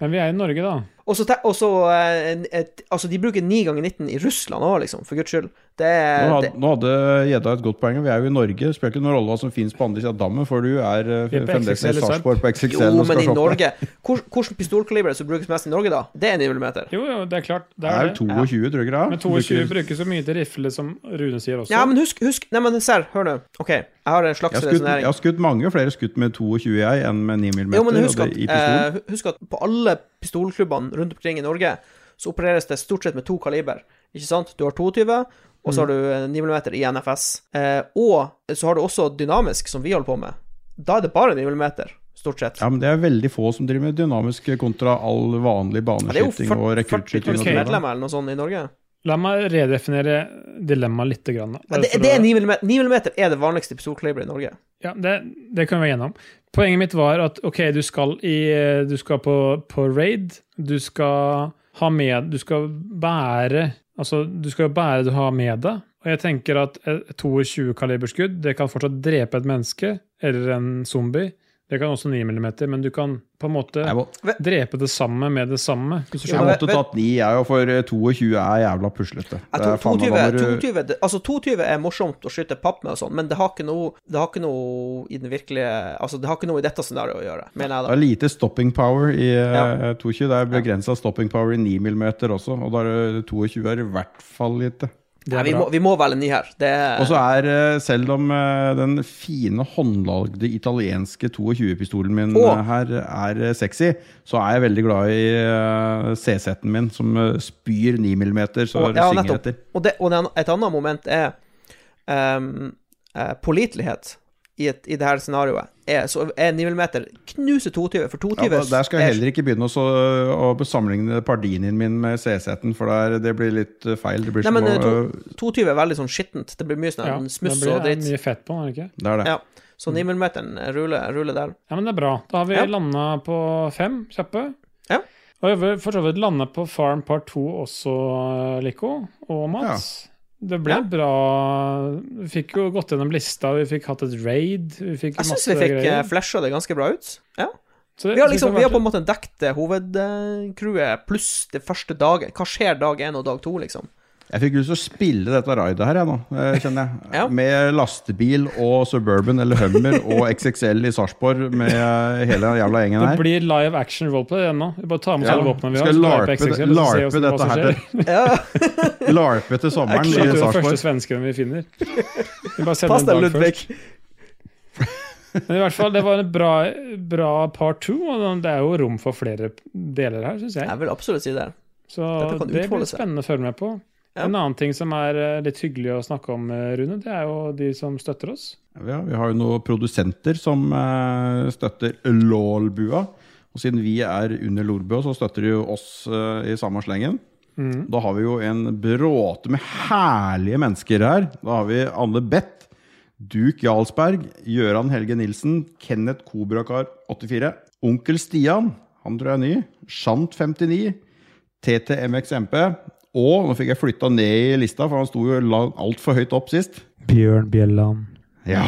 Men vi er i Norge, da. Og så te- og så, eh, en- et- Altså, de bruker 9 ganger 19 i Russland òg, liksom, for guds skyld. Det er Nå hadde, Eh, det- nå hadde Gjedda et godt poeng, og vi er jo i Norge. Det spiller ikke noen rolle hva som finnes på andre siden av dammen, for du er eh, Vi er på fremdeles i XXL i Sarp. Sarpsborg på XXL. Jo, og skal men i shoppe. Norge hvor- Hvordan pistolkaliber som brukes mest i Norge, da? Det er 9 mm. Jo, jo, det er klart. Det Det er er det. jo 22, tror du ikke det? Men 22 Bruker- brukes så mye til rifle, som Rune sier også. Ja, men husk, husk Nei, men serr, hør nå. OK, jeg har en jeg slags har, skutt, jeg resonnering. har skutt mange flere skutt med 22 jeg enn med 9 mm. Sånn Jo, men husk og at, det, i pistol. eh, husk at på alle pistolklubbene rundt omkring i Norge, så opereres det stort sett med to kaliber. Ikke sant? Du har 22, og så har du eh, 9 mm i NFS. Eh, og så har du også dynamisk, som vi holder på med. Da er det bare 9 mm, stort sett. Ja, men Det er veldig få som driver med dynamisk kontra all vanlig Ja, det er jo baneskyting og 40 rekruttskyting. 000 og det der. medlemmer eller noe sånt i Norge. La meg redefinere dilemmaet litt. Grann, da. Ja, det, Bare for det er å- 9 mm. 9 mm er det vanligste pistolkaliberet i Norge. Ja, det, det kan vi være gjennom. Poenget mitt var at ok, du skal, i, du skal på, på raid, du skal ha med Du skal bære Altså, du skal bære det du har med deg. Og jeg tenker at et 22-kaliberskudd det kan fortsatt drepe et menneske eller en zombie. Det kan også 9 mm, men du kan på en måte Jeg, må, drepe det samme med det samme. Hvis du jeg skjønner. men- måtte tatt 9, jeg òg, for 22 er jævla puslete. Jeg Det er tror faen meg 22, da må du- 22, det- altså 22 er morsomt å skyte papp med og sånn, men det har, ikke noe, det har ikke noe i den virkelige Altså, det har ikke noe i dette scenarioet å gjøre, mener Det jeg da. er lite stopping power i Ja. eh, 22. Det er begrensa stopping power i 9 mm også, og da er det 22 er i hvert fall lite. Det Nei, er vi, må, bra. vi må velge ny her. Det Og er så er eh, selv om eh, den fine håndlagde italienske 22-pistolen min Åh! eh, her er eh, sexy, så er jeg veldig glad i eh, CZ-en min, som eh, spyr 9 mm, så Åh, det ja, synger nettopp. etter. Og, det, og det, et annet moment er ehm, eh, pålitelighet i, et, i det her scenarioet. Er, så er 9 mm knuser 22, for 22 Ja, da- der skal er- jeg heller ikke begynne å så- å sammenligne pardinien min med CZ-en, for der, det blir litt eh, feil. Det blir Nei, som men eh, å, to- 22 er veldig sånn skittent. Det blir mye sånn Ja, da smuss blir og det dritt. mye fett på den, er det ikke? det er det. Ja. Så 9 mm ruller, ruller der. Ja, men det er bra. Da har vi Ja. landa på fem kjappe. Ja. Og jeg vil for så vidt lande på Farm Part 2 også, Lico og Mats. Det ble Ja. bra Vi fikk jo gått gjennom lista, vi fikk hatt et raid. Vi fikk Jeg syns masse vi fikk eh, greier. flasha det ganske bra ut. Ja. Så det- Vi har det liksom, har vi har på en vært- måte dekt eh, hovedcrewet pluss det første dagen. Hva skjer dag én og dag to, liksom? Jeg fikk lyst til å spille dette raidet her, jeg nå, eh, kjenner jeg. Ja. Med lastebil og Suburban eller Hummer og XXL i Sarpsborg med eh, hele jævla gjengen det her. blir live action roleplay igjen nå. Vi bare tar med oss Ja. alle våpnene vi har. Skal så drar vi larpe på det- XXL, og så ser vi larpe hvordan- hva dette som her skjer. Ja, Larpe til sommeren Shit, i Du er den første Sarpsborg. svensken vi finner. Vi bare sender Pass en deg, dag Ludvig. først. Men i hvert fall, det var en bra, bra part two, og det er jo rom for flere deler her, syns jeg. Jeg vil absolutt si det. Så Dette kan det utfolde blir seg. spennende å følge med på. Ja. En annen ting som er eh, litt hyggelig å snakke om, eh, Rune, det er jo de som støtter oss. Ja, vi har jo noen produsenter som eh, støtter Lålbua. Og siden vi er under Lolbua, så støtter de jo oss eh, i samme slengen. Mm. Da har vi jo en bråte med herlige mennesker her. Da har vi Anne Beth, Duke Jarlsberg, Gøran Helge Nilsen, Kenneth Kobrakar84, Onkel Stian, han tror jeg er ny, Shant59, TTMXMP, og nå fikk jeg flytta ned i lista, for han sto jo la- altfor høyt opp sist. Bjørn Bjelland. Ja.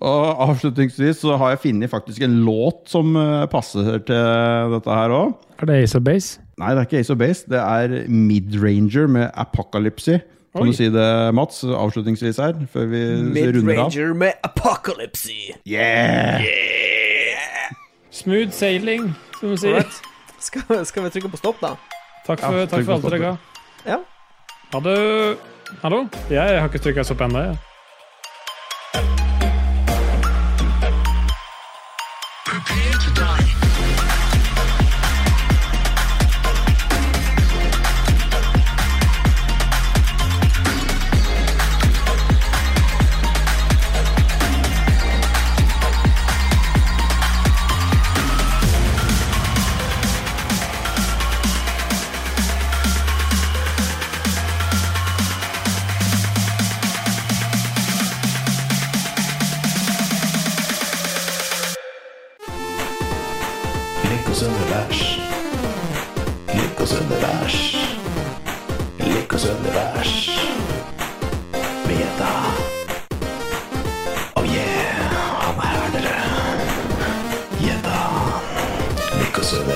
og avslutningsvis så har jeg funnet faktisk en låt som eh, passer til dette her òg. Er det Ace of Base? Nei, det er ikke Ace of Base. Det er Midranger med Apocalypse. Kan Oi. du si det, Mats, avslutningsvis her, før vi runder av? Midranger med Apocalypse. Yeah! Smooth sailing, som vi sier. Alright. Skal, skal vi trykke på stopp, da? Takk for, Ja, takk for alt trykk på dere ga. Ja. Ha det. Hallo? Jeg har ikke trykka stopp ennå, jeg. Lekos univers. Lekos univers. Lekos univers. Beta. Oh yeah, han er her, dere. Gjedda. Lekos univers. Oh,